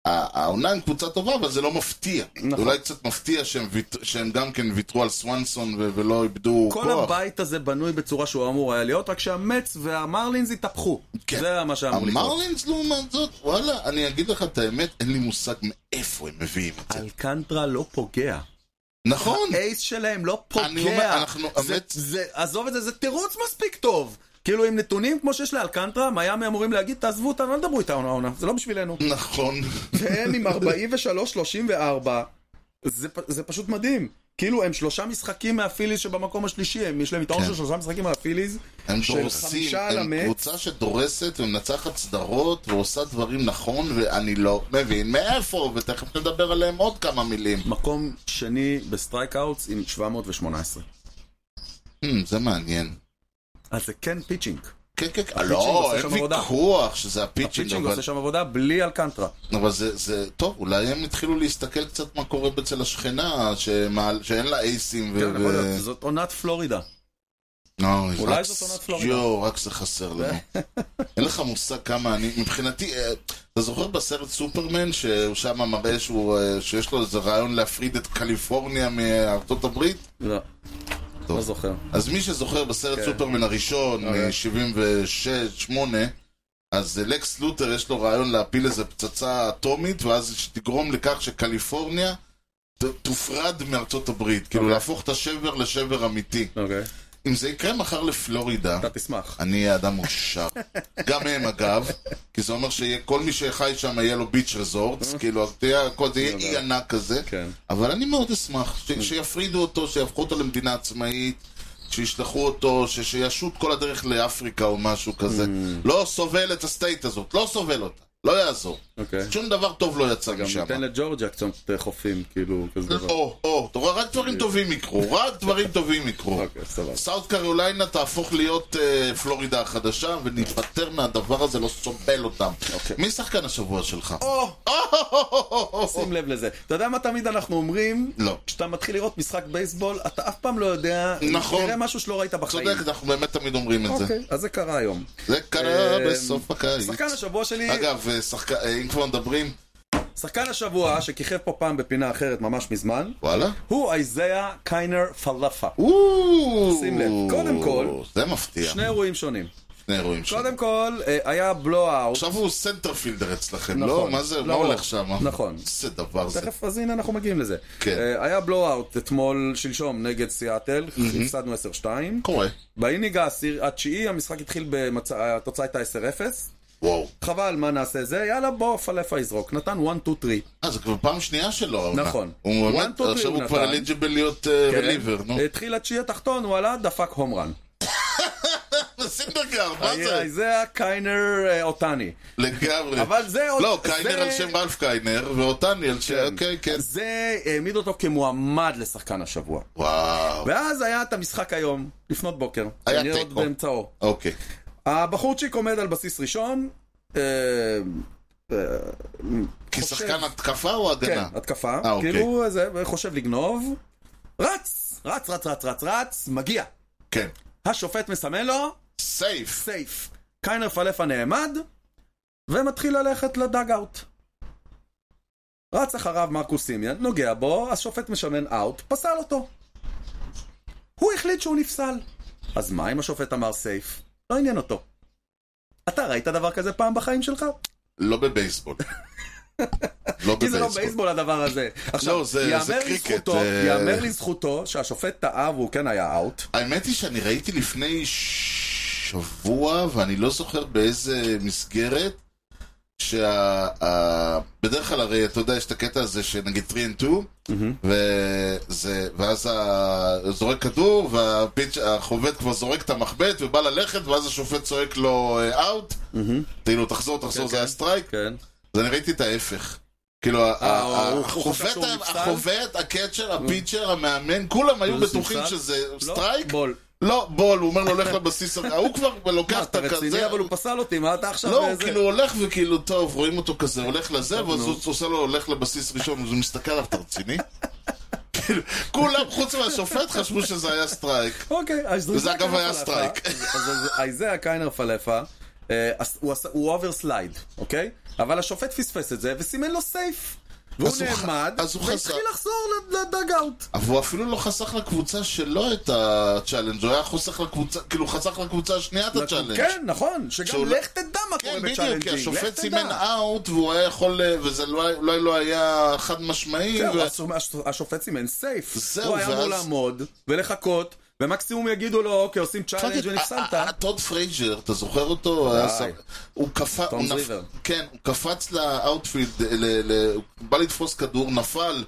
S1: ה- העונה הם קבוצה טובה, אבל זה לא מפתיע.
S2: נכון.
S1: אולי קצת מפתיע שהם ויט- שהם גם כן ויתרו על סוונסון ו- ולא איבדו
S2: כל
S1: כוח.
S2: הבית הזה בנוי בצורה שהוא אמור היה להיות, רק שהמץ והמרלינס התהפכו.
S1: כן.
S2: זה מה שאמור לקרות.
S1: המרלינס לעומת זאת, וואלה, אני אגיד לך את האמת, אין לי מושג מאיפה הם מביאים את זה.
S2: אלקנטרה לא פוגע.
S1: נכון.
S2: האייס שלהם לא
S1: אני אומר,
S2: פוגע.
S1: אנחנו-
S2: זה-
S1: האמת-
S2: זה- עזוב את זה, זה תירוץ מספיק טוב. כאילו עם נתונים כמו שיש לאלקנטרה, מיאמי אמורים להגיד, תעזבו אותנו, אל תדברו איתנו העונה, זה לא בשבילנו.
S1: נכון.
S2: והם עם 43-34, זה, פ- זה פשוט מדהים. כאילו הם שלושה משחקים מהפיליז שבמקום השלישי, הם יש להם יתרון
S1: כן.
S2: של שלושה משחקים מהפיליז,
S1: הם
S2: של
S1: דורסים,
S2: חמישה על
S1: הם
S2: המץ.
S1: קבוצה שדורסת ומנצחת סדרות ועושה דברים נכון, ואני לא מבין מאיפה, ותכף נדבר עליהם עוד כמה מילים.
S2: מקום שני בסטרייק אאוטס עם 718.
S1: Hmm, זה מעניין.
S2: אז זה כן פיצ'ינג.
S1: כן, כן, כן. לא,
S2: עושה
S1: אין
S2: שם עבודה.
S1: ויכוח שזה הפיצ'ינג,
S2: פיצ'ינג
S1: אבל-
S2: עושה שם עבודה בלי אלקנטרה.
S1: אבל זה, זה, טוב, אולי הם התחילו להסתכל קצת מה קורה אצל השכנה, שמעל- שאין לה אייסים. ו-
S2: כן, יכול
S1: ו-
S2: להיות, זאת עונת פלורידה.
S1: אוי,
S2: אולי
S1: לא, רק
S2: זאת
S1: ס-
S2: עונת פלורידה.
S1: יואו, רק זה חסר לנו. אין לך מושג כמה אני... מבחינתי, אה, אתה זוכר בסרט סופרמן, שהוא שם מראה שהוא, אה, שיש לו איזה רעיון להפריד את קליפורניה מארצות הברית?
S2: לא.
S1: אתה טוב.
S2: לא זוכר.
S1: אז מי שזוכר בסרט
S2: כן.
S1: סופרמן הראשון,
S2: אוקיי.
S1: מ-76-8, אז אה, לקס לותר יש לו רעיון להפיל איזה פצצה אטומית, ואז שתגרום לכך שקליפורניה ת- תופרד מארצות הברית. כאילו
S2: אוקיי.
S1: להפוך את השבר לשבר אמיתי.
S2: אוקיי.
S1: אם זה יקרה מחר לפלורידה,
S2: אתה תשמח.
S1: אני אהיה אדם מאושר. גם הם אגב, כי זה אומר שכל מי שחי שם יהיה לו ביץ' רזורטס, כאילו, אתה יודע, הכל- זה יהיה
S2: אה? יודע.
S1: אי ענק כזה.
S2: כן.
S1: אבל אני מאוד אשמח ש- שיפרידו אותו, שיהפכו אותו למדינה עצמאית, שישלחו אותו, ש- שישוט כל הדרך לאפריקה או משהו
S2: Mm.
S1: כזה. לא סובל את הסטייט הזאת, לא סובל אותה, לא יעזור.
S2: אוקיי.
S1: שום דבר טוב לא יצא
S2: גם
S1: משם.
S2: ניתן לג'ורג'ה קצת חופים, כאילו, כזה דבר.
S1: או, או, אתה רואה, רק דברים טובים יקרו, רק דברים טובים יקרו.
S2: אה. אוקיי, סבבה.
S1: סאוט קרוליינה תהפוך להיות אה, פלורידה החדשה, וניפטר מהדבר הזה, לא סובל אותם.
S2: אוקיי.
S1: מי שחקן השבוע שלך?
S2: או!
S1: או,
S2: שים לב לזה. אתה יודע מה תמיד אנחנו אומרים?
S1: לא.
S2: כשאתה מתחיל לראות משחק בייסבול, אתה אף פעם לא יודע...
S1: נכון.
S2: תראה משהו שלא ראית בחיים.
S1: צודק, אנחנו באמת תמיד אומרים את זה.
S2: אוקיי, אז זה קרה היום.
S1: זה קרה
S2: אה,
S1: בסוף הקיץ.
S2: שחקן השבוע שלי,
S1: אגב, אה, שחק- אה, אם כבר מדברים,
S2: שחקן השבוע שכיכב פה פעם בפינה אחרת ממש מזמן,
S1: וואלה.
S2: הוא אייזאה קיינר פלאפה.
S1: או,
S2: שים לב, קודם כל-
S1: זה מפתיע.
S2: שני אירועים שונים.
S1: שני אירועים שם.
S2: קודם כל, אה, היה בלואאוט.
S1: עכשיו הוא סנטרפילדר אצלכם, לא?
S2: נכון,
S1: מה זה? מה
S2: לרוב.
S1: הולך שם?
S2: נכון.
S1: איזה דבר זה.
S2: תכף, אז הנה אנחנו מגיעים לזה.
S1: כן.
S2: אה, היה בלואאוט אתמול, שלשום, נגד סיאטל,
S1: Mm-hmm.
S2: הפסדנו 10-2.
S1: קורה.
S2: באינינג העשיר- התשיעי המשחק התחיל, במצ- התוצאה הייתה 10-0.
S1: וואו.
S2: חבל, מה נעשה זה? יאללה, בוא, פלאפה יזרוק. נתן 1-2-3.
S1: אה, זה כבר פעם שנייה שלו. העונה.
S2: נכון.
S1: הוא
S2: One,
S1: באמת,
S2: two, three
S1: עכשיו
S2: הוא
S1: הוא כבר
S2: נתן. כן.
S1: אליג'יבל להיות אה, רליבר, נו.
S2: התחיל התשיעי התחתון, הוא עלה, דפק הום רן.
S1: סינדרגר, מה זה?
S2: זה הקיינר אה, אותני.
S1: לגמרי.
S2: אבל זה עוד...
S1: לא, קיינר
S2: זה-
S1: על שם רלף קיינר, ואותני על שם... אוקיי, כן.
S2: זה העמיד אותו כמועמד לשחקן השבוע.
S1: וואו.
S2: ואז היה את המשחק היום, לפנות בוקר.
S1: היה
S2: אני עוד
S1: תיקו.
S2: באמצעו.
S1: אוקיי.
S2: הבחורצ'יק עומד על בסיס ראשון. אה,
S1: כשחקן התקפה או
S2: כן,
S1: הגנה?
S2: התקפה.
S1: אה, אוקיי.
S2: כאילו, זה, חושב לגנוב. רץ! רץ, רץ, רץ, רץ, רץ, מגיע.
S1: כן.
S2: השופט מסמן לו,
S1: סייף.
S2: סייף. קיינר פלאפה נעמד, ומתחיל ללכת לדאג-אאוט. רץ אחריו מרקוס סימיאן, נוגע בו, השופט משמן אאוט, פסל אותו. הוא החליט שהוא נפסל. אז מה אם השופט אמר סייף? לא עניין אותו. אתה ראית דבר כזה פעם בחיים שלך?
S1: לא בבייסבול. לא
S2: כי זה לא
S1: בבייסבול.
S2: בייסבול הדבר הזה.
S1: לא,
S2: עכשיו,
S1: זה- זה
S2: יאמר
S1: קריקט,
S2: לזכותו,
S1: אה.
S2: יאמר לזכותו שהשופט טעה והוא כן היה אאוט.
S1: האמת היא שאני ראיתי לפני שבוע, ואני לא זוכר באיזה מסגרת, שה... ה- בדרך כלל הרי, אתה יודע, יש את הקטע הזה שנגיד 3 and 2, וזה... ואז ה- זורק כדור, והחובט כבר זורק את המחבט, ובא ללכת, ואז השופט צועק לו אאוט, כאילו, תחזור, תחזור,
S2: כן,
S1: זה היה
S2: כן.
S1: סטרייק.
S2: כן.
S1: אז אני ראיתי את ההפך. כאילו, ה-
S2: הוא-
S1: ה-
S2: הוא חשב
S1: החובט,
S2: שהוא
S1: ה-
S2: נפסל?
S1: החובט, הקצ'ר, הפיצ'ר, המאמן, כולם היו
S2: זה
S1: בטוחים
S2: נפסל?
S1: שזה
S2: לא,
S1: סטרייק.
S2: בול.
S1: לא, בול, הוא אומר לו, לך לבסיס, הר- ההוא כבר
S2: מה,
S1: לוקח את
S2: אתה
S1: הכזה.
S2: רציני אבל הוא פסל אותי, מה אתה עכשיו...
S1: לא, הוא
S2: איזה-
S1: כאילו הולך וכאילו, טוב, רואים אותו כזה, הולך לזה, ואז
S2: נו.
S1: הוא עושה לו, הולך לבסיס ראשון, אז הוא מסתכל עליו, אתה רציני? כאילו, כולם, חוץ מהשופט, חשבו שזה היה סטרייק.
S2: אוקיי, אז
S1: וזה אגב היה
S2: פלאפה.
S1: סטרייק.
S2: אז- אז אז זה הקיינר פלאפה, אה, אז הוא עשה- הוא אובר סלייד, אוקיי? אבל השופט פספס את זה וסימן לו סייף. והוא
S1: אז הוא ח-
S2: נעמד,
S1: אז הוא חזר.
S2: והתחיל לחזור לדאגאוט.
S1: אבל הוא אפילו לא חסך לקבוצה שלו את הצ'אלנג', הוא היה חוסך לקבוצה, כאילו, חסך לקבוצה השנייה את הצ'אלנג'.
S2: כן, נכון, שגם
S1: שהוא-
S2: לך תדע מה קורה
S1: כן,
S2: בצ'אלנג'ינג,
S1: בדיוק, כי
S2: לך
S1: השופט
S2: תדע.
S1: סימן אאוט, והוא היה יכול, אה, וזה לא היה- אולי לא היה חד משמעי,
S2: כן,
S1: ו-
S2: אבל הש- השופט סימן סייף.
S1: זהו,
S2: הוא היה אמור
S1: ואז-
S2: לעמוד ולחכות, ומקסימום יגידו לו, אוקיי, עושים צ'אלנג'
S1: אה,
S2: ונפסלת.
S1: ה- ה- טוד פרייג'ר, אתה זוכר אותו? היה שר- הוא קפץ,
S2: טום זריבר.
S1: כן, הוא קפץ לאאוטפילד, אה, ל- ל- הוא בא לתפוס כדור, נפל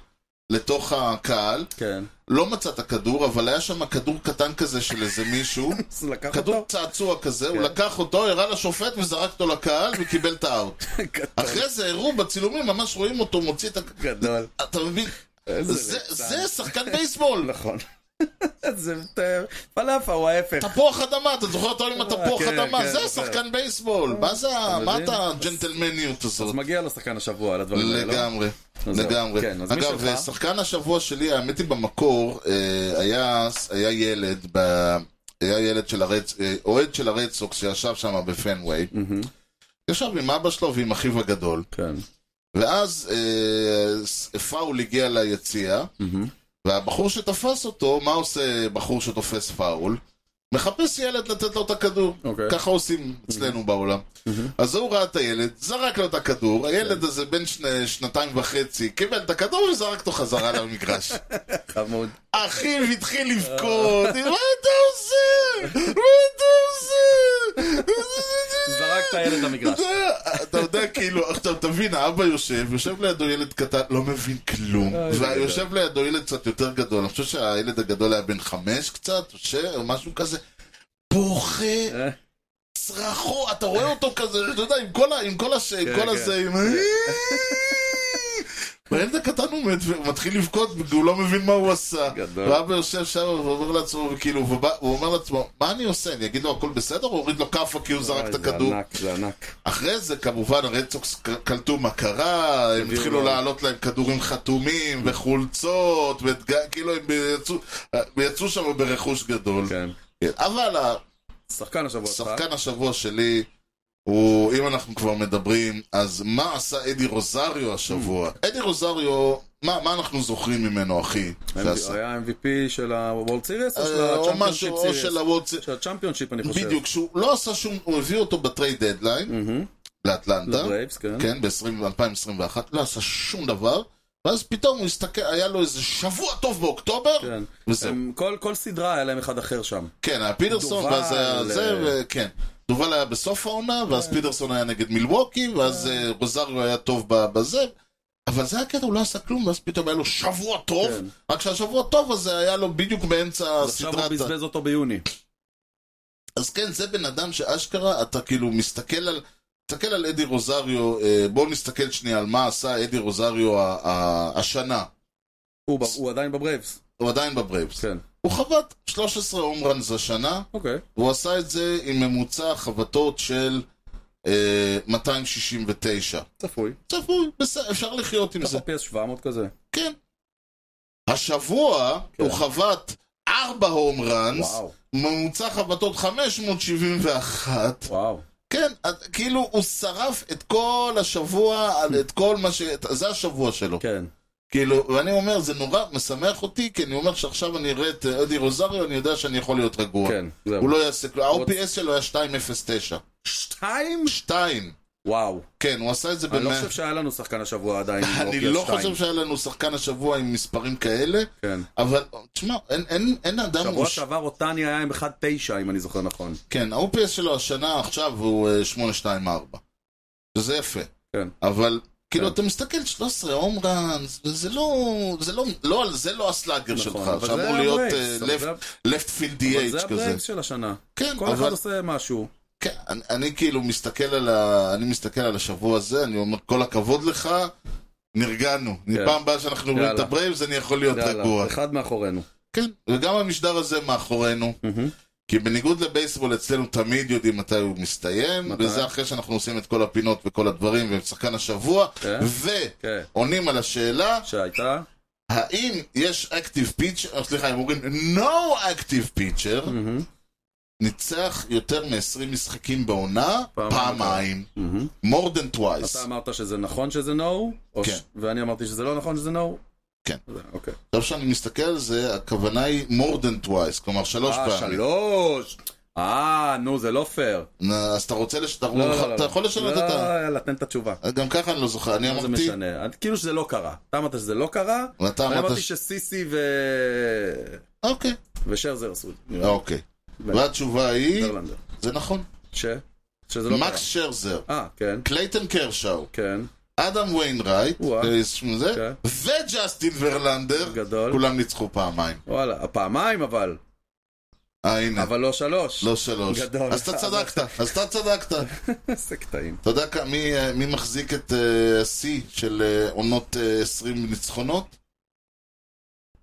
S1: לתוך הקהל,
S2: כן.
S1: לא מצא את הכדור, אבל היה שם כדור קטן כזה של איזה מישהו,
S2: אז הוא לקח
S1: כדור
S2: אותו. כן.
S1: צעצוע כזה, הוא לקח אותו, הראה לשופט וזרק אותו לקהל וקיבל את האאוט.
S2: כן.
S1: אחרי זה הראו בצילומים, ממש רואים אותו מוציא את הכ...
S2: גדול.
S1: אתה מבין?
S2: כן. איזה
S1: זה-
S2: ליצן.
S1: זה שחקן בייסבול.
S2: נכון. זה יותר... פלאפה הוא ההפך.
S1: תפוח אדמה, אתה זוכר אותו עם התפוח
S2: כן,
S1: אדמה?
S2: כן,
S1: זה
S2: זוכר.
S1: שחקן בייסבול. מה זה, ה- מה
S2: מבין?
S1: אתה הג'נטלמניות
S2: אז
S1: הזאת?
S2: מגיע לו שחקן השבוע על הדברים האלה, לא?
S1: לגמרי,
S2: אז זהו.
S1: לגמרי.
S2: כן, אז מי
S1: אגב,
S2: שלך?
S1: שחקן השבוע שלי, האמת היא במקור, אה, היה- היה ילד, ב- היה ילד של הרד, אה, אוהד של הרד סוקס שישב שם בפנוויי. ישב עם אבא שלו ועם אחיו הגדול.
S2: כן.
S1: ואז אה, ס- פאול הגיע ליציע, והבחור שתפס אותו, מה עושה בחור שתופס פאול? מחפש ילד לתת לו את הכדור.
S2: אוקיי.
S1: ככה עושים אצלנו בעולם. אז הוא ראה את הילד, זרק לו את הכדור, הילד
S2: כן.
S1: הזה בן שני- שנתיים וחצי, קיבל את הכדור וזרק אותו חזרה למגרש.
S2: חמוד.
S1: אחיו התחיל לבכות, מה אתה עושה? מה אתה עושה?
S2: זרק את הילד למגרש.
S1: אתה יודע, אתה יודע, כאילו, עכשיו תבין, האבא יושב, יושב לידו ילד קטן, לא מבין כלום.
S2: אה,
S1: ויושב לידו ילד קצת יותר גדול, אני חושב שהילד הגדול היה בן חמש קצת, או ש- או משהו כזה. בוכה,
S2: אה.
S1: צרחו, אתה רואה אותו כזה, אתה יודע, עם כל ה... עם כל הש... עם כל
S2: כן.
S1: הזה, עם... "אה". והילד הקטן הוא מת, ומתחיל לבכות, והוא לא מבין מה הוא עשה.
S2: גדול.
S1: ואבא יושב שם ואומר לעצמו, כאילו, הוא בא- הוא אומר לעצמו, מה אני עושה? אני אגיד לו הכל בסדר? או אוריד לו כאפה כי הוא זרק את
S2: אוי,
S1: הכדור?
S2: אה, זה ענק, זה ענק.
S1: אחרי זה כמובן הרדסוקס ק- קלטו מה קרה, הם התחילו
S2: לו.
S1: לעלות להם כדורים חתומים וחולצות, ואת- כאילו הם יצאו- יצאו שם ברכוש גדול.
S2: כן.
S1: אבל
S2: שחקן השבוע שלך.
S1: השחקן השבוע שלי הוא, אם אנחנו כבר מדברים, אז מה עשה אדי רוזריו השבוע?
S2: Mm.
S1: אדי רוזריו, מה מה אנחנו זוכרים ממנו, אחי? שעשה?
S2: היה MVP של ה-World Series או של
S1: אה, או
S2: ה-Championship
S1: משהו, או של
S2: Series?
S1: הוואטס...
S2: של ה-Championship אני חושב.
S1: בדיוק, שהוא לא עשה שום, הוא הביא אותו בטרייד דדליין
S2: מהמם.
S1: לאטלנטה.
S2: לברייבס, כן.
S1: כן, ב-2021, לא עשה שום דבר, ואז פתאום הוא הסתכל, היה לו איזה שבוע טוב באוקטובר,
S2: כן.
S1: וזהו.
S2: הם- כל כל סדרה היה להם אחד אחר שם.
S1: כן, היה פיטרסון,
S2: דובל,
S1: ואז היה זה,
S2: אה, כן.
S1: וכן. דובל היה בסוף העונה, ואז פיטרסון היה נגד מילווקי, ואז אה, רוזריו היה טוב ב- בזה. אבל זה הקטע, הוא לא עשה כלום, ואז פתאום היה לו שבוע טוב,
S2: כן.
S1: רק שהשבוע טוב הזה היה לו בדיוק באמצע
S2: אז עכשיו הוא
S1: הסדרת... ה-
S2: בזבז אותו ביוני.
S1: אז כן, זה בן אדם שאשכרה, אתה כאילו מסתכל על... תסתכל על אדי רוזריו, אה, בואו נסתכל שנייה על מה עשה אדי רוזריו ה- ה- השנה.
S2: הוא ב- הוא עדיין בברייבס.
S1: הוא עדיין בברייבס.
S2: כן.
S1: הוא חבט 13 הום ראנס השנה,
S2: אוקיי.
S1: והוא עשה את זה עם ממוצע חבטות של אה, 269.
S2: צפוי.
S1: צפוי, בסדר, אפשר לחיות עם זה.
S2: ככה PS 700 כזה.
S1: כן. השבוע
S2: כן.
S1: הוא חבט 4 הום ראנס,
S2: וואו.
S1: ממוצע חבטות 571.
S2: וואו.
S1: כן, אז כאילו הוא שרף את כל השבוע, על- את כל מה ש... את- זה השבוע שלו.
S2: כן.
S1: כאילו, ואני אומר, זה נורא משמח אותי, כי אני אומר שעכשיו אני אראה את אה, אדי רוזריו, אני יודע שאני יכול להיות רגוע.
S2: כן. זהו.
S1: הוא לא יעשה כלום. ה-OPS שלו היה 2.09.
S2: שתיים?
S1: 2.
S2: וואו.
S1: כן, הוא עשה את זה
S2: אני לא
S1: במאה...
S2: חושב שהיה לנו שחקן השבוע עדיין. עם אוקיי,
S1: אני
S2: אופי
S1: לא
S2: השתיים.
S1: חושב שהיה לנו שחקן השבוע עם מספרים כאלה,
S2: כן.
S1: אבל תשמע, אין- אין- אין אדם...
S2: שבוע
S1: הוא ש-
S2: שעבר אותני היה עם 1.9 אם אני זוכר נכון.
S1: כן, ה-OPS שלו השנה עכשיו הוא אה, 8.24. שזה יפה.
S2: כן.
S1: אבל... כאילו,
S2: כן.
S1: אתה מסתכל, 13 הום ראנס, וזה לא, זה לא, לא, על- זה לא הסלאגר שלך,
S2: נכון. אבל זה
S1: שאמור להיות אה,
S2: הברייבס, אבל זה-
S1: לפט פילד
S2: אבל
S1: DH
S2: זה
S1: כזה.
S2: הברייבס של השנה.
S1: כן,
S2: כל אחד
S1: אבל
S2: עושה משהו.
S1: כן, אני, אני כאילו מסתכל על, ה... אני מסתכל על השבוע הזה, אני אומר, כל הכבוד לך, נרגענו.
S2: כן.
S1: פעם הבאה שאנחנו רואים את
S2: יאללה.
S1: הברייבס, אני יכול להיות
S2: יאללה,
S1: רגוע.
S2: אחד מאחורינו.
S1: כן, וגם המשדר הזה מאחורינו.
S2: מהמם.
S1: כי בניגוד לבייסבול, אצלנו תמיד יודעים מתי הוא מסתיים,
S2: מתי?
S1: וזה אחרי שאנחנו עושים את כל הפינות וכל הדברים, ושחקן השבוע,
S2: כן. כן.
S1: ועונים על השאלה,
S2: שהייתה?
S1: האם יש אקטיב פיצ'ר, סליחה, הם אומרים no active pitcher,
S2: מהמם.
S1: ניצח יותר מ-20 משחקים בעונה,
S2: פעמיים.
S1: פעמיים.
S2: מהמם.
S1: more than twice.
S2: אתה אמרת שזה נכון שזה נו, או
S1: כן.
S2: ש- ואני אמרתי שזה לא נכון שזה נו?
S1: כן.
S2: אוקיי.
S1: עכשיו שאני מסתכל על זה, הכוונה היא more than twice, כלומר שלוש
S2: אה,
S1: פעמים.
S2: שלוש! אה, נו, זה לא פייר.
S1: אז אתה רוצה, לש- אתה
S2: לא, לא, לא.
S1: אתה יכול לשנות את ה...
S2: לא, יאללה, תן את התשובה.
S1: גם ככה אני לא זוכר, אני
S2: מה זה
S1: אמרתי...
S2: משנה? את- כאילו שזה לא קרה. אתה אמרת שזה לא קרה,
S1: ואתה
S2: אני
S1: אמרת...
S2: אמרתי
S1: ש-
S2: שסיסי ו...
S1: אוקיי.
S2: ושרזר עשו את זה.
S1: אוקיי. והתשובה היא...
S2: נדרלנדר.
S1: זה נכון.
S2: ש? שזה לא קרה.
S1: מקס שרזר,
S2: אה, כן,
S1: קלייטן קרשאו,
S2: כן.
S1: אדם ויינרייט,
S2: וואו.
S1: אה, שמו זה,
S2: כן.
S1: וג'סטין ורלנדר,
S2: גדול.
S1: כולם ניצחו פעמיים.
S2: וואלה, פעמיים אבל,
S1: אה, הנה.
S2: אבל לא שלוש.
S1: לא שלוש.
S2: גדול.
S1: אז אתה צדקת, אז אתה צדקת.
S2: איזה קטעים.
S1: אתה יודע כ- מי, אה, מי מחזיק את אה, השיא של אה, עונות אה, 20 ניצחונות?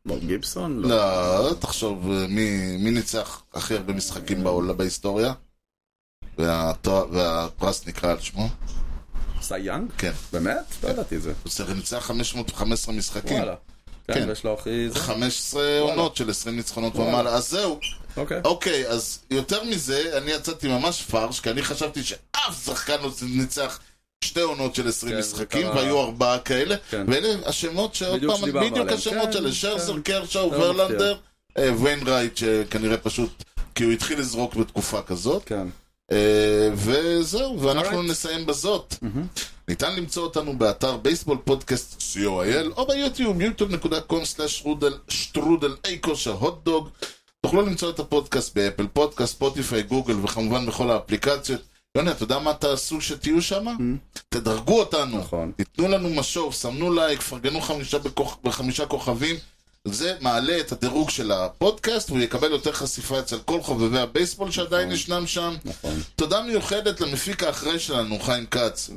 S2: בור גיבסון?
S1: לא, תחשוב, אה, מי, מי ניצח הכי הרבה משחקים בעולם, בהיסטוריה? והתואר- והפרס נקרא על שמו?
S2: סי יאנג?
S1: כן.
S2: באמת? לא ידעתי את זה.
S1: הוא צריך- ניצח 515 משחקים.
S2: וואלה.
S1: כן.
S2: כן, ויש לו הכי... זה.
S1: 15 עונות של 20 ניצחונות
S2: וואלה.
S1: ומעלה. אז זהו.
S2: אוקיי.
S1: אוקיי, אז יותר מזה, אני יצאתי ממש פרש, כי אני חשבתי שאף שחקן לא ניצח שתי עונות של 20
S2: כן, זה
S1: משחקים,
S2: קרה.
S1: והיו ארבעה כאלה,
S2: כן.
S1: ואלה השמות שעוד
S2: בדיוק
S1: פעם,
S2: שדיברנו
S1: בדיוק
S2: עליהם.
S1: השמות
S2: כן,
S1: של שרזר,
S2: כן.
S1: קרשאו,
S2: לא מפתיע.
S1: ורלנדר, אה, ויינרייט, שכנראה פשוט, כי הוא התחיל לזרוק בתקופה כזאת.
S2: כן.
S1: אה, וזהו, ואנחנו
S2: Alright. Mm-hmm.
S1: נסיים בזאת. ניתן למצוא אותנו באתר בייסבול פודקאסט co.il או ביוטיוב yוטיוב.com/שטרודל אי כושר הוטדוג. תוכלו למצוא את הפודקאסט באפל פודקאסט, ספוטיפיי, גוגל וכמובן בכל האפליקציות. יוני, אתה יודע מה תעשו שתהיו שם? תדרגו אותנו,
S2: Mm-hmm. נכון.
S1: תיתנו לנו משוב, סמנו לייק, פרגנו חמישה בכוח- בחמישה כוכבים. זה מעלה את הדירוג של הפודקאסט, והוא יקבל יותר חשיפה אצל כל חובבי הבייסבול שעדיין ישנם שם.
S2: נכון.
S1: תודה מיוחדת למפיק האחראי שלנו, חיים כץ.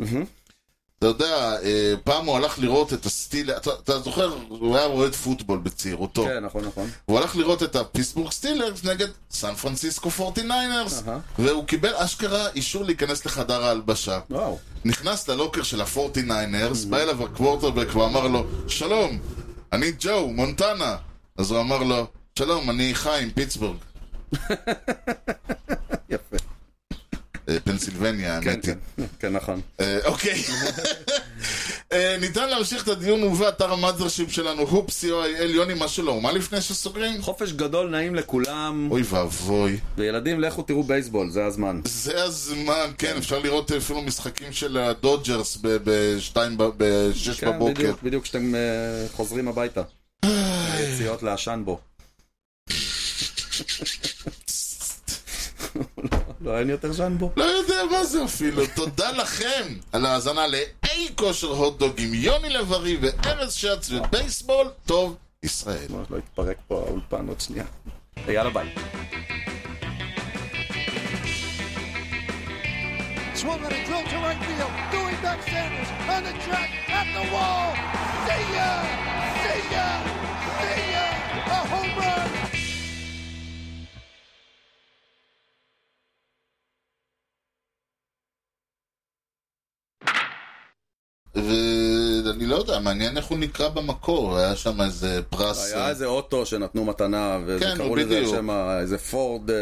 S1: אתה יודע, אה, פעם הוא הלך לראות את הסטיל, אתה, אתה זוכר, הוא היה אוהד פוטבול בצעירותו.
S2: כן, נכון, נכון.
S1: הוא הלך לראות את הפיסבורג סטילרס נגד סן פרנסיסקו 49ers,
S2: אהה.
S1: והוא קיבל אשכרה אישור להיכנס לחדר ההלבשה.
S2: וואו.
S1: נכנס ללוקר של ה-49ers, בא אליו הקוורטרבק ואמר לו, שלום, אני ג'ו, מונטנה. אז הוא אמר לו, שלום, אני חיים, פיטסבורג.
S2: יפה.
S1: אה, פנסילבניה,
S2: כן,
S1: האמת היא.
S2: כן. כן, נכון.
S1: אה, אוקיי. אה, ניתן להמשיך את הדיון ובאתר המאזרשיפ שלנו, הופסי או אל יוני, משהו לא, מה לפני שסוגרים?
S2: חופש גדול נעים לכולם,
S1: אוי ואבוי.
S2: וילדים לכו תראו בייסבול, זה הזמן.
S1: זה הזמן, כן, אפשר לראות אפילו משחקים של הדודג'רס ב-6
S2: כן,
S1: בבוקר.
S2: בדיוק, בדיוק כשאתם אה, חוזרים הביתה. יציאות לעשן בו. לא, אין יותר ז'אן בו.
S1: לא יודע מה זה אפילו. תודה לכם על ההאזנה לאי כושר הוטדוג עם יוני לב-ארי וארז שץ ובייסבול. טוב, ישראל.
S2: ממש לא יתפרק פה האולפן עוד שנייה. יאללה ביי.
S5: Swung on a drill to right field. Doing back Sanders on the track at the wall. See ya! See ya! See ya! A home run!
S1: ואני לא יודע, מעניין איך הוא נקרא במקור, היה שם איזה פרס.
S2: היה
S1: אה,
S2: איזה אוטו שנתנו מתנה,
S1: כן,
S2: וקראו לזה על
S1: בדיוק.
S2: שם ה- איזה פורד, אה,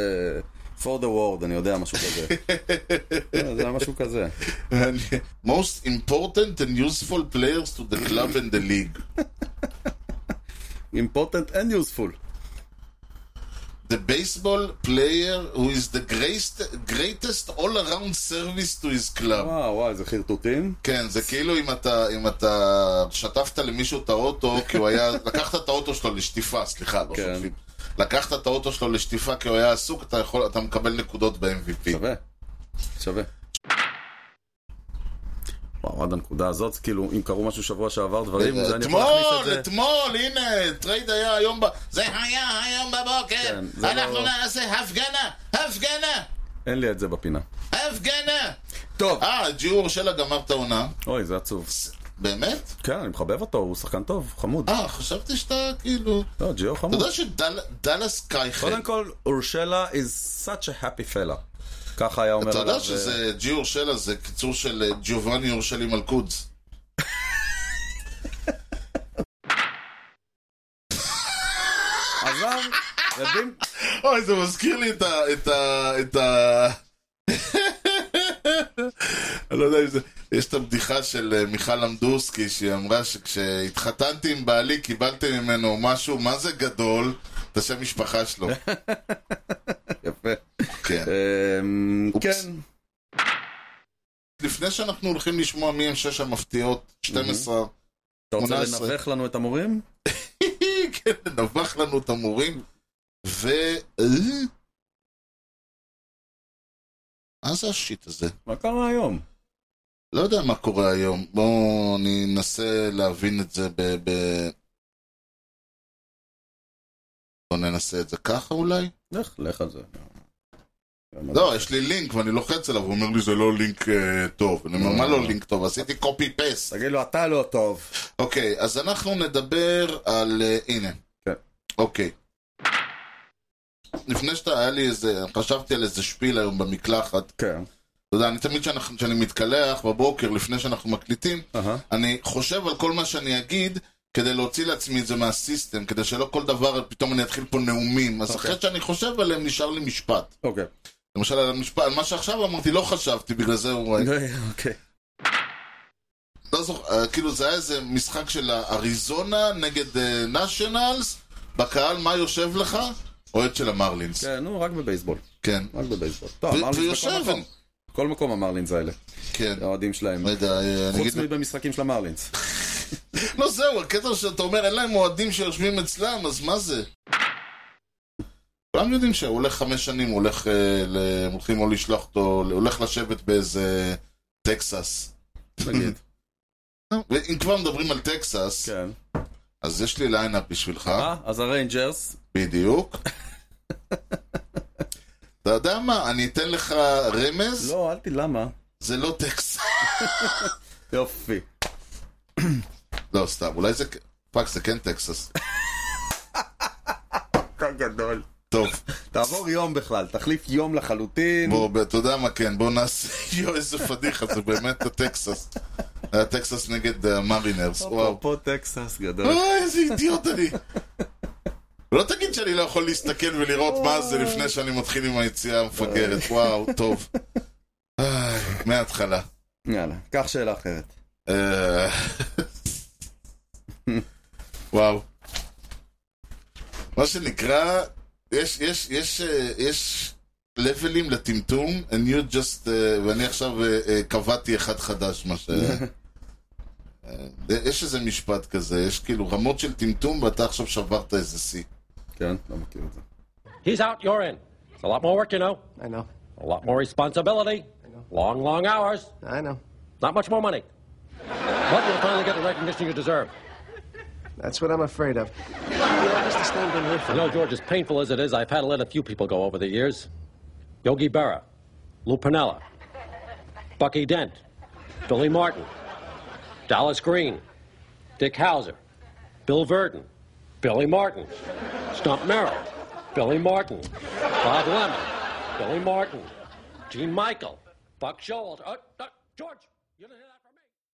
S2: פורד הוורד, אני יודע, משהו כזה. כן, זה היה משהו כזה.
S1: most important and useful players to the club and the league.
S2: Important and useful.
S1: The baseball player who is the greatest, greatest all around service to his club.
S2: וואו, וואו, אה, איזה חרטוטים.
S1: כן, זה כאילו אם אתה, אם אתה שטפת למישהו את האוטו, כי הוא היה, לקחת את האוטו שלו לשטיפה, סליחה, לא
S2: כן.
S1: שוטפים. לקחת את האוטו שלו לשטיפה כי הוא היה עסוק, אתה יכול, אתה מקבל נקודות ב-MVP.
S2: שווה. שווה. וואו, עד הנקודה הזאת, כאילו, אם קרו משהו שבוע שעבר, דברים, זה אני יכול להכניס את
S1: אה, אתמול,
S2: זה.
S1: אתמול, הנה, טרייד היה היום ב... זה היה היום בבוקר,
S2: כן, זה
S1: אנחנו
S2: לא-
S1: נעשה הפגנה, הפגנה,
S2: אין לי את זה בפינה.
S1: הפגנה.
S2: טוב.
S1: אה, ג'יו אורשלה גמר את העונה.
S2: אוי, זה עצוב.
S1: באמת?
S2: כן, אני מחבב אותו, הוא שחקן טוב, חמוד.
S1: אה, חשבתי שאתה כאילו...
S2: לא, ג'יו
S1: אתה
S2: חמוד.
S1: יודע שדאלאס קייחל,
S2: קודם כל, אורשלה is such a happy fella. ככה היה אומר
S1: אתה
S2: עליו.
S1: יודע
S2: אה,
S1: שזה ג'יו אורשלה זה קיצור של אה, ג'ובאני אורשלי מלכודס.
S2: עזב, רבים,
S1: אוי, זה מזכיר לי את ה... את ה... את ה... אני לא יודע אם זה... יש את הבדיחה של אה, מיכל עמדורסקי, שהיא אמרה שכשהתחתנתי עם בעלי, קיבלתי ממנו משהו, מה זה גדול? את השם משפחה שלו.
S2: יפה.
S1: כן.
S2: אמ,
S1: אופס.
S2: כן,
S1: לפני שאנחנו הולכים לשמוע מי הם שש המפתיעות, 12,
S2: אתה רוצה
S1: 18.
S2: לנבח לנו את המורים?
S1: כן, נבח לנו את המורים, ו... מה אה, זה השיט הזה?
S2: מה קרה היום?
S1: לא יודע מה קורה היום, בואו אני אנסה להבין את זה ב... ב... בואו ננסה את זה ככה אולי?
S2: לך, לך על זה.
S1: לא, יש לי לינק ואני לוחץ עליו, הוא אומר לי זה לא לינק אה, טוב. אני אומר, מה לא לינק טוב? עשיתי קופי פייסט.
S2: תגיד לו, אתה לא טוב.
S1: אוקיי, אז אנחנו נדבר על... אה, הנה.
S2: כן.
S1: אוקיי. לפני שאתה, היה לי איזה... חשבתי על איזה שפיל היום במקלחת.
S2: כן.
S1: אתה יודע, אני תמיד כשאנחנו- כשאני מתקלח בבוקר, לפני שאנחנו מקליטים,
S2: אהה.
S1: אני חושב על כל מה שאני אגיד כדי להוציא לעצמי את זה מהסיסטם, כדי שלא כל דבר, פתאום אני אתחיל פה נאומים. אז
S2: אוקיי.
S1: אחרי שאני חושב עליהם, נשאר לי משפט.
S2: אוקיי.
S1: למשל, על המשפט, על מה שעכשיו אמרתי, לא חשבתי, בגלל זה הוא...
S2: אוקיי.
S1: לא זוכר, אה, כאילו זה היה איזה משחק של אריזונה נגד נשיונלס, בקהל מה יושב לך? אוהד של המרלינס.
S2: כן, נו, רק בבייסבול.
S1: כן,
S2: רק בבייסבול. טוב,
S1: ו-
S2: המרלינס
S1: ויושב
S2: בכל מקום. כל מקום המרלינס האלה.
S1: כן.
S2: האוהדים שלהם.
S1: רגע, אה, אני
S2: חוץ
S1: אגיד...
S2: מבמשחקים של המרלינס.
S1: לא, זהו, הקטע שאתה אומר, אין להם אוהדים שיושבים אצלם, אז מה זה? כולם יודעים שהוא הולך חמש שנים, הוא הולך... אה, ל- הולכים או לשלוח אותו, הוא הולך לשבת באיזה... טקסס.
S2: נגיד.
S1: ואם כבר מדברים על טקסס,
S2: כן.
S1: אז יש לי ליינאפ בשבילך,
S2: אה, אז הריינג'רס.
S1: בדיוק. אתה יודע מה, אני אתן לך רמז,
S2: לא, אל תגיד למה.
S1: זה לא טקסס.
S2: יופי.
S1: לא, סתם, אולי זה... פאק, זה כן טקסס.
S2: גדול.
S1: טוב,
S2: תעבור יום בכלל, תחליף יום לחלוטין.
S1: בוא, אתה יודע מה כן, בוא נעשה, יואו, איזה פדיחה, זה באמת הטקסס. היה טקסס נגד המרינרס, וואו.
S2: אפרופו טקסס גדול.
S1: אה, איזה אידיוט אני. לא תגיד שאני לא יכול להסתכל ולראות מה זה לפני שאני מתחיל עם היציאה המפגרת, וואו, טוב. איי, מההתחלה.
S2: יאללה, קח שאלה אחרת.
S1: אה, וואו. מה שנקרא, יש, יש, יש, אה, יש לבלים לטמטום, and you just, אה, ואני עכשיו אה, אה, קבעתי אחד חדש, מה ש... אה, יש איזה משפט כזה, יש כאילו רמות של טמטום ואתה עכשיו שברת איזה שיא.
S2: כן, לא מכיר את זה.
S6: He's out, you're in. It's a lot more work, you know.
S7: I know.
S6: A lot more responsibility. Long, long hours.
S7: I know.
S6: Not much more money. But you'll finally get the recognition you deserve.
S7: That's what I'm afraid of. Yeah, this has been here
S6: I
S7: for.
S6: know, George, as painful as it is, I've had to let a few people go over the years. Yogi Berra, Lou Pinella, Bucky Dent, Billy Martin, Dallas Green, Dick Hauser, Bill Verdon, Billy Martin, Stump Merrill, Billy Martin, Bob Lemon, Billy Martin, Gene Michael, Buck Scholes. Uh, uh, George, you didn't hear that.